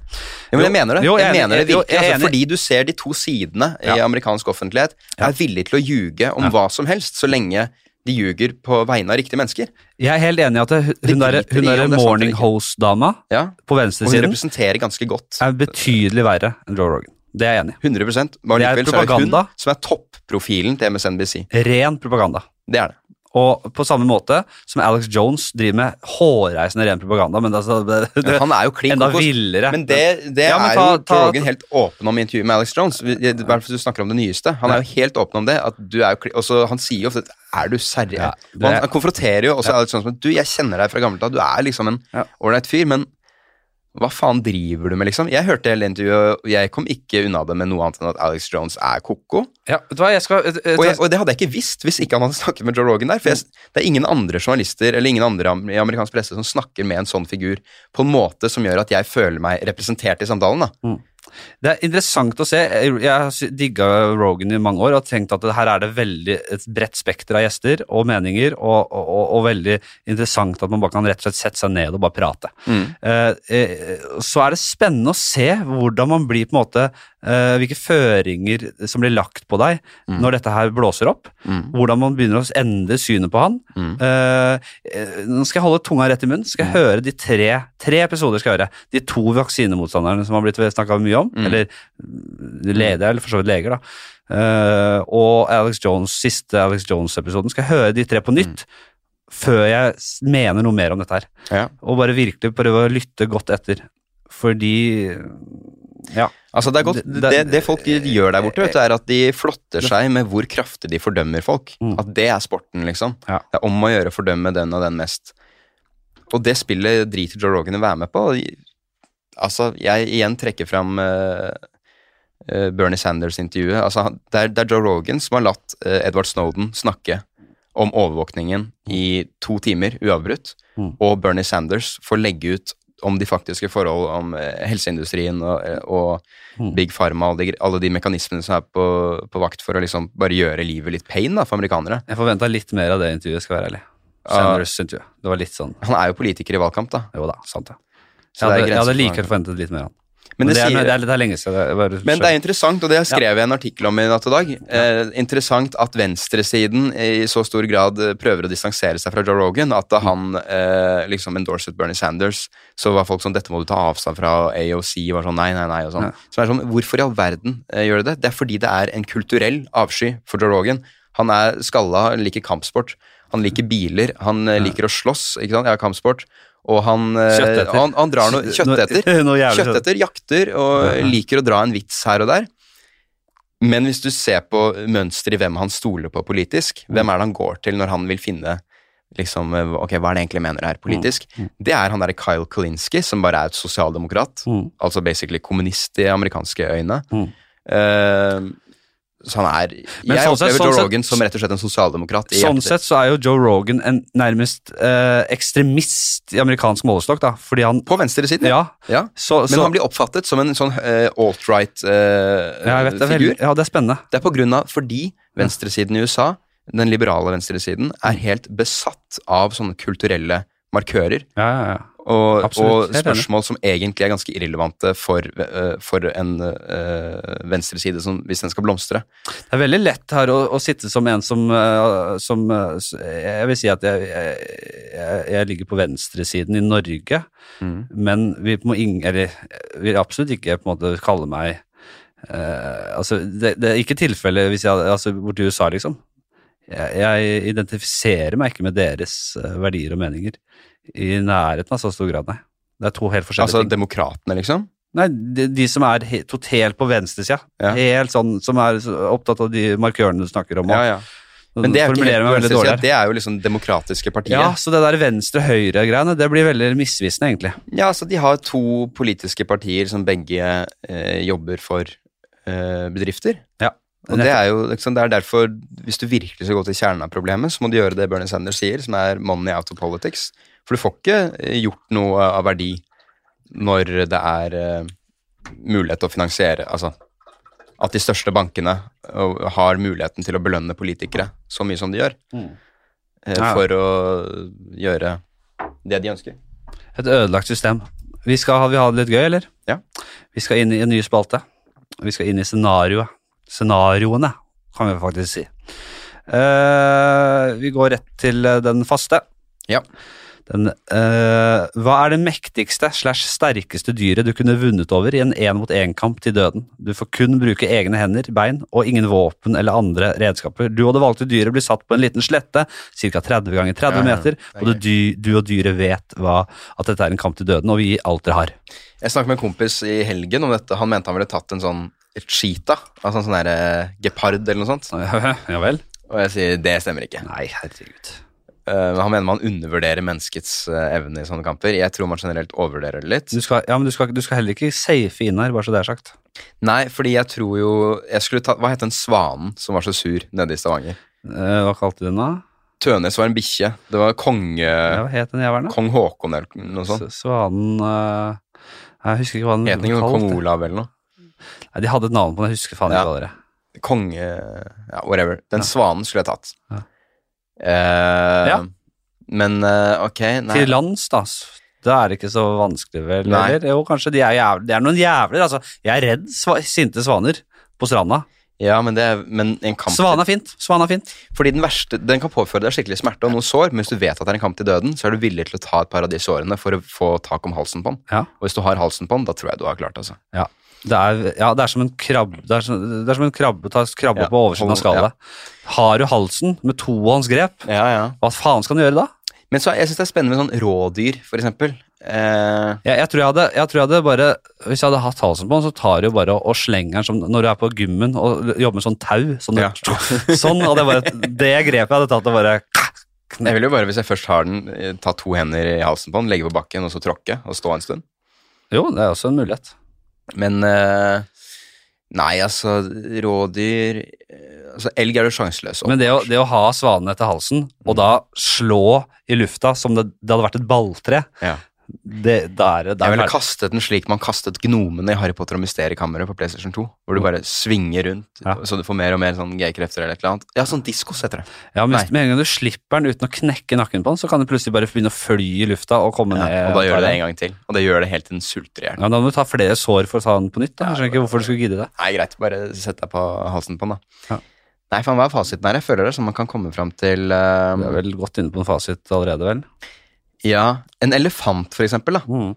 S2: men
S1: Jo,
S2: jeg mener det.
S1: jo,
S2: jeg,
S1: jeg er enig.
S2: mener det
S1: Jo,
S2: virkelig.
S1: jeg er
S2: altså,
S1: enig.
S2: fordi du ser de to sidene i
S1: Ja.
S2: amerikansk offentlighet er villig til å ljuge om
S1: Ja.
S2: hva som helst, så lenge de ljuger på vegne av riktige mennesker.
S1: Jeg er helt enig i at det, hun
S2: driter
S1: derre
S2: i om det er sant
S1: der
S2: eller
S1: morning
S2: ikke.
S1: host-dama
S2: Ja,
S1: på
S2: Og hun
S1: venstresiden
S2: representerer ganske godt.
S1: er betydelig verre enn Joe Rogan. Det er jeg enig i.
S2: 100 Bare
S1: Det er
S2: likevel så er det hun
S1: propaganda.
S2: som er topprofilen til MSNBC.
S1: Ren propaganda.
S2: Det er det.
S1: Og på samme måte som Alex Jones driver med hårreisende ren propaganda, men altså, det, det,
S2: Han er jo klin
S1: enda
S2: kokos.
S1: villere.
S2: Men det, det
S1: Ja, men
S2: er
S1: ta-
S2: jo
S1: ta-
S2: Rogan helt åpen om i intervjuet med Alex Jones. Vi- i hvert fall Hvis du snakker om det nyeste. Han er jo helt åpen om det. At du er jo kli- også, han sier jo ofte at, 'er du serr'?
S1: Ja,
S2: Og han,
S1: det-
S2: han konfronterer jo også Alex Jones med 'du, jeg kjenner deg fra gammelt av', du er liksom en
S1: Ja.
S2: ålreit fyr, men hva faen driver du med, liksom? Jeg hørte hele intervjuet, og jeg kom ikke unna det med noe annet enn at Alex Jones er ko-ko.
S1: ja, vet du hva, jeg skal jeg, jeg,
S2: Og, jeg, og det hadde jeg ikke visst hvis ikke han hadde snakket med Joe Rogan der. For jeg, det er ingen andre journalister eller ingen andre am- i amerikansk presse som snakker med en sånn figur på en måte som gjør at jeg føler meg representert i samtalen. da.
S1: Det er interessant å se. Jeg jeg har sy- digga Rogan i mange år og tenkt at det her er det veldig et bredt spekter av gjester og meninger, og, og, og, og veldig interessant at man bare kan rett og slett sette seg ned og bare prate.
S2: Mm.
S1: Eh, eh, så er det spennende å se hvordan man blir på en måte eh, Hvilke føringer som blir lagt på deg
S2: Mm.
S1: når dette her blåser opp. Hvordan man begynner å endre synet på han.
S2: Mm.
S1: Eh, eh, nå skal jeg holde tunga rett i munnen. Skal jeg høre de tre, tre episoder skal jeg høre. De to vaksinemotstanderne som har blitt snakka mye
S2: Mm.
S1: om. Eller eh, leder, eller for så vidt leger, da. Eh, og Alex Jones, siste Alex Jones-episoden. Skal jeg høre de tre på
S2: Mm.
S1: nytt før jeg s- mener noe mer om dette her. Og bare virkelig prøve å lytte godt etter. Fordi Ja.
S2: Altså Det er godt,
S1: Det-
S2: det, det, folk gjør der borte, vet du, er at de flotter seg med hvor kraftig de fordømmer folk.
S1: Mm.
S2: At det er sporten, liksom.
S1: Ja.
S2: Det er om å gjøre å fordømme den og den mest. Og det spillet driter Joe Rogan i å være med på. Og, altså, jeg igjen trekker fram eh, eh, Bernie Sanders-intervjuet. Altså, han- det, er- det er Joe Rogan som har latt eh, Edward Snowden snakke om overvåkningen i to timer uavbrutt,
S1: Mm.
S2: og Bernie Sanders får legge ut om de faktiske forhold om eh, helseindustrien og, eh, og
S1: Mm.
S2: Big Pharma og de, gre- alle de mekanismene som er på, på vakt for å liksom bare gjøre livet litt pain da, for amerikanere.
S1: Jeg forventa litt mer av det intervjuet, skal jeg være ærlig. Sanders-intervjuet. Det var litt sånn
S2: Han er jo politiker i valgkamp, da.
S1: Jo da, sant det. Jeg
S2: Så det er
S1: hadde, jeg hadde
S2: grenser for hva han
S1: likevel forventet litt mer av han.
S2: Men det,
S1: er,
S2: sier,
S1: det, er, det er lenge siden. Det er bare,
S2: Men det er interessant, og det skrev jeg en artikkel om i natt og dag. Eh, interessant at venstresiden i så stor grad eh, prøver å distansere seg fra Joe Rogan. At da han eh, liksom endorset Bernie Sanders, så var folk sånn 'dette må du ta avstand fra', og AOC var sånn 'nei, nei, nei'. og sånn.
S1: Ja.
S2: Som er sånn, Hvorfor i all verden eh, gjør de det? Det er fordi det er en kulturell avsky for Joe Rogan. Han er skalla, han liker kampsport, han liker
S1: Mm.
S2: biler, han eh, liker å slåss, ikke sant? Ja, kampsport. Og han, eh,
S1: Kjøtteter.
S2: han, han drar noe kjøtteter.
S1: Noe jævlig kjøtteter.
S2: Kjøtteter, jakter og
S1: Ja.
S2: liker å dra en vits her og der. Men hvis du ser på mønsteret i hvem han stoler på
S1: Mm.
S2: politisk, hvem er det han går til når han vil finne liksom, ok, hva er det egentlig jeg mener her politisk,
S1: Mm.
S2: det er han derre Kyle Kalinski, som bare er et sosialdemokrat,
S1: Mm.
S2: altså basically kommunist i amerikanske øyne.
S1: Mm.
S2: Eh, Så han er
S1: Men
S2: Jeg
S1: sånn sett-
S2: opplever
S1: sånn
S2: Joe
S1: sett-
S2: Rogan som rett og slett en sosialdemokrat. i
S1: Sånn
S2: hjertet sitt.
S1: sett så er jo Joe Rogan en nærmest eh, ekstremist i amerikansk målestokk, da, fordi han
S2: På venstresiden,
S1: Ja.
S2: ja.
S1: Så,
S2: Men
S1: så,
S2: han blir oppfattet som en sånn eh, alt-right-figur.
S1: ja, jeg vet, det, er veldig, ja, det er spennende.
S2: Det er på grunn av fordi venstresiden i USA, den liberale venstresiden, er helt besatt av sånne kulturelle markører
S1: Ja, ja, ja.
S2: og,
S1: Absolutt,
S2: og
S1: helt enig.
S2: spørsmål som egentlig er ganske irrelevante for, eh, for en eh, venstreside som, hvis den skal blomstre.
S1: Det er veldig lett her å, å sitte som en som, eh, som eh, s- Jeg vil si at jeg, jeg, jeg, jeg ligger på venstresiden i Norge, men vi må ing, eller, jeg vil absolutt ikke på en måte kalle meg eh, altså, det, det er ikke tilfellet hvis jeg altså, borti USA, liksom. Jeg, jeg identifiserer meg ikke med deres eh, verdier og meninger i nærheten av så stor grad, nei. Det er to helt forskjellige
S2: Altså
S1: ting.
S2: demokratene, liksom.
S1: Nei, de, de som er he, totalt på venstresida.
S2: Ja.
S1: Helt sånn, som er så opptatt av de markørene du snakker om. og-
S2: ja. Men det er, jo ikke
S1: Formulerer
S2: helt
S1: meg veldig
S2: venstresiden,
S1: dårlig her.
S2: det er jo liksom demokratiske partier.
S1: Ja, så det der venstre-høyre-greiene, det blir veldig misvisende, egentlig.
S2: Ja, altså de har to politiske partier som begge eh, jobber for eh, bedrifter.
S1: Ja,
S2: Og det er jo liksom, det er derfor, hvis du virkelig skal gå til kjernen av problemet, så må du gjøre det Bernie Sanders sier, som er money out of politics. For du får ikke eh, gjort noe av verdi når det er eh, mulighet til å finansiere, altså at de største bankene eh, har muligheten til å belønne politikere så mye som de gjør, eh,
S1: Ja.
S2: for å gjøre det de ønsker.
S1: Et ødelagt system. Vi skal ha, vi ha det litt gøy, eller?
S2: Ja.
S1: Vi skal inn i en ny spalte. Vi skal inn i scenarioet. Scenarioene, kan vi faktisk si. Eh, vi går rett til eh, den faste.
S2: Ja.
S1: Den, eh, hva er det mektigste slash sterkeste dyret du kunne vunnet over i en én-mot-én-kamp til døden? Du får kun bruke egne hender, bein og ingen våpen eller andre redskaper. Du og det valgte dyret blir satt på en liten slette, ca. 30 ganger 30
S2: Ja, ja.
S1: meter. Både du, du og dyret vet hva, at dette er en kamp til døden, og vi gir alt
S2: [laughs]
S1: dere har.
S2: Jeg snakket med en kompis i helgen om dette. Han mente han ville tatt en sånn cheetah, altså en sånn der eh, gepard eller noe sånt.
S1: ja vel?
S2: Og jeg sier det stemmer ikke.
S1: Nei, herregud.
S2: Eh, men han mener man undervurderer menneskets eh, evne i sånne kamper. Jeg tror man generelt overvurderer det litt.
S1: Du skal, ja, men du skal, du skal heller ikke safe inn her, bare så det er sagt.
S2: Nei, fordi jeg tror jo jeg skulle ta, Hva het den svanen som var så sur nede i Stavanger?
S1: Eh, hva kalte du den da?
S2: Tønes var en bikkje. Det var konge...
S1: Ja, hva het den jævelen? da?
S2: Kong Haakon eller noe sånt.
S1: S- Svanen eh, Jeg husker ikke hva den
S2: Het den ikke noe kong Olav eller noe?
S1: Nei, de hadde et navn på den, jeg husker faen
S2: Ja.
S1: ikke hva det var.
S2: Konge Ja, whatever. Den svanen skulle jeg tatt.
S1: Ja.
S2: Eh,
S1: Ja.
S2: Men eh, ok, nei.
S1: Til lands, da. s- Da er det ikke så vanskelig, vel?
S2: Nei.
S1: Eller? Jo, kanskje de er jævl- Det er noen jævler, altså. Jeg er redd sva sinte svaner på stranda.
S2: Ja, men det er men en kamp
S1: Svane er fint. Svane er fint.
S2: Fordi den verste, den kan påføre deg skikkelig smerte og noe sår, men hvis du vet at det er en kamp til døden, så er du villig til å ta et par av de sårene for å få tak om halsen på den.
S1: Ja.
S2: Og hvis du har halsen på den, da tror jeg du har klart, altså.
S1: Ja. Det er, ja, det er som en krabbe Det er som, det er som en krabbe, ta krabbe
S2: Ja,
S1: på oversiden av
S2: hold- ja.
S1: skallet. Har du halsen med tohåndsgrep,
S2: Ja, ja.
S1: hva faen skal du gjøre da?
S2: Men så, jeg syns det er spennende med sånn rådyr, for eksempel. Eh,
S1: Jeg, jeg, tror jeg, hadde, jeg tror jeg hadde bare Hvis jeg hadde hatt halsen på den, så tar jeg jo bare og, og slenger den som når du er på gymmen og jobber med sånn tau. Sånn,
S2: Ja.
S1: sånn hadde jeg bare Det grepet jeg hadde tatt og bare
S2: jeg vil jo bare, hvis jeg først har den, eh, ta to hender i halsen på den, legge på bakken og så tråkke og stå en stund.
S1: Jo, det er også en mulighet.
S2: Men eh, nei, altså, rådyr eh, Altså, elg er du sjanseløs
S1: Men det å, det å ha svanen etter halsen, og da slå i lufta som det, det hadde vært et balltre,
S2: Ja.
S1: det, da er det da
S2: Jeg
S1: er
S2: ville
S1: det-
S2: kastet den slik man kastet gnomene i Harry Potter og Mysteriekammeret på PlayStation 2. Hvor du bare svinger rundt,
S1: Mm. Ja.
S2: så du får mer og mer sånn gøye krefter eller et eller annet. Ja, sånn diskos heter det.
S1: Ja, men
S2: Nei.
S1: Med en gang du slipper den uten å knekke nakken på den, så kan den plutselig bare begynne å fly i lufta og komme ned.
S2: og da gjør du det en gang til. Og det gjør det helt til den sulter i hjel.
S1: Ja, men Da må du ta flere sår for å ta den på nytt. da. Jeg skjønner ikke hvorfor du skulle gidde det.
S2: Nei, greit, bare sett deg på halsen på den, da.
S1: Ja.
S2: Nei, faen, hva er fasiten her? Jeg føler det er sånn man kan komme fram til eh,
S1: Du er vel godt inne på en fasit allerede, vel?
S2: Ja, en elefant, for eksempel, da.
S1: Mm.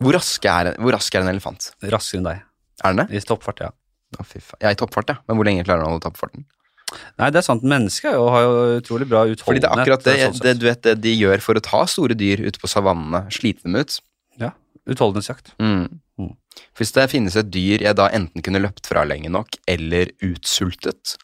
S2: Hvor rask er, hvor rask er en elefant?
S1: Raskere enn deg.
S2: Er den det?
S1: I toppfart, ja.
S2: Å, fy faen. Ja, i toppfart, ja. Men hvor lenge klarer den å holde toppfarten?
S1: Nei, det er sant. Mennesket er jo- har jo utrolig bra utholdenhet.
S2: Fordi det er akkurat det,
S1: sånn sett.
S2: det, du vet, det de gjør for å ta store dyr ute på savannene, slite dem ut.
S1: Ja, Utholdenhetsjakt.
S2: Mm.
S1: Mm.
S2: Hvis det finnes et dyr jeg da enten kunne løpt fra lenge nok, eller utsultet,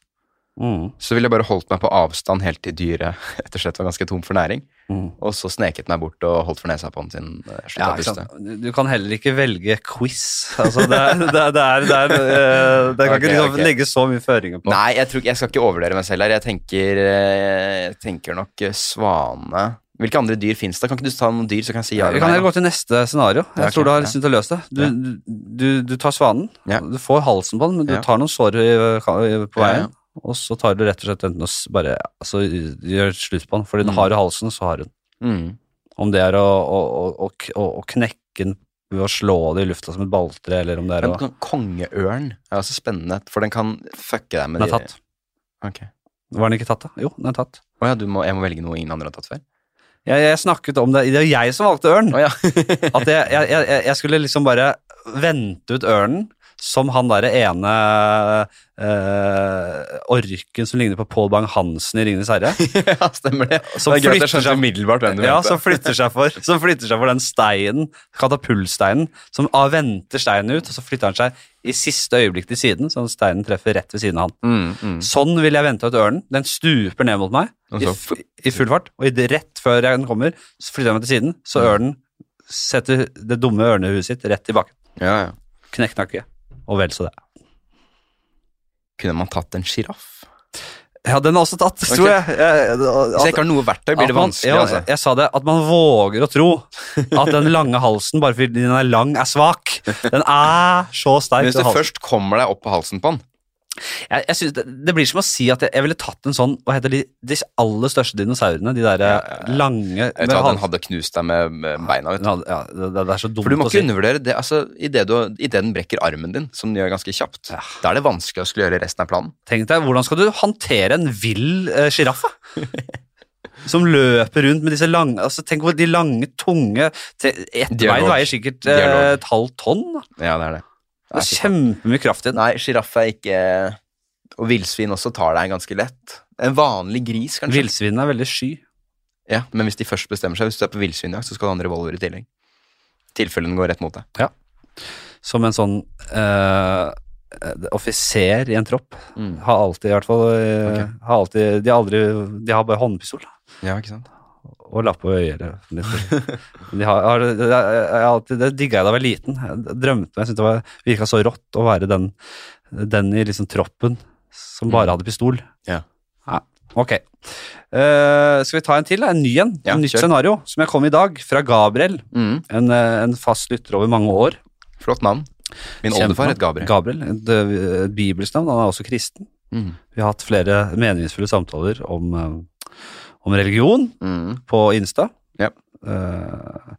S1: Mm.
S2: Så ville jeg bare holdt meg på avstand helt til dyret [laughs] rett og slett var ganske tom for næring.
S1: Mm.
S2: Og så sneket meg bort og holdt for nesa på den sin. eh, slutta
S1: Ja,
S2: å
S1: ikke
S2: puste.
S1: sant? Du- Du kan heller ikke velge quiz. Altså, det er, det er, det er, det er eh, Det kan
S2: Ok,
S1: ikke liksom
S2: ok.
S1: legge så mye føringer på.
S2: Nei, jeg, tror, ikke- jeg skal ikke overvurdere meg selv her. Jeg tenker, eh, jeg tenker nok eh, svane Hvilke andre dyr fins det? Kan ikke du ta noen dyr, så kan jeg si ja
S1: Vi
S2: eller
S1: kan
S2: nei?
S1: heller gå til neste scenario. Jeg
S2: Ja, ok,
S1: tror du har
S2: ja.
S1: lyst til å løse det. Du,
S2: Ja.
S1: du, du- du tar svanen.
S2: Ja.
S1: Du får halsen på den, men du
S2: Ja.
S1: tar noen sår i- i- på
S2: Ja, ja.
S1: veien. Og så tar du rett og slett enten og s- bare altså, gjør slutt på den. Fordi den
S2: Mm.
S1: har jo halsen, så har hun.
S2: da. Mm.
S1: Om det er å, å, å, å, å, å knekke den ved å slå det i lufta som et balltre, eller om det er å
S2: Men kon- kongeørn er også spennende, for den kan fucke deg med
S1: Den er
S2: de-
S1: tatt.
S2: Ok.
S1: Var den ikke tatt, da? Jo, den er tatt.
S2: Å ja, du må, jeg må velge noe ingen andre har tatt før?
S1: Jeg, jeg snakket om det Det er jo jeg som valgte ørn.
S2: Å ja.
S1: [laughs] At jeg, jeg, jeg, jeg skulle liksom bare vente ut ørnen som han derre ene eh, orken som ligner på Pål Bang-Hansen i 'Ringenes herre'.
S2: [laughs] ja, stemmer det.
S1: Som
S2: det er gøy at jeg
S1: flytter
S2: skjønte umiddelbart hvem du
S1: Ja,
S2: mente.
S1: som flytter seg for Som flytter seg for den steinen, katapultsteinen, som ah, venter steinen ut, og så flytter han seg i siste øyeblikk til siden, så steinen treffer rett ved siden av han.
S2: Mm, mm.
S1: Sånn vil jeg vente ut ørnen. Den stuper ned mot meg
S2: Og
S1: i,
S2: så-
S1: f i full fart, og i det- rett før jeg- den kommer, så flytter jeg meg til siden,
S2: Mm.
S1: så ørnen setter det dumme ørnehuet sitt rett tilbake.
S2: Ja, ja.
S1: Knekknakke. Og vel så det.
S2: Kunne man tatt en sjiraff?
S1: Ja, den er også tatt, tror
S2: Ok.
S1: jeg. jeg.
S2: Hvis jeg ikke har noe verktøy, blir det vanskelig,
S1: ja,
S2: altså.
S1: Jeg sa det, at man våger å tro at den lange halsen, bare fordi den er lang, er svak. Den er så sterk.
S2: Men hvis du
S1: den halsen.
S2: først kommer deg opp på halsen på den
S1: jeg, jeg synes det, det blir som å si at jeg, jeg ville tatt en sånn, hva heter de, de aller største dinosaurene, de der
S2: Ja, ja, ja.
S1: lange med
S2: Jeg vet hva, Den
S1: hals-
S2: hadde knust deg med, med beina. Vet du.
S1: Den hadde- ja, det, det er så dumt
S2: For du må
S1: å
S2: ikke
S1: si.
S2: undervurdere det. altså, Idet den brekker armen din, som den gjør ganske kjapt,
S1: Ja.
S2: da er det vanskelig å skulle gjøre resten av planen.
S1: Tenk deg, hvordan skal du håndtere en vill eh, sjiraff?
S2: [laughs]
S1: som løper rundt med disse lange altså Tenk hvor de lange, tunge te- Ett
S2: Dialog.
S1: bein veier sikkert eh,
S2: Dialog.
S1: et halvt tonn. da.
S2: Ja, det er det.
S1: Det er kjempemye kraft i den.
S2: Nei, sjiraff er ikke Og villsvin også tar deg ganske lett. En vanlig gris, kanskje.
S1: Villsvinene er veldig sky.
S2: Ja, Men hvis de først bestemmer seg, hvis du er på villsvinjakt, så skal du ha en revolver i tillegg. Tilfelle den går rett mot deg.
S1: Som en sånn eh, eh, offiser i en tropp. Har alltid, i hvert fall eh,
S2: Mm. Ok.
S1: har alltid, De har aldri De har bare håndpistol da,
S2: Ja, ikke sant?
S1: og lapp og øyere. De
S2: [laughs]
S1: har, har, jeg har alltid, det digga jeg da jeg var liten. Jeg drømte meg. Jeg syntes det var- virka så rått å være den, den i liksom troppen som bare hadde pistol.
S2: Mm. Ja.
S1: Nei, Ok. Eh, skal vi ta en til? da? En ny en.
S2: Ja,
S1: en nytt
S2: kjør.
S1: scenario som jeg kom i dag, fra Gabriel.
S2: Mm.
S1: En, eh, en fast lytter over mange år.
S2: Flott navn. Min oldefar het Gabriel.
S1: Gabriel, et, eh, et bibelsk navn. Han er også kristen.
S2: Mm.
S1: Vi har hatt flere meningsfulle samtaler om, eh, om religion
S2: Mm.
S1: på Insta.
S2: Ja.
S1: Eh,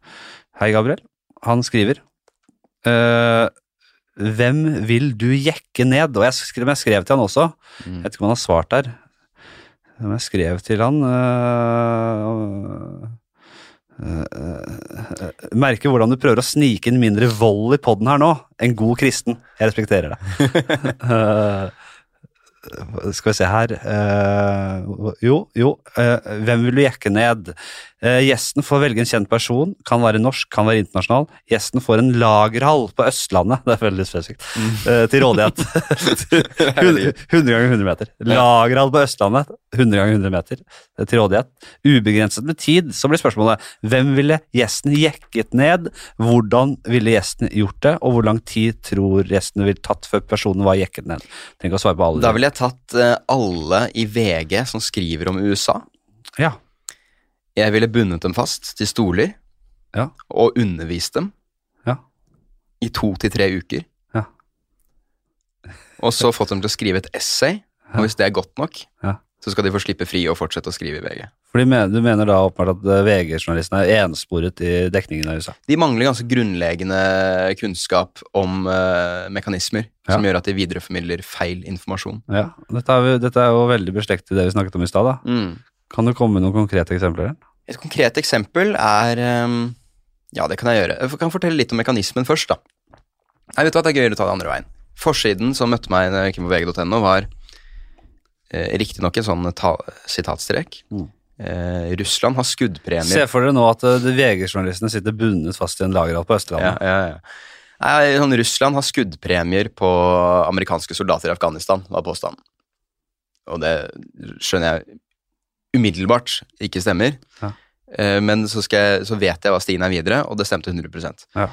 S1: hei, Gabriel. Han skriver eh, Hvem vil du jekke ned? Og jeg skrev, jeg skrev til han også. Jeg
S2: Mm.
S1: vet ikke om han har svart der. Men jeg skrev til han eh, eh, eh, eh, Merker hvordan du prøver å snike inn mindre vold i podden her nå. En god kristen. Jeg respekterer det. Eh, skal vi se her eh, Jo, jo. eh, hvem vil du jekke ned? Eh, gjesten får velge en kjent person. Kan være norsk, kan være internasjonal. Gjesten får en lagerhall på Østlandet. Det er veldig spesifikt. eh, til rådighet. [laughs] 100 100 ganger 100 meter. Lagerhall på Østlandet, 100 ganger 100 meter eh, til rådighet. Ubegrenset med tid, så blir spørsmålet hvem ville gjesten jekket ned, hvordan ville gjesten gjort det, og hvor lang tid tror gjesten ville tatt før personen var jekket ned? Tenk å svare på alle.
S2: Da ville jeg tatt eh, alle i VG som skriver om USA.
S1: Ja.
S2: Jeg ville bundet dem fast til stoler
S1: Ja.
S2: og undervist dem
S1: Ja.
S2: i to til tre uker.
S1: Ja.
S2: og så fått dem til å skrive et essay, og hvis det er godt nok,
S1: Ja.
S2: så skal de få slippe fri og fortsette å skrive i VG.
S1: Fordi men- du mener da åpenbart at eh, VG-journalisten er ensporet i dekningen av USA.
S2: De mangler ganske grunnleggende kunnskap om eh, mekanismer som gjør at de videreformidler feil informasjon.
S1: Ja, dette er, jo- dette er jo veldig beslektet i det vi snakket om i stad. da. Kan du komme med noen konkrete eksempler?
S2: Et konkret eksempel er ehm, Ja, det kan jeg gjøre. Jeg kan fortelle litt om mekanismen først, da. Nei, vet du hva, det er gøyere å ta det andre veien. Forsiden som møtte meg når jeg gikk inn på vg.no, var eh, riktignok en sånn ta sitatstrek.
S1: Mm.
S2: Eh, Russland har skuddpremie
S1: Se for dere nå at eh, de VG-journalistene sitter bundet fast i en lagerhall på Østlandet.
S2: Ja, ja, ja. Nei, sånn Russland har skuddpremier på amerikanske soldater i Afghanistan, var påstanden. og det skjønner jeg umiddelbart ikke stemmer.
S1: Ja.
S2: Eh, Men så, skal jeg, så vet jeg hva stien er videre, og det stemte 100
S1: Ja.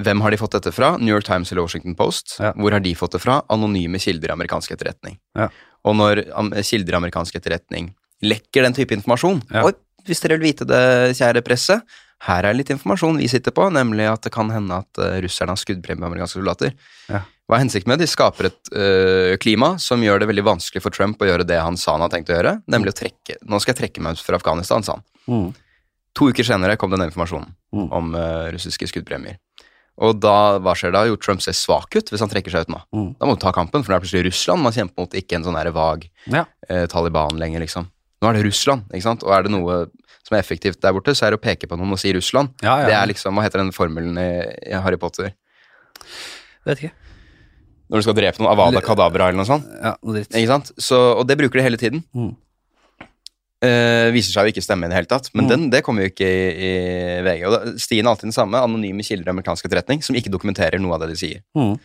S2: Hvem har de fått dette fra? New York Times eller Washington Post?
S1: Ja.
S2: Hvor har de fått det fra? Anonyme kilder i amerikansk etterretning.
S1: Ja.
S2: Og når am- kilder i amerikansk etterretning lekker den type informasjon
S1: Ja.
S2: Oi, hvis dere vil vite det, kjære presse, her er litt informasjon vi sitter på, nemlig at det kan hende at eh, russerne har skuddpremie på amerikanske soldater.
S1: Ja.
S2: Hva er hensikten med det? De skaper et eh, klima som gjør det veldig vanskelig for Trump å gjøre det han sa han har tenkt å gjøre, nemlig å trekke Nå skal jeg trekke meg ut fra Afghanistan, sa han.
S1: Mm.
S2: To uker senere kom denne informasjonen
S1: Mm.
S2: om eh, russiske skuddpremier. Og da, hva skjer da? Jo, Trump ser svak ut hvis han trekker seg ut nå.
S1: Mm.
S2: Da må du ta kampen, for nå er det plutselig Russland man kjemper mot, ikke en sånn der vag
S1: Ja.
S2: eh, Taliban lenger, liksom. Nå er det Russland, ikke sant? Og er det noe som er effektivt der borte, så er det å peke på noen og si Russland.
S1: Ah, Ja, ja.
S2: Det er liksom, hva heter den formelen i, i Harry Potter?
S1: Vet ikke.
S2: Når du skal drepe noen, Avada Kadabra eller noe sånt.
S1: Ja, noe dritt.
S2: Ikke sant? Så, og det bruker de hele tiden.
S1: Mm.
S2: Eh, viser seg jo ikke stemme i det hele tatt, men
S1: Mm.
S2: den, det kommer jo ikke i, i VG. Og da, stien er alltid den samme, anonyme kilder i amerikansk etterretning som ikke dokumenterer noe av det de sier.
S1: Mm.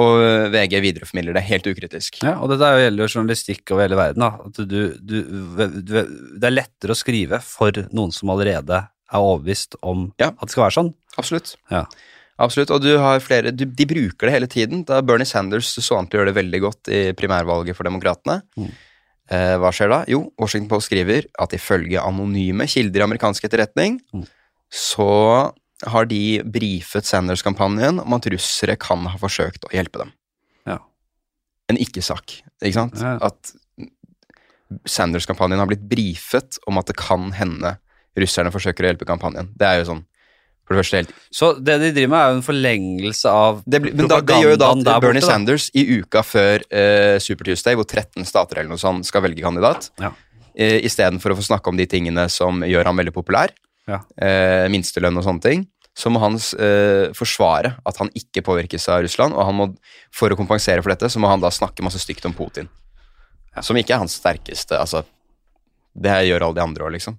S2: Og eh, VG videreformidler det helt ukritisk.
S1: Ja, og dette er jo- gjelder jo journalistikk over hele verden. Da. At du, du, du, det er lettere å skrive for noen som allerede er overbevist om
S2: Ja.
S1: at det skal være sånn.
S2: Absolutt.
S1: Ja.
S2: Absolutt, Og du har flere, du, de bruker det hele tiden. Da Bernie Sanders så han til å gjøre det veldig godt i primærvalget for Demokratene.
S1: Mm.
S2: Eh, hva skjer da? Jo, Washington Post skriver at ifølge anonyme kilder i amerikansk etterretning,
S1: Mm.
S2: så har de brifet Sanders-kampanjen om at russere kan ha forsøkt å hjelpe dem.
S1: Ja.
S2: En ikke-sak, ikke sant?
S1: Ja.
S2: At Sanders-kampanjen har blitt brifet om at det kan hende russerne forsøker å hjelpe kampanjen. Det er jo sånn, for det første helt
S1: Så det de driver med, er jo en forlengelse av
S2: det blir, men da, det gjør jo da
S1: propagandaen der
S2: at Bernie
S1: borte, da.
S2: Sanders i uka før eh, Super Tuesday, hvor 13 stater eller noe sånt skal velge kandidat,
S1: Ja.
S2: eh, istedenfor å få snakke om de tingene som gjør ham veldig populær,
S1: Ja.
S2: eh, minstelønn og sånne ting, så må han eh, forsvare at han ikke påvirkes av Russland, og han må, for å kompensere for dette, så må han da snakke masse stygt om Putin. Som ikke er hans sterkeste, altså. Det her gjør alle de andre òg, liksom.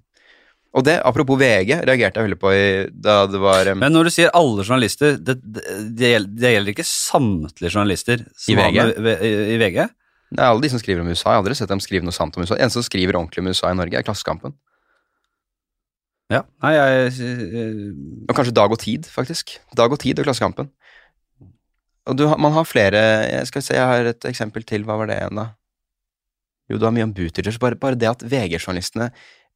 S2: Og det, apropos VG, reagerte jeg veldig på i, da det var eh,
S1: Men når du sier alle journalister, det, det, det, gjelder, det gjelder ikke samtlige journalister som
S2: I VG?
S1: har Med, i, I VG?
S2: Det er alle de som skriver om USA. Jeg har aldri sett dem skrive noe sant om USA. En som skriver ordentlig om USA i Norge, er Klassekampen.
S1: Ja. Nei, jeg eh,
S2: Og kanskje Dag og Tid, faktisk. Dag og Tid og Klassekampen. Og du, har- man har flere jeg Skal se, jeg har et eksempel til. Hva var det igjen, da? Jo, du har mye om Buttigieg. Bare, bare det at VG-journalistene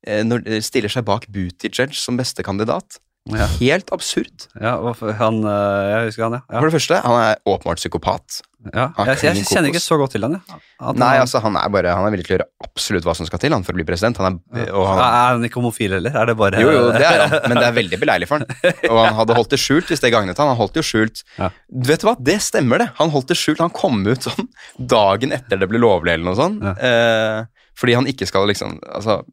S2: eh, når- eh, stiller seg bak Buttigieg som beste kandidat.
S1: Ja.
S2: Helt absurd.
S1: ja, hvorfor- han eh, Jeg husker han, ja.
S2: For det første, han er åpenbart psykopat.
S1: ja.
S2: han
S1: ja. Jeg, jeg
S2: kan
S1: kjenner ikke
S2: kokos.
S1: så godt til han, jeg. At han-
S2: Nei, altså, han er bare Han er villig til å gjøre absolutt hva som skal til han for å bli president. Han er, og han,
S1: Er han ikke homofil heller? Er det bare
S2: Jo, jo, det
S1: [laughs]
S2: er han, men det er veldig beleilig for han. Og han hadde holdt det skjult hvis det gagnet han. Han holdt det jo skjult.
S1: Ja.
S2: Du Vet du hva, det stemmer det. Han holdt det skjult. Han kom ut sånn dagen etter det ble lovlig eller noe sånt.
S1: Ja.
S2: Eh, fordi han ikke skal liksom Altså,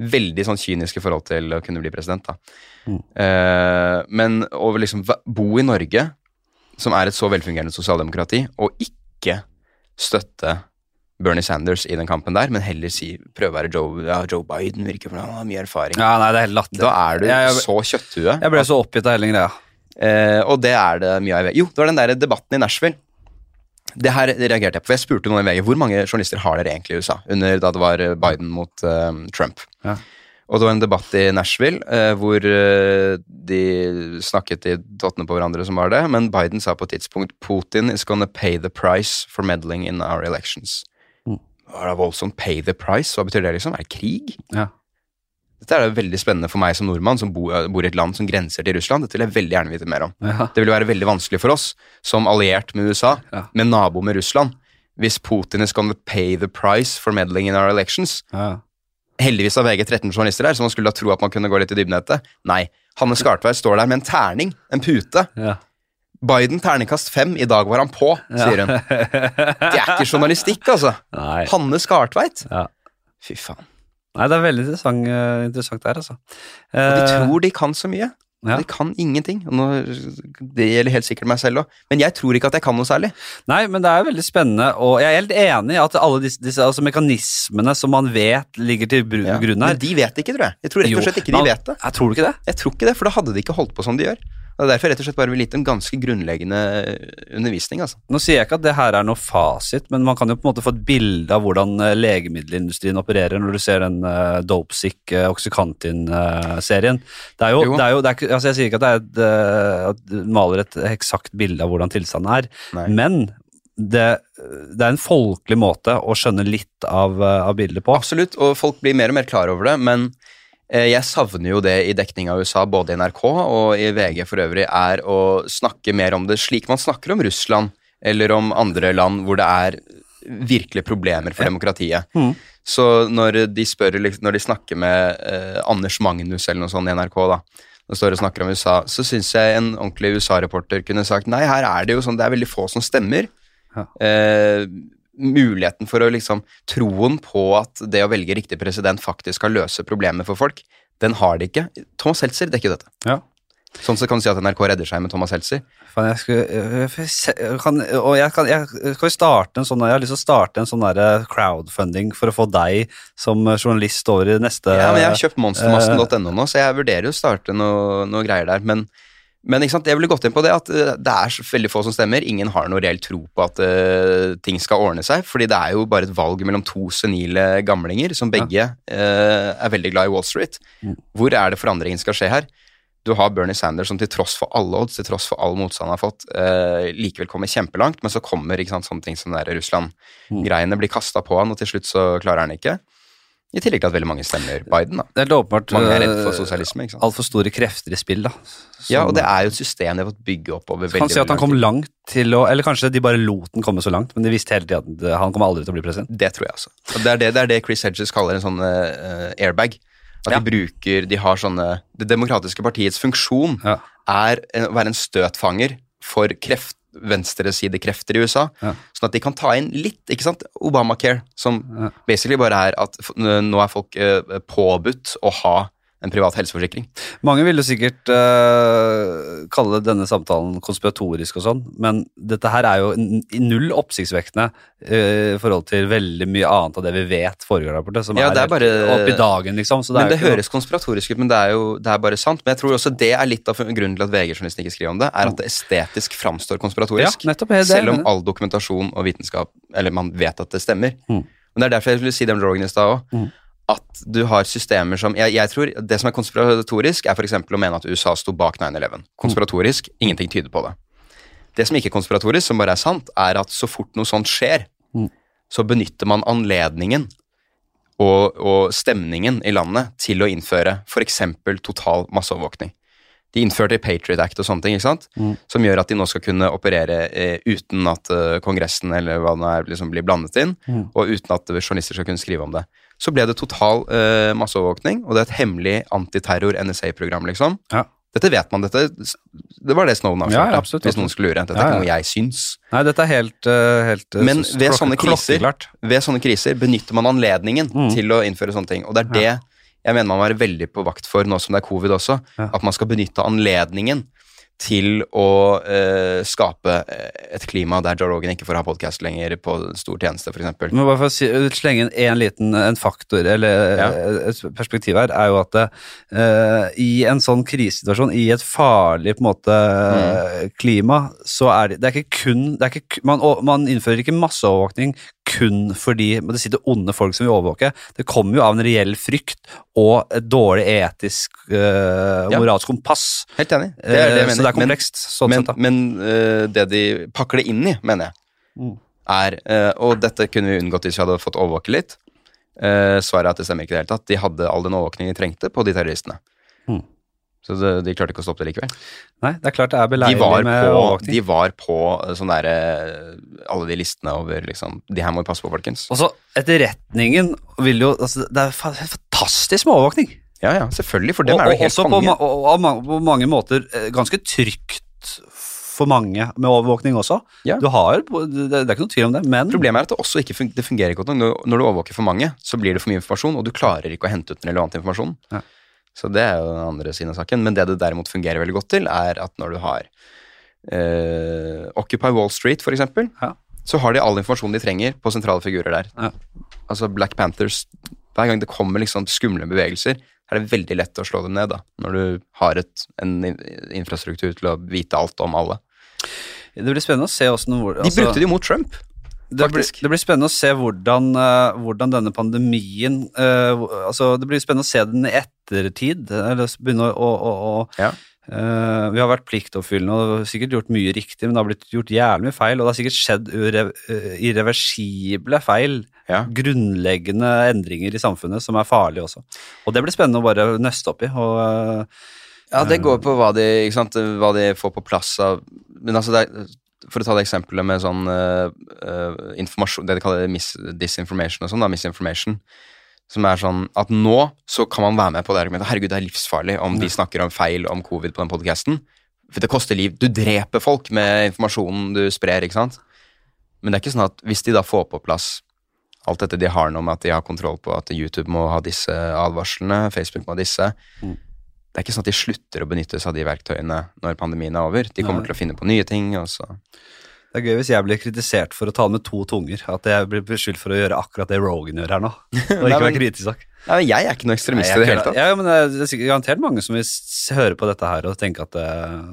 S2: veldig sånn kyniske forhold til å kunne bli president, da.
S1: Mm.
S2: Eh, men å liksom va- bo i Norge, som er et så velfungerende sosialdemokrati, og ikke støtte Bernie Sanders i den kampen der, men heller si, prøve å være Joe, ja, Joe Biden, virker for han har mye erfaring.
S1: Ja, nei, det er helt latterlig.
S2: Da er du
S1: Jeg- jeg-
S2: så kjøtthue.
S1: Jeg ble så oppgitt av hele den greia.
S2: Eh, og det er det mye av i VG. Jo, det var den der debatten i Nashville. Det her reagerte jeg på. for Jeg spurte noen i VG hvor mange journalister har dere egentlig i USA under da det var Biden mot eh, Trump.
S1: Ja.
S2: Og det var en debatt i Nashville eh, hvor eh, de snakket i dottene på hverandre som var det, men Biden sa på et tidspunkt Putin is gonna pay the price for meddling in our elections.
S1: Mm.
S2: Var det voldsomt? Pay the price? Hva betyr det, liksom? Er det krig?
S1: Ja.
S2: Dette er jo veldig spennende for meg som nordmann som bor, bor i et land som grenser til Russland. Dette vil jeg veldig gjerne vite mer om.
S1: Ja.
S2: Det vil jo være veldig vanskelig for oss som alliert med USA,
S1: Ja.
S2: med nabo med Russland, hvis Putin is gonna pay the price for meddling in our elections.
S1: Ja.
S2: Heldigvis har VG 13 journalister der, så man skulle da tro at man kunne gå litt i dybden etter. Nei. Hanne Skartveit står der med en terning, en pute.
S1: Ja.
S2: Biden terningkast fem, i dag var han på,
S1: [laughs]
S2: sier hun. Det er ikke journalistikk, altså.
S1: Nei.
S2: Hanne Skartveit.
S1: Ja.
S2: Fy faen.
S1: Nei, det er veldig interessant, eh, interessant der, altså.
S2: Og de
S1: Eh,
S2: tror de kan så mye.
S1: ja.
S2: De kan ingenting. Og nå, det gjelder helt sikkert meg selv òg. Men jeg tror ikke at jeg kan noe særlig.
S1: Eh, Nei, men det er veldig spennende, og jeg er helt enig i at alle disse, disse altså, mekanismene som man vet ligger til bru-
S2: Ja.
S1: grunn
S2: Men
S1: her
S2: de vet det ikke, tror jeg. Jeg tror rett
S1: Jo,
S2: og slett ikke
S1: men-
S2: de vet det.
S1: Jeg tror du ikke det?
S2: Jeg tror ikke det, For da hadde de ikke holdt på som de gjør. Og Det er derfor jeg rett og slett bare vil gitt en ganske grunnleggende undervisning. altså.
S1: Nå sier jeg ikke at det her er noe fasit, men man kan jo på en måte få et bilde av hvordan eh, legemiddelindustrien opererer når du ser den eh, Dopesick eh, Oxycantin-serien. Det er jo,
S2: Jo.
S1: Det er jo det er, ikke- altså Jeg sier ikke at det er et, eh, at du maler et eksakt bilde av hvordan tilstanden er,
S2: Nei.
S1: men det, det er en folkelig måte å skjønne litt av, eh, av bildet på.
S2: Absolutt, og folk blir mer og mer klar over det, men eh, jeg savner jo det i dekning av USA, både i NRK og i VG for øvrig, er å snakke mer om det slik man snakker om Russland, eller om andre land hvor det er virkelige problemer for demokratiet.
S1: Mhm.
S2: Så når de, spør, liksom- når de snakker med eh, Anders Magnus eller noe sånt i NRK, da, og står og snakker om USA, så syns jeg en ordentlig USA-reporter kunne sagt nei, her er det jo sånn, det er veldig få som stemmer.
S1: Ja.
S2: Eh, muligheten for å liksom Troen på at det å velge riktig president faktisk skal løse problemet for folk, den har de ikke. Thomas Seltzer dekker jo dette.
S1: Ja.
S2: Sånn så kan du si at NRK redder seg med Thomas Seltzer.
S1: Faen, jeg skulle, øh, for se- kan, og jeg, kan, jeg, skal vi starte en sånn, jeg har lyst til å starte en sånn der crowdfunding for å få deg som eh, journalist over i neste
S2: Ja, men jeg har kjøpt monstermassen.no nå, så jeg vurderer jo å starte noe, noe greier der. Men, men ikke sant? jeg ville gått inn på det at eh, det er så veldig få som stemmer. Ingen har noe reell tro på at eh, ting skal ordne seg. fordi det er jo bare et valg mellom to senile gamlinger som begge eh, er veldig glad i Wall Street.
S1: Mm.
S2: Hvor er det forandringen skal skje her? Du har Bernie Sanders som til tross for alle odds, til tross for all motstand han har fått, eh, likevel kommer kjempelangt, men så kommer ikke sant, sånne ting som det der Russland-greiene blir kasta på han, og til slutt så klarer han ikke. I tillegg til at veldig mange stemmer Biden, da.
S1: Det er helt åpenbart
S2: Mange er redd for
S1: øh,
S2: sosialisme. ikke sant?
S1: altfor store krefter i spill, da. Som-
S2: Eh, Ja, og det er jo et system de har fått bygge opp over veldig,
S1: kan si at han
S2: veldig lang
S1: kom
S2: tid.
S1: langt til å Eller kanskje de bare lot den komme så langt, men de visste hele tiden at det- han kommer aldri til å bli president.
S2: Det tror jeg også. Og det, er det, det er det Chris Hedges kaller en sånn eh, airbag. At
S1: Ja.
S2: de bruker De har sånne Det demokratiske partiets funksjon
S1: Ja.
S2: er eh, å være en støtfanger for kreft, venstresidekrefter i USA.
S1: Ja.
S2: Sånn at de kan ta inn litt, ikke sant, Obamacare, som
S1: Ja.
S2: basically bare er at f- nå er folk eh, påbudt å ha en privat helseforsikring.
S1: Mange vil jo sikkert øh, kalle denne samtalen konspiratorisk og sånn, men dette her er jo n- null oppsiktsvekkende øh, i forhold til veldig mye annet av det vi vet foregår der borte, som
S2: Ja,
S1: er,
S2: det er
S1: helt
S2: bare-
S1: opp i dagen, liksom. Så det
S2: men
S1: er
S2: det
S1: jo ikke noe-
S2: høres konspiratorisk ut, men det er jo det er bare sant. Men jeg tror også det er litt av grunnen til at VG-journalisten ikke skriver om det, er at det estetisk framstår konspiratorisk.
S1: Mm. Ja, nettopp, det er det jeg
S2: selv om
S1: mener.
S2: all dokumentasjon og vitenskap, eller man vet at det stemmer.
S1: Mm.
S2: Men det er derfor jeg skulle si det om Rogan i stad òg.
S1: Mm.
S2: At du har systemer som jeg, jeg tror Det som er konspiratorisk, er f.eks. å mene at USA sto bak 9-11. Konspiratorisk,
S1: Mm.
S2: ingenting tyder på det. Det som ikke er konspiratorisk, som bare er sant, er at så fort noe sånt skjer,
S1: Mm.
S2: så benytter man anledningen og, og stemningen i landet til å innføre f.eks. total masseovervåkning. De innførte Patriot Act og sånne ting, ikke sant?
S1: Mm.
S2: som gjør at de nå skal kunne operere eh, uten at eh, Kongressen eller hva det nå er, liksom blir blandet inn,
S1: Mm.
S2: og uten at journalister skal kunne skrive om det. Så ble det total eh, masseovervåkning, og det er et hemmelig antiterror-NSA-program, liksom.
S1: Ja.
S2: Dette vet man, dette Det var det Snowden
S1: Ja, ja,
S2: avslørte,
S1: absolutt,
S2: hvis
S1: absolutt.
S2: noen skulle lure. Dette
S1: Ja,
S2: er
S1: ja.
S2: ikke noe jeg syns.
S1: Nei, dette er helt, eh, helt eh,
S2: Men
S1: s-
S2: ved
S1: klokke-
S2: sånne kriser-
S1: klokkeklart.
S2: Ved sånne kriser benytter man anledningen
S1: Mm.
S2: til å innføre sånne ting, og det er det jeg mener man må være veldig på vakt for nå som det er covid også,
S1: Ja.
S2: at man skal benytte anledningen til å eh, skape eh, et klima der Joe Rogan ikke får ha podkast lenger på stor tjeneste, f.eks.
S1: Men bare for å si, slenge inn en liten en faktor, eller eh,
S2: Ja.
S1: et perspektiv her, er jo at eh, i en sånn krisesituasjon, i et farlig på en måte
S2: Mm.
S1: klima, så er det, det er ikke kun, det er ikke, ku- man, å- man innfører ikke masseovervåkning kun fordi men det sitter onde folk som vil overvåke. Det kommer jo av en reell frykt og et dårlig etisk eh, og
S2: Ja.
S1: moralsk kompass.
S2: Helt enig. Det er det
S1: Eh, så
S2: jeg
S1: det er
S2: mener. Men-
S1: komplekst, sånn
S2: men,
S1: sett da.
S2: Men eh, det de pakker det inn i, mener jeg,
S1: Mm.
S2: er eh, Og dette kunne vi unngått hvis vi hadde fått overvåke litt. Eh, svaret er at det stemmer ikke i det hele tatt. De hadde all den overvåkningen de trengte på de terroristene.
S1: Mm.
S2: Så det, de klarte ikke å stoppe det likevel.
S1: Nei, det er klart det er
S2: De
S1: beleilig
S2: var,
S1: med
S2: på,
S1: overvåkning.
S2: de var på eh, sånn derre Alle de listene over liksom De her må vi passe på, folkens.
S1: Og så etterretningen vil jo altså, Det er fa- fantastisk med overvåkning.
S2: Ja, ja, selvfølgelig, for dem
S1: og,
S2: er
S1: og
S2: jo helt
S1: også på,
S2: konge.
S1: ma og, og, av ma- på mange måter eh, ganske trygt for mange med overvåkning også.
S2: Ja.
S1: Du har, jo- det, det er ikke noe tvil om det, men
S2: Problemet er at det også ikke fun det fungerer godt nok. Når- Når du overvåker for mange, så blir det for mye informasjon, og du klarer ikke å hente ut den relevante informasjonen.
S1: Ja.
S2: Så det er jo den andre siden av saken. Men det det derimot fungerer veldig godt til, er at når du har eh, Occupy Wall Street, for eksempel,
S1: Ja.
S2: så har de all informasjonen de trenger på sentrale figurer der.
S1: Ja.
S2: Altså Black Panthers Hver gang det kommer liksom skumle bevegelser, er det veldig lett å slå dem ned, da, når du har et, en in- infrastruktur til å vite alt om alle.
S1: Det blir spennende å se hvordan hvor-
S2: De
S1: altså-
S2: brukte det jo mot Trump.
S1: Det blir,
S2: Faktisk.
S1: det blir spennende å se hvordan, eh, hvordan denne pandemien eh, hvor- altså Det blir spennende å se den i ettertid. Eller s- begynne å, å, å, å
S2: Ja.
S1: eh, Vi har vært pliktoppfyllende og sikkert gjort mye riktig, men det har blitt gjort jævlig mye feil. Og det har sikkert skjedd ure, eh, irreversible feil.
S2: Ja.
S1: Grunnleggende endringer i samfunnet som er farlige også. Og det blir spennende å bare nøste opp i. Og, eh,
S2: Ja, det går på hva de, ikke sant? hva de får på plass av Men altså, det er, for å ta det eksempelet med sånn eh, eh, informasjon Det de kaller mis, disinformation og sånn, da, misinformation. Som er sånn at nå så kan man være med på det argumentet. Herregud, det er livsfarlig om de snakker om feil om covid på den podkasten. For det koster liv. Du dreper folk med informasjonen du sprer, ikke sant. Men det er ikke sånn at hvis de da får på plass alt dette de har nå med at de har kontroll på at YouTube må ha disse advarslene, Facebook må ha disse, det er ikke sånn at de slutter å benytte seg av de verktøyene når pandemien er over. De kommer
S1: Nei.
S2: til å finne på nye ting. Og så.
S1: det er gøy hvis jeg blir kritisert for å tale med to tunger. At jeg blir beskyldt for å gjøre akkurat det Rogan gjør
S2: [laughs]
S1: her nå. Og ikke
S2: men-
S1: være kritisk.
S2: Nei, men jeg er ikke noen ekstremist i det hele tatt.
S1: Ja, men det er- det er sikkert garantert mange som vil s- høre på dette her og tenke at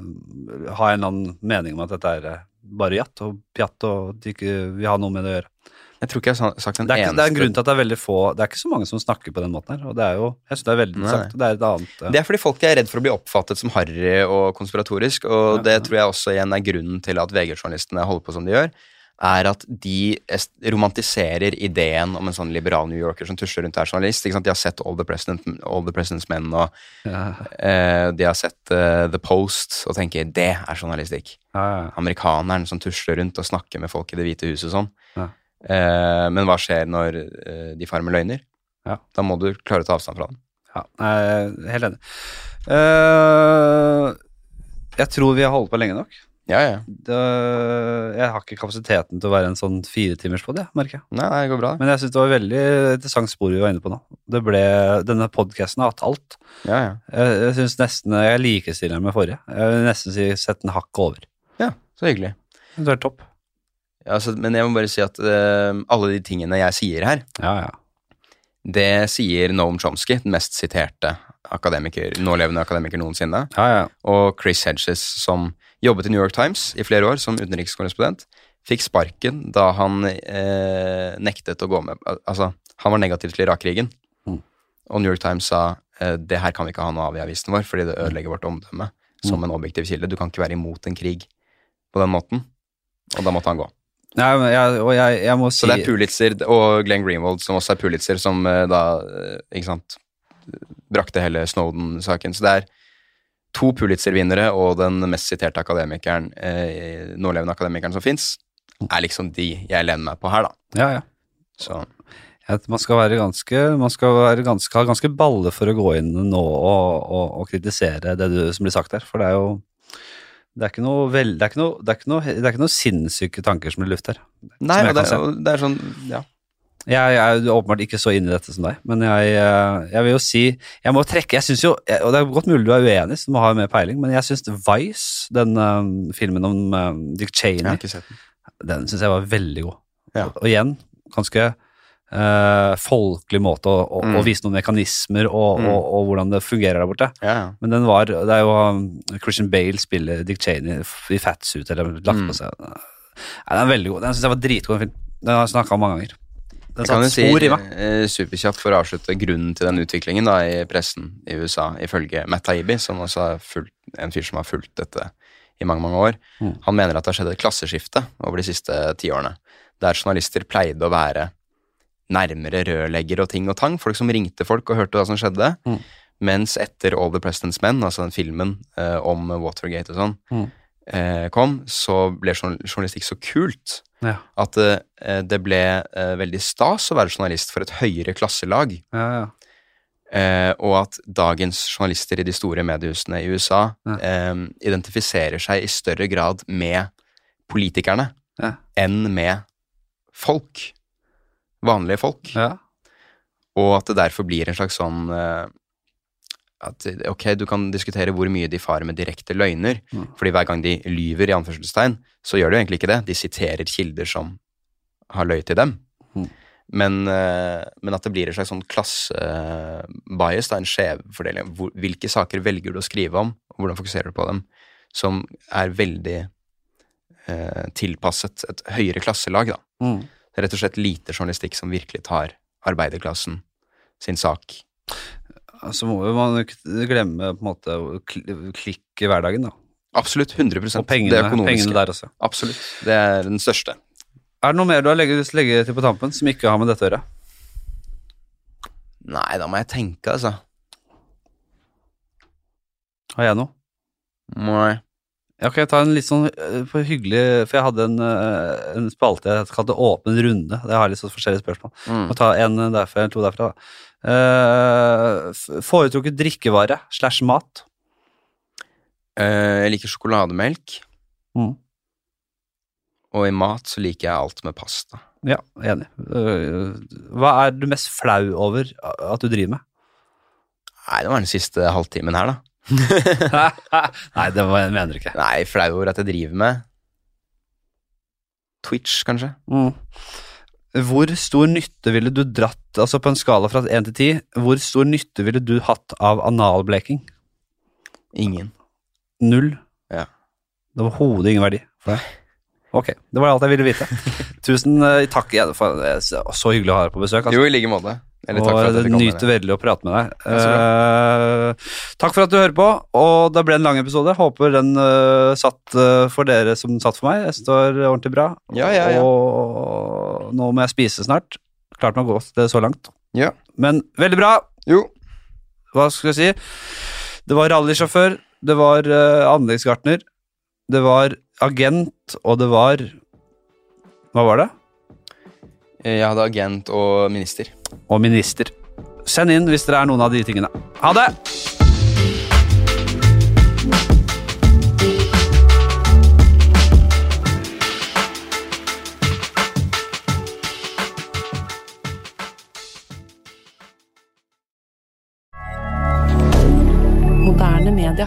S1: det har en eller annen mening om at dette er eh, bare jatt og pjatt og at de ikke vil ha noe med det å gjøre.
S2: Jeg tror ikke jeg har sa- sagt en
S1: Det er, ikke, det er en grunn
S2: eneste
S1: til at det er veldig få Det er ikke så mange som snakker på den måten her, og det er jo Jeg synes det er veldig
S2: Nei.
S1: interessant. og Det er et annet eh,
S2: Det er fordi folk er redd for å bli oppfattet som harry og konspiratorisk, og det tror jeg også igjen er grunnen til at VG-journalistene holder på som de gjør, er at de est- romantiserer ideen om en sånn liberal New Yorker som tusler rundt og er journalist. Ikke sant? De har sett All the, President, All the President's Men, og
S1: ja,
S2: eh, de har sett eh, The Post, og tenker det er journalistikk.
S1: ja, ja.
S2: amerikaneren som tusler rundt og snakker med folk i Det hvite huset og sånn.
S1: Ja.
S2: Eh, men hva skjer når eh, de farer med løgner?
S1: Ja.
S2: Da må du klare å ta avstand fra dem.
S1: Ja, jeg er helt enig. Eh, jeg tror vi har holdt på lenge nok.
S2: Ja, ja.
S1: Det, jeg har ikke kapasiteten til å være en sånn firetimerspod, jeg, merker jeg.
S2: Nei, nei, det går bra. det.
S1: Men jeg synes det var veldig interessant spor vi var inne på nå. Det ble, denne podcasten har hatt alt.
S2: Ja, ja.
S1: Jeg, jeg synes nesten jeg likestiller den med forrige. Jeg vil nesten si sett den hakket over.
S2: ja så hyggelig.
S1: Det er topp.
S2: Ja, altså, men jeg må bare si at eh, alle de tingene jeg sier her,
S1: Ja, ja.
S2: det sier Noam Chomsky, den mest siterte akademiker, nålevende akademiker noensinne.
S1: Ja, ja.
S2: og Chris Hedges, som jobbet i New York Times i flere år som utenrikskorrespondent, fikk sparken da han eh, nektet å gå med al- Altså, han var negativ til Irak-krigen,
S1: Mm.
S2: og New York Times sa eh, det her kan vi ikke ha noe av i avisen vår, fordi det ødelegger vårt omdømme som en objektiv kilde. Du kan ikke være imot en krig på den måten. Og da måtte han gå.
S1: Nei, men jeg, og jeg, jeg må si...
S2: Så det er Pulitzer og Glenn Greenwald, som også er Pulitzer, som eh, da eh, ikke sant, brakte hele Snowden-saken. Så det er to Pulitzer-vinnere og den mest siterte akademikeren, eh, nålevende akademikeren som fins, er liksom de jeg lener meg på her, da.
S1: Ja, ja.
S2: Så
S1: Jeg- Man skal, være ganske, man skal være ganske, ha ganske balle for å gå inn nå og, og, og kritisere det du, som blir sagt her, for det er jo det er, ikke noe vel, det, er ikke noe, det, er ikke noe, det er ikke noe sinnssyke tanker som blir luft her.
S2: Nei,
S1: Som jeg
S2: og det,
S1: kan se.
S2: og det er sånn Ja.
S1: Jeg, jeg er jo åpenbart ikke så inne i dette som deg, men jeg, eh, jeg vil jo si Jeg må trekke Jeg synes jo Og det er godt mulig du er uenig, så du må ha mer peiling, men jeg syns Vice, den eh, filmen om eh, Dick Cheney,
S2: Jeg har ikke sett den.
S1: den syns jeg var veldig god.
S2: Ja.
S1: Og, og igjen, ganske eh, folkelig måte å, å,
S2: Mm.
S1: å vise noen mekanismer og,
S2: Mm.
S1: og, og hvordan det fungerer der borte.
S2: Ja, ja.
S1: Men den var Det er jo um, Christian Bale spiller Dick Cheney f- i fatsuit eller lagt
S2: Mm.
S1: på seg. Nei, den er veldig god. Den syns jeg var dritgod, den film. Den har jeg snakka om mange ganger. Den
S2: Jeg kan
S1: satte
S2: jo si
S1: spor i meg.
S2: eh, superkjapt for å avslutte grunnen til den utviklingen da, i pressen i USA, ifølge Matt Taibbi, som også er fulgt, en fyr som har fulgt dette i mange, mange år.
S1: Mm.
S2: Han mener at det har skjedd et klasseskifte over de siste tiårene, der journalister pleide å være nærmere rørlegger og ting og tang, folk som ringte folk og hørte hva som skjedde,
S1: Mm.
S2: mens etter All the President's Men, altså den filmen eh, om Watergate og sånn,
S1: Mm.
S2: eh, kom, så ble journal- journalistikk så kult
S1: Ja.
S2: at eh, det ble eh, veldig stas å være journalist for et høyere klasselag,
S1: Ja, ja.
S2: eh, og at dagens journalister i de store mediehusene i USA
S1: Ja.
S2: eh, identifiserer seg i større grad med politikerne
S1: Ja.
S2: enn med folk. Vanlige folk.
S1: ja.
S2: Og at det derfor blir en slags sånn eh, at ok, du kan diskutere hvor mye de farer med direkte løgner,
S1: Mm.
S2: fordi hver gang de lyver, i anførselstegn, så gjør de jo egentlig ikke det. De siterer kilder som har løyet til dem.
S1: Mm.
S2: Men, eh, men at det blir en slags sånn klassebias, en skjevfordeling. Hvor, hvilke saker velger du å skrive om, og hvordan fokuserer du på dem? Som er veldig eh, tilpasset et høyere klasselag, da.
S1: Mm.
S2: Det er rett og slett lite journalistikk som virkelig tar arbeiderklassen sin sak.
S1: Så må jo man ikke glemme på en måte å kl- klikk i hverdagen, da.
S2: Absolutt 100
S1: Og
S2: det
S1: pengene,
S2: økonomiske.
S1: pengene der også.
S2: Absolutt. Det er den største.
S1: Er det noe mer du har legge, lyst til å legge til på tampen som ikke har med dette å gjøre?
S2: Nei, da må jeg tenke, altså.
S1: Har jeg noe?
S2: Nei.
S1: Ja, kan jeg ta en litt sånn øh, for hyggelig For jeg hadde en, øh, en spalte jeg kalte Åpen runde. Det har litt sånn forskjellige spørsmål.
S2: Mm.
S1: Må ta en derfra, eller to derfra, da. Eh, f- foretrukket drikkevare slash mat.
S2: Eh, jeg liker sjokolademelk,
S1: Mm.
S2: og i mat så liker jeg alt med pasta.
S1: Ja, enig. Eh, hva er du mest flau over at du
S2: [laughs]
S1: driver med?
S2: Nei, det var den siste halvtimen her, da.
S1: Nei, det var, jeg mener du ikke.
S2: Nei, flau over at jeg driver med Twitch, kanskje.
S1: Mm. Hvor stor nytte ville du dratt, altså på en skala fra 1 til 10, hvor stor nytte ville du hatt av analbleking?
S2: Ingen.
S1: Null.
S2: Ja.
S1: Det var overhodet ingen verdi for deg. Ok, det var alt jeg ville
S2: [laughs]
S1: vite. Tusen eh, takk igjen for det er så så hyggelig å ha deg på besøk. altså.
S2: Jo, i like måte. Eller takk for at
S1: og
S2: jeg fikk komme.
S1: nyter
S2: dere.
S1: veldig å prate med deg.
S2: Ja, så
S1: Eh, takk for at du hører på, og det ble en lang episode. Håper den eh, satt eh, for dere som satt for meg. Jeg står ordentlig bra.
S2: Ja, ja, ja.
S1: Og nå må jeg spise snart. Klarte meg godt det så langt.
S2: Ja.
S1: Men veldig bra.
S2: Jo.
S1: Hva skal jeg si? Det var rallysjåfør, det var eh, anleggsgartner, det var agent, og det var Hva var det?
S2: Jeg hadde agent og minister.
S1: Og minister. Send inn hvis dere er noen av de tingene. Ha det!
S5: Moderne media.